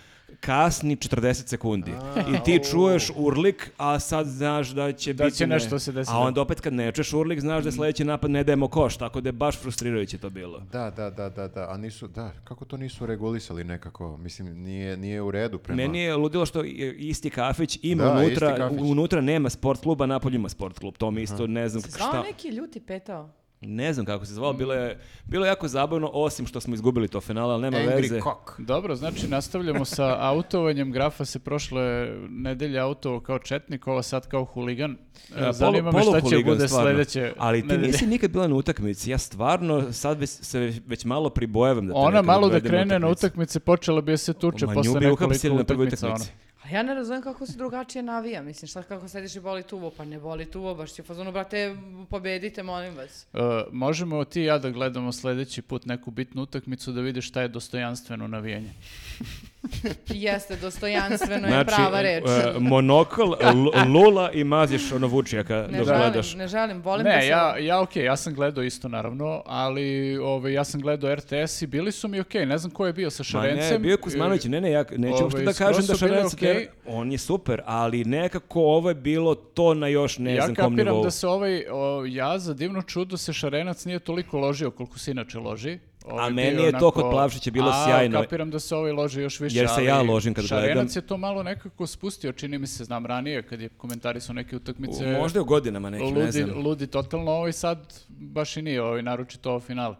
Kasni 40 sekundi i ti čuješ urlik, a sad znaš da će Da biti će nešto se desiti. A onda opet kad ne čuješ urlik, znaš da sledeći napad ne dajemo koš, tako da je baš frustrirajuće to bilo. Da, da, da, da, da, a nisu, da, kako to nisu regulisali nekako, mislim, nije, nije u redu prema... Meni je ludilo što je isti kafić ima Da, unutra, isti kafić. unutra nema sport kluba, napolju ima sport klub. To mi isto ne znam Se šta. zvao neki ljuti petao. Ne znam kako se zvalo, bilo je, Mm. bilo je jako zabavno, osim što smo izgubili to finale, ali nema Angry veze. cock. Dobro, znači nastavljamo sa autovanjem. Grafa se prošle nedelje autovo kao četnik, ova sad kao huligan. E, Polu- Zanima me šta će poluhuligan, bude stvarno. sledeće Ali ti nedelje. nisi nikad bila na utakmici. Ja stvarno sad već, se već, već malo pribojavam da te Ona nekad malo da odvedem krene na utakmicu. utakmice, počela bi da se tuče Ma, nju posle bi uhapsili nekoliko na prvoj utakmica. ono. utakmici. A ja ne razumem kako se drugačije navija, mislim, šta kako sediš i boli tuvo, pa ne boli tuvo, baš će u fazonu, brate, pobedite, molim vas. E, možemo ti i ja da gledamo sljedeći put neku bitnu utakmicu da vidiš šta je dostojanstveno navijanje. Jeste, dostojanstveno je prava reč. e, monokl, l- lula i maziš ono vučijaka Ne dok želim, gledaš. ne želim, volim da Ne, se... ja, ja ok, ja sam gledao isto naravno, ali ovaj, ja sam gledao RTS i bili su mi ok, ne znam ko je bio sa Ma Šarencem. ne, bio je Kuzmanović, ne, ne, ja neću Ovaj, uopšte da skroz kažem da su bile Šarenac, okej. jer on je super, ali nekako ovo je bilo to na još ne ja znam kom kapiram nivou. da se ovaj, o, ja za divno čudo se Šarenac nije toliko ložio koliko se inače loži. A Ovaj, bio meni je je to kod Plavšića bilo a, sjajno. kapiram da se ovaj loži još više. Jer se ali ja ložim kad Šarenac gledam. je to malo nekako spustio, čini mi se, znam ranije, kad je komentarisao neke utakmice. U- Možda je u godinama nekim, ne ludi, znam. ludi totalno, ovaj sad baš i nije, ovaj naročito ovo finale.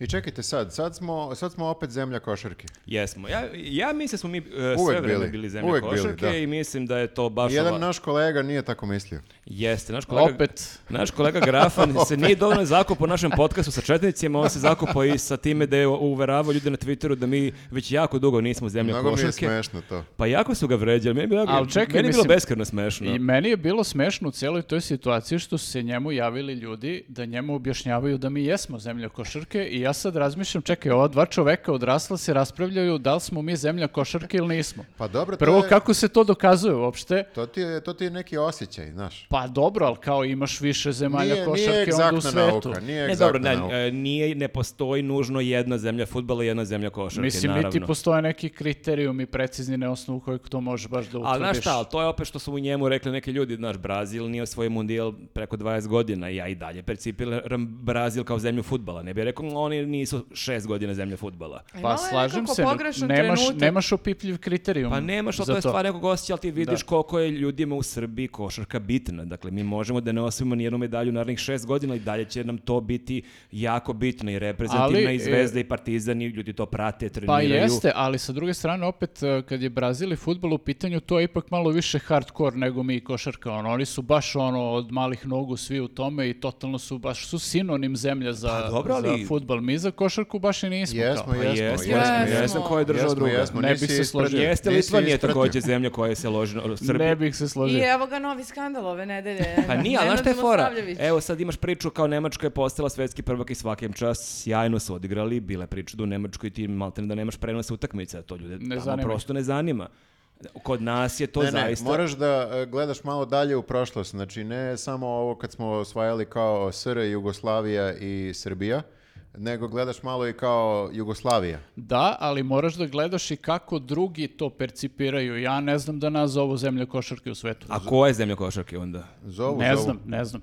I čekajte sad, sad smo, sad smo opet zemlja košarke. Jesmo. Ja, ja mislim da smo mi e, sve Uvek vreme bili, bili. zemlje Uvek bili, košarke da. i mislim da je to baš Jedan ova- naš kolega nije tako mislio. Jeste, naš kolega, Opet. naš kolega Grafan se nije dovoljno zakupao u našem podcastu sa četnicima, on se zakupao i sa time da je uveravao ljude na Twitteru da mi već jako dugo nismo zemlja Mnogo mi je košarke. smešno to. Pa jako su ga vređali, meni je bilo, Ali čekaj, meni je bilo mislim- beskreno smešno. I meni je bilo smešno u cijeloj toj situaciji što su se njemu javili ljudi da njemu objašnjavaju da mi jesmo zemlja košarke i ja sad razmišljam, čekaj, ova dva čoveka odrasla se raspravljaju da li smo mi zemlja košarke ili nismo. Pa dobro, to Prvo, je- kako se to dokazuje uopšte? To ti, je, to ti je neki osjećaj, znaš. Pa dobro, ali kao imaš više zemalja Nije, košarke nije onda u egzaktna svetu. nauka, nije Ne, egzaktna dobro, ne, nauka. e, nije, ne postoji nužno jedna zemlja futbala i jedna zemlja košarke, Mislim, naravno. niti postoje neki kriterijumi precizni na osnovu kojeg to može baš da utvrdiš. Ali znaš šta, ali to je opet što su u njemu rekli neki ljudi, znaš, Brazil nije osvojio mundijal preko 20 godina i ja i dalje percipiram Brazil kao zemlju futbala. Ne bih rekao, oni nisu šest godina zemlja futbala. A imala Pa je slažem nekako se, pogrešan nemaš, trenutak. nemaš opipljiv kriterijum Pa nemaš, ali za to je stvar nekog osjeća, ali ti vidiš Mm, Da. koliko je ljudima u Srbiji košarka bitna. Dakle, mi možemo da ne osvojimo nijednu medalju u narednih šest godina i dalje će nam to biti jako bitno i reprezentativna Ali, i zvezda i partizan i ljudi to prate, Pa treniraju. jeste, ali sa druge strane opet e, kad je Brazil i futbol u pitanju, to je ipak malo više hardcore nego mi i košarka. Ono, oni su baš ono od malih nogu svi u tome i totalno su baš su sinonim zemlja za, Pa dobro, ali- za futbol. Mi za košarku baš i nismo. kao. Jesmo, Pa jesmo, jesmo, jesmo. jesmo, jesmo, Jesmo. koja je država Jesmo, druga. Pa jesmo, ovaj Ne nisi bi se ispratio. složio. Jeste Nisi Litvanija ispratio. također zemlja koja se loži Srbija? Ne bih se I složio. evo ga novi skandal ove nedelje. Pa nije, ali znaš šta je Nenad fora? E- Milosavljević. Evo sad imaš priču kao Nemačka je postala svetski prvak i svakim čas sjajno su odigrali, bila je priča da u Nemačkoj ti maltene da nemaš prenos utakmica, to ljude tamo zanima ih. prosto ne zanima. Kod nas je to Ne, ne, zaista... moraš da e, gledaš malo dalje u prošlost. Znači, ne samo ovo kad smo osvajali kao SR, Jugoslavija i Srbija, nego gledaš malo i kao Jugoslavija. Da, ali moraš da gledaš i kako drugi to percipiraju. Ja ne znam da nas zovu zemlja košarke u svetu. A ko je zemlja košarke onda? Zovu, Ne zovu. znam, ne znam.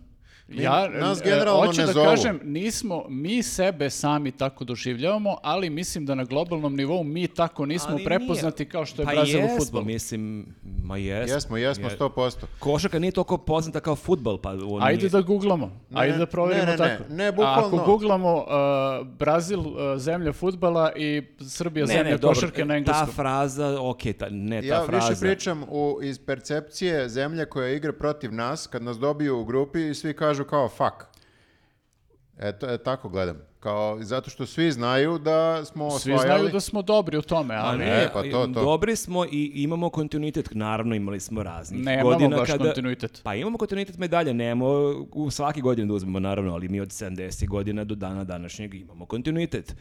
Ja, nas e, generalno hoću ne da zovu. kažem, nismo, mi sebe sami tako doživljavamo, ali mislim da na globalnom nivou mi tako nismo Ali prepoznati nije. kao što je pa Brazil jesmo, u futbolu. mislim, ma jesmo. Jesmo, jesmo, Je- sto posto. Košarka nije toliko poznata kao futbal, pa on Ajde nije. da googlamo, ajde ne, da provjerimo ne, ne, tako. ne, ne, A bukvalno. Ako googlamo uh, Brazil, uh, zemlja futbala i Srbija, zemlja dobro, košarke na Ta engleskom. fraza, okej, ta, ne, ta Ja fraza. više pričam u, iz percepcije zemlje koja igra protiv nas, kad nas dobiju u grupi i svi kažu kao fuck. E, to- e, tako gledam. Kao, zato što svi znaju da smo Svi osvajali. znaju da smo dobri u tome, Pa ali... ne, E, pa to, to. dobri smo i imamo kontinuitet. Naravno imali smo raznih Nemamo godina baš kada... kontinuitet. Pa imamo kontinuitet medalja, nemamo u svaki godin da uzmemo naravno, ali mi od 70 godina do dana današnjeg imamo kontinuitet.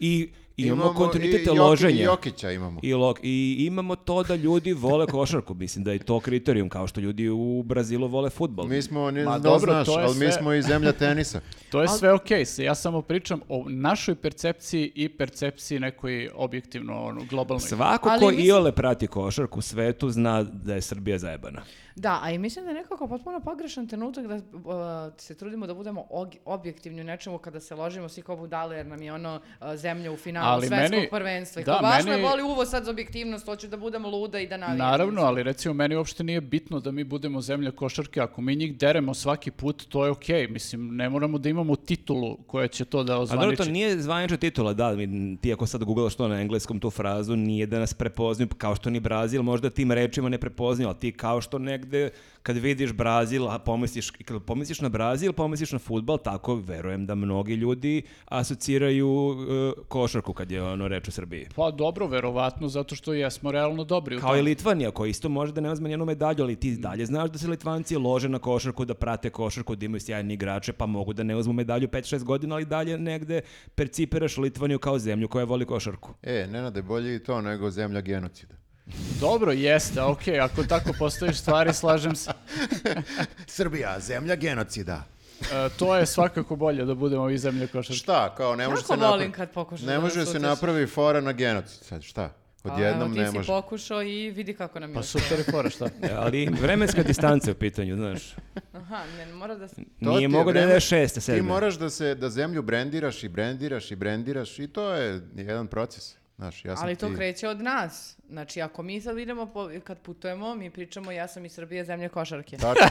I imamo, kontinuitet i Joki- loženja. I Jokića imamo. I, lok- I imamo to da ljudi vole košarku, mislim da je to kriterijum, kao što ljudi u Brazilu vole futbol. Mi smo, ne Ma znam da li dobro, znaš, to je ali mi sve- smo i zemlja tenisa. To je sve okej, se- ja samo pričam o našoj percepciji i percepciji nekoj objektivno ono, globalnoj. Svako Ali ko mislim- iole prati košarku u svetu zna da je Srbija zajebana. Da, a i mislim da je nekako potpuno pogrešan trenutak da uh, se trudimo da budemo og- objektivni u nečemu kada se ložimo svi kao budale jer nam je ono uh, zemlja u finalu Ali svetskog meni- prvenstva. I da, kao, baš meni- me boli uvo sad za objektivnost, hoću da budem luda i da navijam. Naravno, ali recimo meni uopšte nije bitno da mi budemo zemlja košarke, ako mi njih deremo svaki put, to je okej, mislim, ne moramo da imamo titulu koja će to Pa da A dobro, ozvaniči. to nije zvanična titula, da, mi- ti ako sad googlaš to na engleskom tu frazu, nije da nas prepoznaju, kao što ni Brazil, možda tim rečima ne prepoznaju, ali ti kao što negde, kad vidiš Brazil, a pomisliš, kad pomisliš na Brazil, pomisliš na futbal, tako verujem da mnogi ljudi asociraju e, košarku kad je ono reč o Srbiji. Pa dobro, verovatno, zato što jesmo realno dobri u Kao i tome. Litvanija koja isto može da ne uzme njenu medalju, ali ti dalje znaš da se Litvanci lože na košarku, da prate košarku, da imaju sjajni igrače, pa mogu da ne uzmu medalju 5-6 godina, ali dalje negde percipiraš Litvaniju kao zemlju koja voli košarku. E, Nenade, bolje i to nego zemlja genocida. Dobro, jeste, okej, ako tako postojiš stvari, slažem se. Srbija, zemlja genocida. E, to je svakako bolje da budemo i zemlje košarke. Šta, kao ne može Jako se volim napravi... kad pokušaš Ne da može nas se utješiš. napravi fora na genocid. Sad šta? Pa Odjednom A, Pa evo, ne Ti si može. pokušao i vidi kako nam je. Pa super je fora, šta? E, Ali vremenska distanca je u pitanju, znaš. Aha, ne, mora da... se- To ti Nije je mogo da vreme- je šeste, sedme. Ti moraš da se da zemlju brendiraš i brendiraš i brendiraš i to je jedan proces. Znaš, ja sam Ali to ti- kreće od nas. Znači, ako mi sad idemo, po, kad putujemo, mi pričamo ja sam iz Srbije zemlje košarke. Tačno.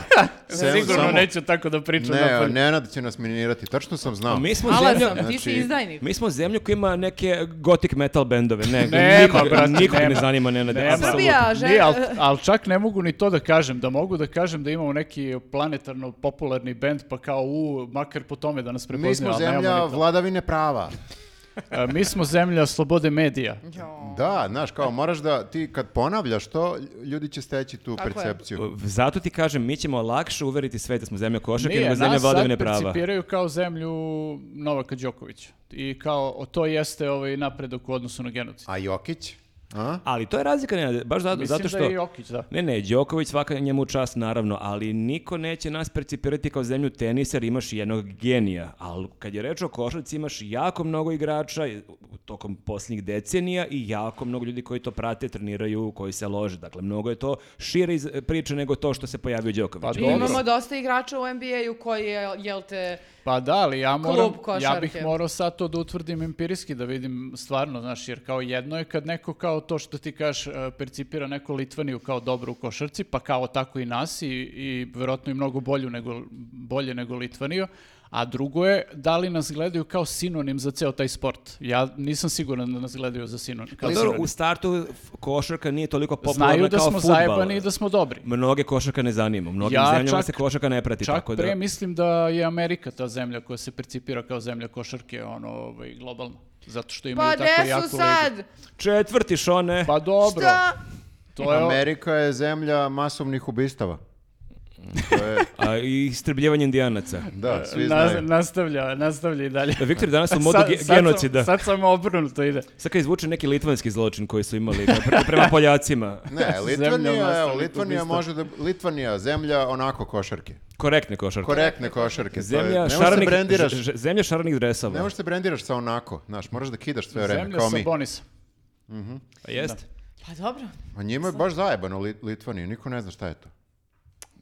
Sem- Sigurno samo- neću tako da pričam Ne, napolje. Nenad će nas minirati. Tačno sam znao. A Mi smo, Ala zemlja, sam, ti si znači- izdajnik. mi smo zemlja koja ima neke gothic metal bendove. Ne, Nema, nikog, brate, nikog ne nema. zanima Nenade. Nema. apsolutno. Srbija, žen... Nije, ali al čak ne mogu ni to da kažem, da mogu da kažem da imamo neki planetarno popularni bend, pa kao u, makar po tome da nas prepoznaju. Mi smo ali nemamo zemlja ni to. vladavine prava. E, mi smo zemlja slobode medija. Jo. Da, znaš, kao moraš da ti kad ponavljaš to, ljudi će steći tu Tako je. percepciju. Zato ti kažem, mi ćemo lakše uveriti sve da smo zemlja košarke, Nije, nego zemlja nas sad vladavine prava. percipiraju kao zemlju Novaka Đokovića. I kao, o, to jeste ovaj napredak u odnosu na genocid. A Jokić? A? Ali to je razlika, Nenade, baš zato, Mislim zato što... da je Jokić, da. Ne, ne, Đoković svaka njemu čast, naravno, ali niko neće nas percipirati kao zemlju tenisa jer imaš jednog genija. Ali kad je reč o košarci imaš jako mnogo igrača i- tokom posljednjih decenija i jako mnogo ljudi koji to prate, treniraju, koji se lože. Dakle, mnogo je to šire iz priče nego to što se pojavio Pa Đoković. Mi dobro. imamo dosta igrača u NBA-u koji je, jel te... Pa da, ali ja moram, ja košarke. bih morao sad to da utvrdim empirijski, da vidim stvarno, znaš, jer kao jedno je kad neko kao to što ti kažeš e, percipira neku Litvaniju kao dobro u košarci, pa kao tako i nas i, i verovatno i mnogo bolju nego, bolje nego Litvaniju, a drugo je da li nas gledaju kao sinonim za ceo taj sport. Ja nisam siguran da nas gledaju za sinonim. Pa Kao dobro, sinonim. u startu f- košarka nije toliko popularna Znaju da kao smo fudbal. zajebani i da smo dobri. Mnoge košarka ne zanima, u mnogim Ja zemljama čak- se košarka ne prati. Čak tako da... pre mislim da je Amerika ta zemlja koja se percipira kao zemlja košarke, ono, ovaj, globalno. Zato što imaju Pa tako gde jaku su ligu. sad? Četvrti, Šone. Pa dobro, Šta? to je... Amerika je zemlja masovnih ubistava. To je, A, I istrebljivanje indijanaca. da, svi Nas- znaju. nastavlja, nastavlja i dalje. Viktor, danas u modu ge- sam- genocida. Sad samo obrnuto ide. Sad kad izvuče neki litvanski zločin koji su imali pre- prema, Poljacima, Ne, Zemlja Litvanija, evo, masovnih Litvanija ubistava. može da... Litvanija, zemlja onako košarke. korektne košarke. Pa Korektne košarke. to je- ne Zemlja možeš šaranih, se brendiraš, ž- ž- zemlja šaranih dresova. ne možeš se brendiraš sa onako, znaš, moraš da kidaš sve vreme, Zemlja kao sa mi. Bonisa. Pa Jeste. Pa dobro. A njima je baš zajebano Lit- Litvaniju, niko ne zna šta je to.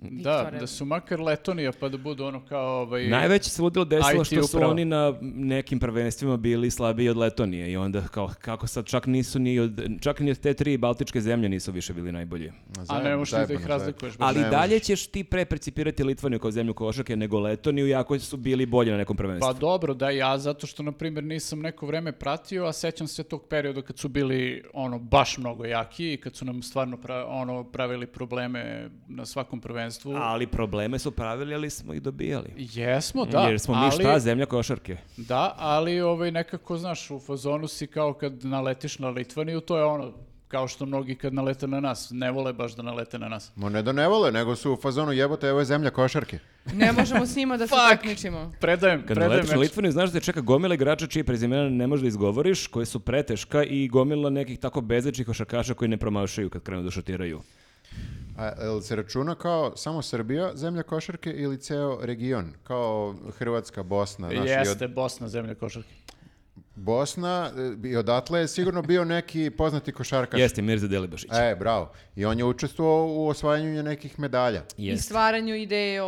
Da, Viktore. da su makar Letonija pa da budu ono kao... Ovaj, Najveće se ludilo desilo IT što su upravo. oni na nekim prvenstvima bili slabiji od Letonije i onda kao, kako sad čak nisu ni od, čak ni od te tri baltičke zemlje nisu više bili najbolji. A ne možeš ni da ih razlikuješ. baš. Ali ne dalje možeš. ćeš ti pre percipirati Litvaniju kao zemlju košarke nego Letoniju, iako su bili bolji na nekom prvenstvu. Pa dobro, da ja, zato što, na primjer, nisam neko vreme pratio, a sećam se tog perioda kad su bili, ono, baš mnogo jaki i kad su nam stvarno, pra- ono, pravili probleme na svakom prvenstvu. Ali probleme su pravili, ali smo ih dobijali. Jesmo, da, Jer smo mi ali, šta, zemlja košarke. da, ali ovaj, nekako, znaš, u fazonu si kao kad naletiš na Litvaniju, to je ono, kao što mnogi kad nalete na nas, ne vole baš da nalete na nas. Ma ne da ne vole, nego su u fazonu jebote, evo je zemlja košarke. Ne možemo s njima da se Fuck. takmičimo. Predajem, Kad predajem naletiš na meč. Litvaniju, znaš da te čeka gomila igrača čije prezimena ne možeš da izgovoriš, koje su preteška i gomila nekih tako bezličih košarkaša koji ne promašaju kad krenu da šutiraju. A jel se računa kao samo Srbija zemlja košarke ili ceo region? Kao Hrvatska, Bosna, znaš, i od- Jeste, Bosna, zemlja košarke. Bosna e, i odatle je sigurno bio neki poznati košarkaš. Jeste, Mirza Delibašić. E, bravo. I on je učestvovao u osvajanju nekih medalja. I Jeste. stvaranju ideje o...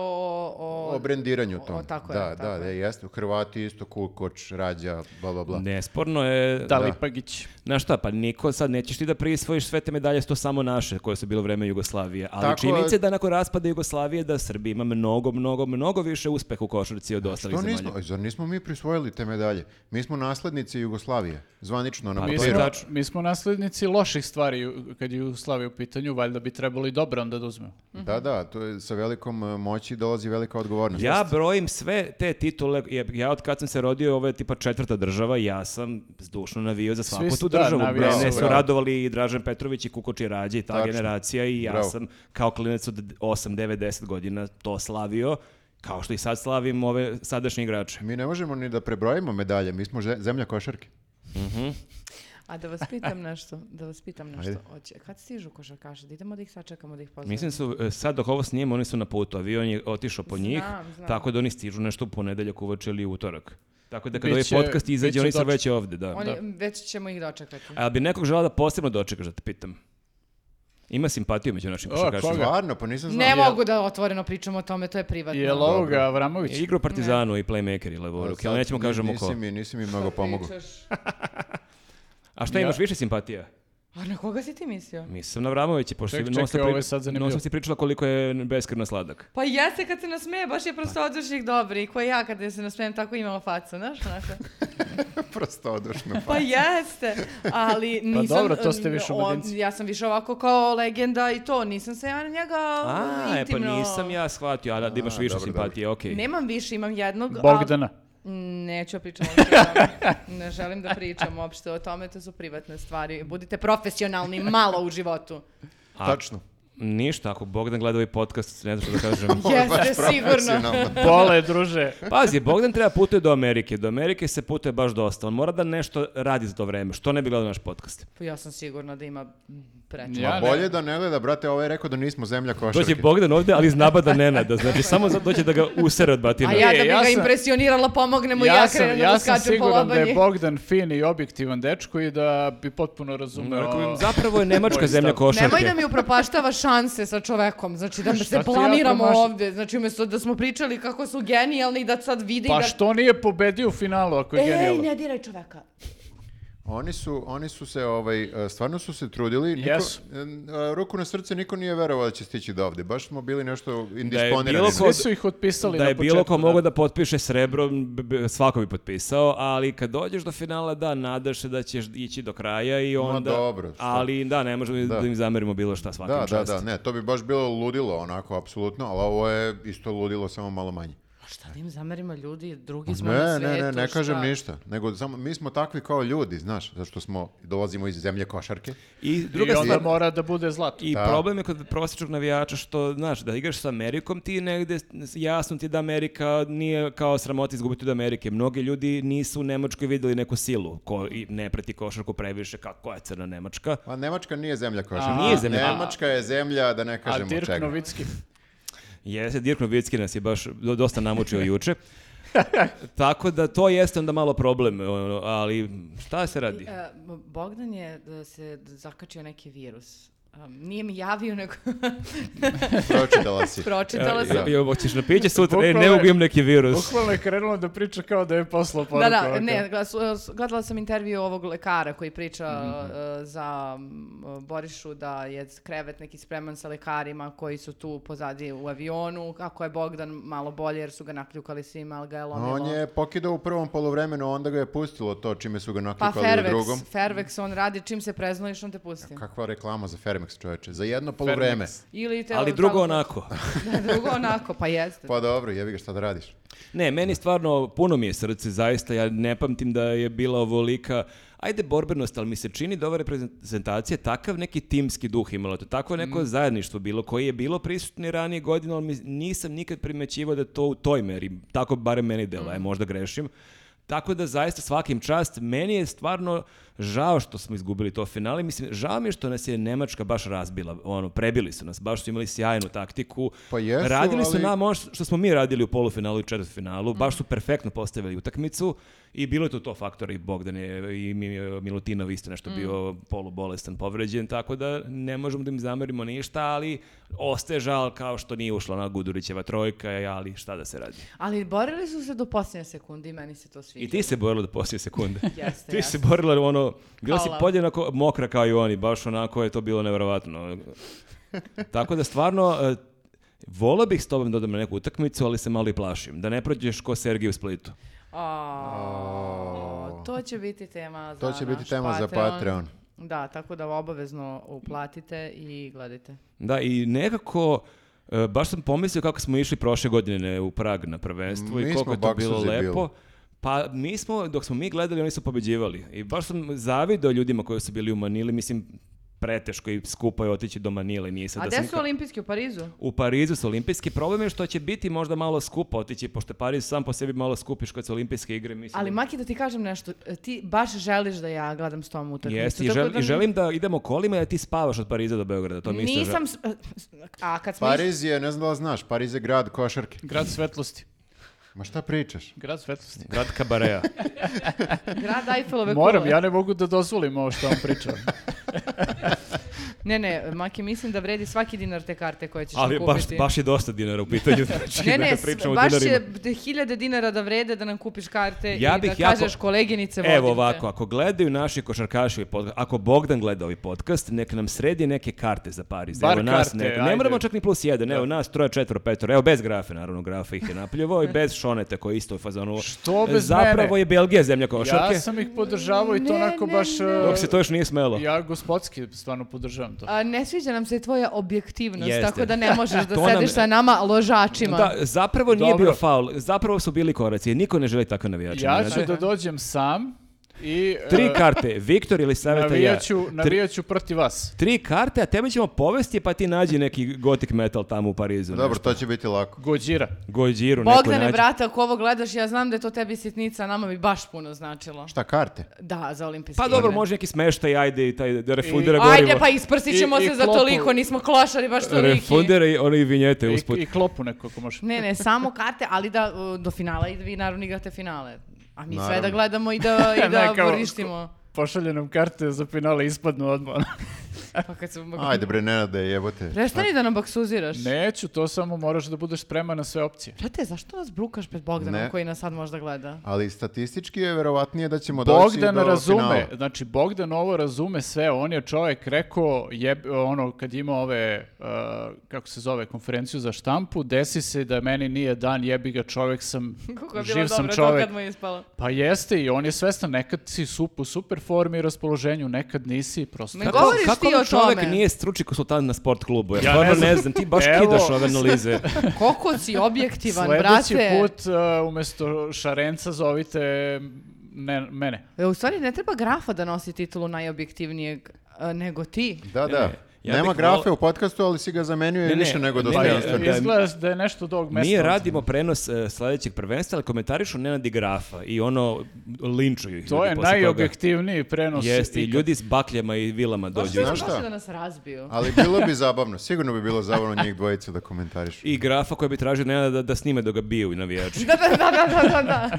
o... O brendiranju tom. o, tako je, da, tako da, je. da, jeste. U Hrvati isto Kukoč, Rađa, bla, bla, bla. Nesporno je... Da, Lipagić. Znaš šta, pa niko sad nećeš ti da prisvojiš sve te medalje, su to samo naše koje su bilo vreme Jugoslavije. Ali Tako- činjenica je da nakon raspada Jugoslavije da Srbija ima mnogo, mnogo, mnogo više uspeha u košarci od ostalih To zemalja. nismo, oj, zar nismo mi prisvojili te medalje? Mi smo naslednici Jugoslavije, zvanično na Pa, Mi to je papiru. smo, tačno. mi smo naslednici loših stvari u- kad je Jugoslavija u pitanju, valjda bi trebalo i dobro onda da uzmemo. Mhm. Da, da, to je, sa velikom e, moći dolazi velika odgovornost. Ja brojim sve te titule, jer ja od kad sam se rodio, ovo je tipa četvrta država, ja sam zdušno navio za svaku Svi su- tu da, državu. navijali Mene su, su bravo. radovali i Dražen Petrović i Kukoči Rađe i ta Tačno. generacija i ja Bravo. sam kao klinac od 8, 9, 10 godina to slavio, kao što i sad slavim ove sadašnje igrače. Mi ne možemo ni da prebrojimo medalje, mi smo že- zemlja košarke. A da vas pitam nešto, da vas pitam nešto. Ajde. Oće, kad stižu košarkaši? Da idemo da ih sačekamo, da ih pozdravimo. Mislim su, e, sad dok ovo snijemo, oni su na putu, avion je otišao po njih, Znam, znam. tako da oni stižu nešto u ponedeljak uveče ili utorak. Tako da kada Biće- ovaj podcast izađe, biće oni su doček. već ovde, da. Oni, Već ćemo ih dočekati. A bi nekog želao da posebno dočekaš, da te pitam? Ima simpatiju među našim O, košarkašima. koga? Stvarno, pa nisam znao. Ne mogu da otvoreno pričamo o tome, to je privatno. Je li ovoga Avramović? Je Igro Partizanu i playmakeri levo ruke, ali nećemo Ni- kažemo ko. nisi mi, nisi mi mnogo pomogao. Pričaš. A šta Ja- imaš više simpatija? A na koga si ti mislio? Mislim na Vramovića, pošto Ček, si čekaj, non-stop ovo je sad zanimljivo. non-stop si pričala koliko je beskrvno sladak. Pa ja se kad se nasmeje, baš je prosto odušnih dobri. Ko ja kad se nasmejem, tako imamo facu, znaš? onako. Prosto odušno. Pa jeste, ali nisam... Pa dobro, to ste više o- omladinci. Ja sam više ovako kao legenda i to, nisam se ja na njega ono, A, A, e, pa nisam ja shvatio, a da, da imaš A, više dobro, simpatije, okej. Nemam više, imam jednog. ali- Bogdana. Neću pričati o tome. Ne želim da pričam uopšte o tome, to su privatne stvari. Budite profesionalni malo u životu. A- Tačno. Ništa, ako Bogdan gleda ovaj podcast, ne znam što da kažem. Ovo je baš Jeste, sigurno. profesionalno. Bole, druže. Pazi, Bogdan treba putuje do Amerike. Do Amerike se putuje baš dosta. On mora da nešto radi za to vreme. Što ne bi gledao naš podcast? Pa ja sam sigurna da ima preča. Ja Ma ne. bolje da ne gleda, brate, ovaj je rekao da nismo zemlja košarke. Dođe Bogdan ovde, ali iz nabada Nenada. Znači, samo za- dođe da ga usere od batina. A ja da E, bi ja ga sam- impresionirala, pomognemo i ja, Ja sam, krenem ja da sam skačem po siguran da lobanji. je Bogdan fin i objektivan dečko i da bi potpuno razumeo... Rekao bi, zapravo je Nemačka Tvoj zemlja stav. košarke. Nemoj da mi upropaštava šanse sa čovekom, znači da Šta se ti ja blamiramo promašim? ovde. Znači umjesto da smo pričali kako su genijalni i da sad vidi Pa da... što nije pobedio u finalu ako je Ej, genijalan? ne diraj čoveka. Oni su, oni su se, ovaj, e, stvarno su se trudili. Niko, Jesu. em, e, Ruku na srce niko nije verovao da će stići do ovde. Baš smo bili nešto bilo indisponirani. ko- Svi su ih otpisali da na je bilo početku, ko da. mogao da potpiše srebro, b- b- svako bi potpisao, ali kad dođeš do finala, da, nadaš se da ćeš ići do kraja i onda... dobro, šta? ali da, ne možemo da. Da. im zamerimo bilo šta svakim Da, da, čast. da, ne, to bi baš bilo ludilo onako, apsolutno, ali ovo je isto ludilo, samo malo manje. A šta da im zamerimo ljudi, drugi smo na Pa Ne, svetu, ne, ne, ne šta? kažem ništa, nego samo, mi smo takvi kao ljudi, znaš, zašto smo, dolazimo iz zemlje košarke. I druga I onda stvar, mora da bude zlato. I problem je kod prosječnog navijača što, znaš, da igraš sa Amerikom, ti negde, jasno ti je da Amerika nije kao sramota izgubiti od Amerike. Mnogi ljudi nisu u Nemačkoj videli neku silu, ko, i ne prati košarku previše, kako je crna Nemačka. Pa Nemačka nije zemlja košarke. Nije zemlja. Nemačka je zemlja, da ne A kažemo Dirk čega. Novicki. Jeste, Dirk Novicki nas je baš do- dosta namučio juče. Tako da to jeste onda malo problem, ono, ali šta se radi? E, M- Bogdan je da se d- zakačio neki virus. Um, nije mi javio, nego Pročitala si. E, pročitala sam. Ja, ja, E, hoćeš na piće sutra? E, ne Bukvalno je- mogu imam neki virus. Bukvalno je krenulo da priča kao da je poslao Da, poruku. da, ovako. ne, glas- s- gledala sam intervju ovog lekara koji priča Mhm. e, za m, Borišu da je krevet neki spreman sa lekarima koji su tu pozadi u avionu, kako je Bogdan malo bolje jer su ga nakljukali svima, ali ga je lomilo. On je pokidao u prvom polovremenu, onda ga je pustilo to čime su ga Pa naklikali u drugom. Fairvex, Fairvex on radi, čim se preznojiš on te pusti. Kakva reklama za Fermex, čoveče? Za jedno polovreme. Ili te Ali drugo onako. Da, drugo onako, pa jeste. Pa dobro, jevi ga šta da radiš. Ne, meni stvarno puno mi je srce, zaista, ja ne pamtim da je bila ovolika, ajde borbenost, ali mi se čini da ova reprezentacija je takav neki timski duh imala, to Mm. takvo neko zajedništvo bilo, koje je bilo prisutno i ranije godina, ali mi- nisam nikad primećivao da je to u toj meri, tako barem meni delo, Mm. e, možda grešim. Tako da zaista svakim čast, meni je stvarno žao što smo izgubili to finale, mislim, žao mi je što nas je Nemačka baš razbila, ono, prebili su nas, baš su imali sjajnu taktiku, Pa jesu, radili su ali- nam Znamo ono što smo mi radili u polufinalu i četvrtfinalu, baš su perfektno postavili utakmicu i bilo je tu to faktor i Bogdan je, i Mi- Milutinov isto nešto bio polubolestan, povređen, tako da ne možemo da im zamerimo ništa, ali ostaje žal kao što nije ušla ona Gudurićeva trojka, ali šta da se radi. Ali borili su se do posljednje sekunde i meni se to sviđa. I ti se borila do poslije sekunde. Jeste, ti jeste. se borila ono, bila si Hvala. podjednako mokra kao i oni, baš onako je to bilo nevjerovatno. Tako da stvarno, e, volao bih s tobom da odem na neku utakmicu, ali se malo i plašim. Da ne prođeš ko Sergij u Splitu. A, to će biti tema za To će biti naš tema za Patreon. Da, tako da obavezno uplatite i gledajte. Da, i nekako, e, baš sam pomislio kako smo išli prošle godine u Prag na prvenstvo Mi i koliko smo je to bilo baksuzi bili. lepo. Pa mi smo, dok smo mi gledali, oni su pobeđivali. I baš sam zavidao ljudima koji su bili u Manili, mislim, preteško i skupo je otići do Manile. Nije sad A da gde sam su olimpijski u Parizu? u Parizu su olimpijski. Problem je što će biti možda malo skupo otići, pošto je Pariz sam po sebi malo skupiš kad su olimpijske igre. Mislim, Ali da- Maki, da ti kažem nešto, e, ti baš želiš da ja gledam s tom utakmicu. Jeste, i, tako žel- da i želim da idemo kolima i da ti spavaš od Pariza do Beograda. To mi isto žel- Nisam... s- A kad smo išli- Pariz je, ne znam da li znaš, Pariz je grad košarke. Grad svetlosti. Ma šta pričaš? Grad svetlosti. Grad Kabareja. grad Eiffelove Moram, kule. ja ne mogu da dozvolim ovo što on priča. Ne, ne, Maki, mislim da vredi svaki dinar te karte koje ćeš Ali kupiti. baš, baš je dosta dinara u pitanju. Znači, Ne, da ne, kad pričamo o baš dinarima. je d- hiljade dinara da vrede da nam kupiš karte Ja i da bih jako- kažeš koleginice vodim Evo te." ovako, ako gledaju naši košarkaši ovaj podcast, ako Bogdan gleda ovaj podcast, neka nam sredi neke karte za Pariz. Bar evo nas karte, neka- ajde. ne moramo čak ni plus jedan, evo nas troje, četvro, petoro, evo bez grafe naravno, grafa ih je napljuvao i bez Šoneta koji je isto u fazonu. Što bez Zapravo mene? je Belgija zemlja košarke. Ja sam ih podržavao i to Ne, onako ne, baš... ne. uh, Dok se to još nije smelo. Ja gospodski stvarno podržavam to. A, ne sviđa nam se tvoja objektivnost, Jeste. tako da ne možeš da To nam- sediš sa nama ložačima. Da, zapravo nije Dobro. bio faul, zapravo su bili koraci, jer niko ne želi takve navijače. Ja Nenade. ću da dođem sam i... uh, Znači, Tri karte, Viktor ili Saveta ja. Navijaću, Tri, navijaću protiv vas. tri karte, a tebe ćemo povesti pa ti nađi neki gothic metal tamo u Parizu. Dobro, nešto. to će biti lako. Gođira. Gojđiru neko Bogdane, nađi. brate, ako ovo gledaš, ja znam da je to tebi sitnica, nama bi baš puno značilo. Šta, karte? Da, za olimpijske Pa dobro, igre. može neki smeštaj, ajde i taj da refundira gorivo. Ajde, pa isprsit ćemo I- i se za klopu. toliko, nismo klošari baš toliki. Refundira i one vinjete I, usput. I klopu neko ako može. Ne, ne, samo karte, ali da uh, do finala i vi naravno igrate finale. A mi sve Naravno. da gledamo i da, i da Ne, kao- borištimo. Pošalje nam karte za finale ispadnu odmah. Pa kad se... Ajde bre, Nenade, jebote. Prestani da nam baksuziraš. Neću, to samo moraš da budeš spreman na sve opcije. Brate, zašto nas brukaš pred Bogdanom Ne. koji nas sad možda gleda? Ali statistički je verovatnije da Pa ćemo doći do Bogdan finala. razume, znači Bogdan ovo razume sve, on je čovjek rekao, jeb, ono, kad ima ove, uh, kako se zove, konferenciju za štampu, desi se da meni nije dan, jebi ga čovjek sam, Kako je bilo živ sam dobro to čovjek. kad mu je ispalo. Pa jeste i on je svestan, nekad si su, u super formi i raspoloženju, nekad nisi, prosto. Ne govoriš kako ti vam o čovek tome? nije stručni konsultant na sport klubu? Ja, Ja ne stvarno znam. ne znam, ti baš Evo. kidaš ove analize. Koliko si objektivan, Sljedeći brate. put uh, umjesto Šarenca zovite ne, mene. E, U stvari ne treba grafa da nosi titulu najobjektivnijeg e, nego ti. Da, da. ja Nema bih grafe volao- u podcastu, ali si ga zamenio Ne, i ne, više nego ne, do Pa ne, Pa, da- izgleda da je nešto od ovog mesta. Mi radimo prenos e, sljedećeg prvenstva, ali komentarišu Nenadi Grafa i ono linčuju ih. To ljudi je posle toga. najobjektivniji prenos. Jeste, i ikad. ljudi s bakljama i vilama dođu. Znaš Znaš šta? da nas razbiju. Ali bilo bi zabavno, sigurno bi bilo zabavno njih dvojicu da komentarišu. I Grafa koji bi tražio Nenada da, da snime dok ga biju i navijači. Da, da, da, da, da, da, da.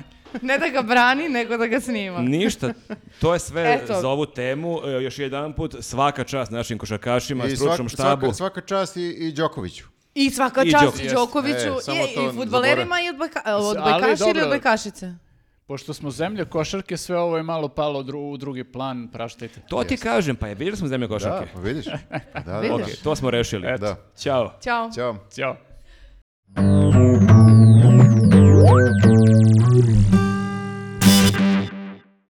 Ne da ga brani, nego da ga snima. Ništa, to je sve Eto. za ovu temu. E, Još jedan put, svaka čast našim košarkašima, I stručnom svak- štabu. svaka, svaka čast i, i Đokoviću. I svaka I čast Đoković. Đokoviću E, samo i, to i futbalerima i odbojka, e, Ali odbojkaši ili dobro. odbojkašice. Pošto smo zemlja košarke, sve ovo je malo palo dru- u drugi plan, praštajte. To ti kažem, pa je, vidjeli smo zemlje Da, košarke. pa vidiš. Pa Da, da, Vidiš? Ok, to smo rešili. Eto. da. Ćao. Ćao. Ćao. Ćao.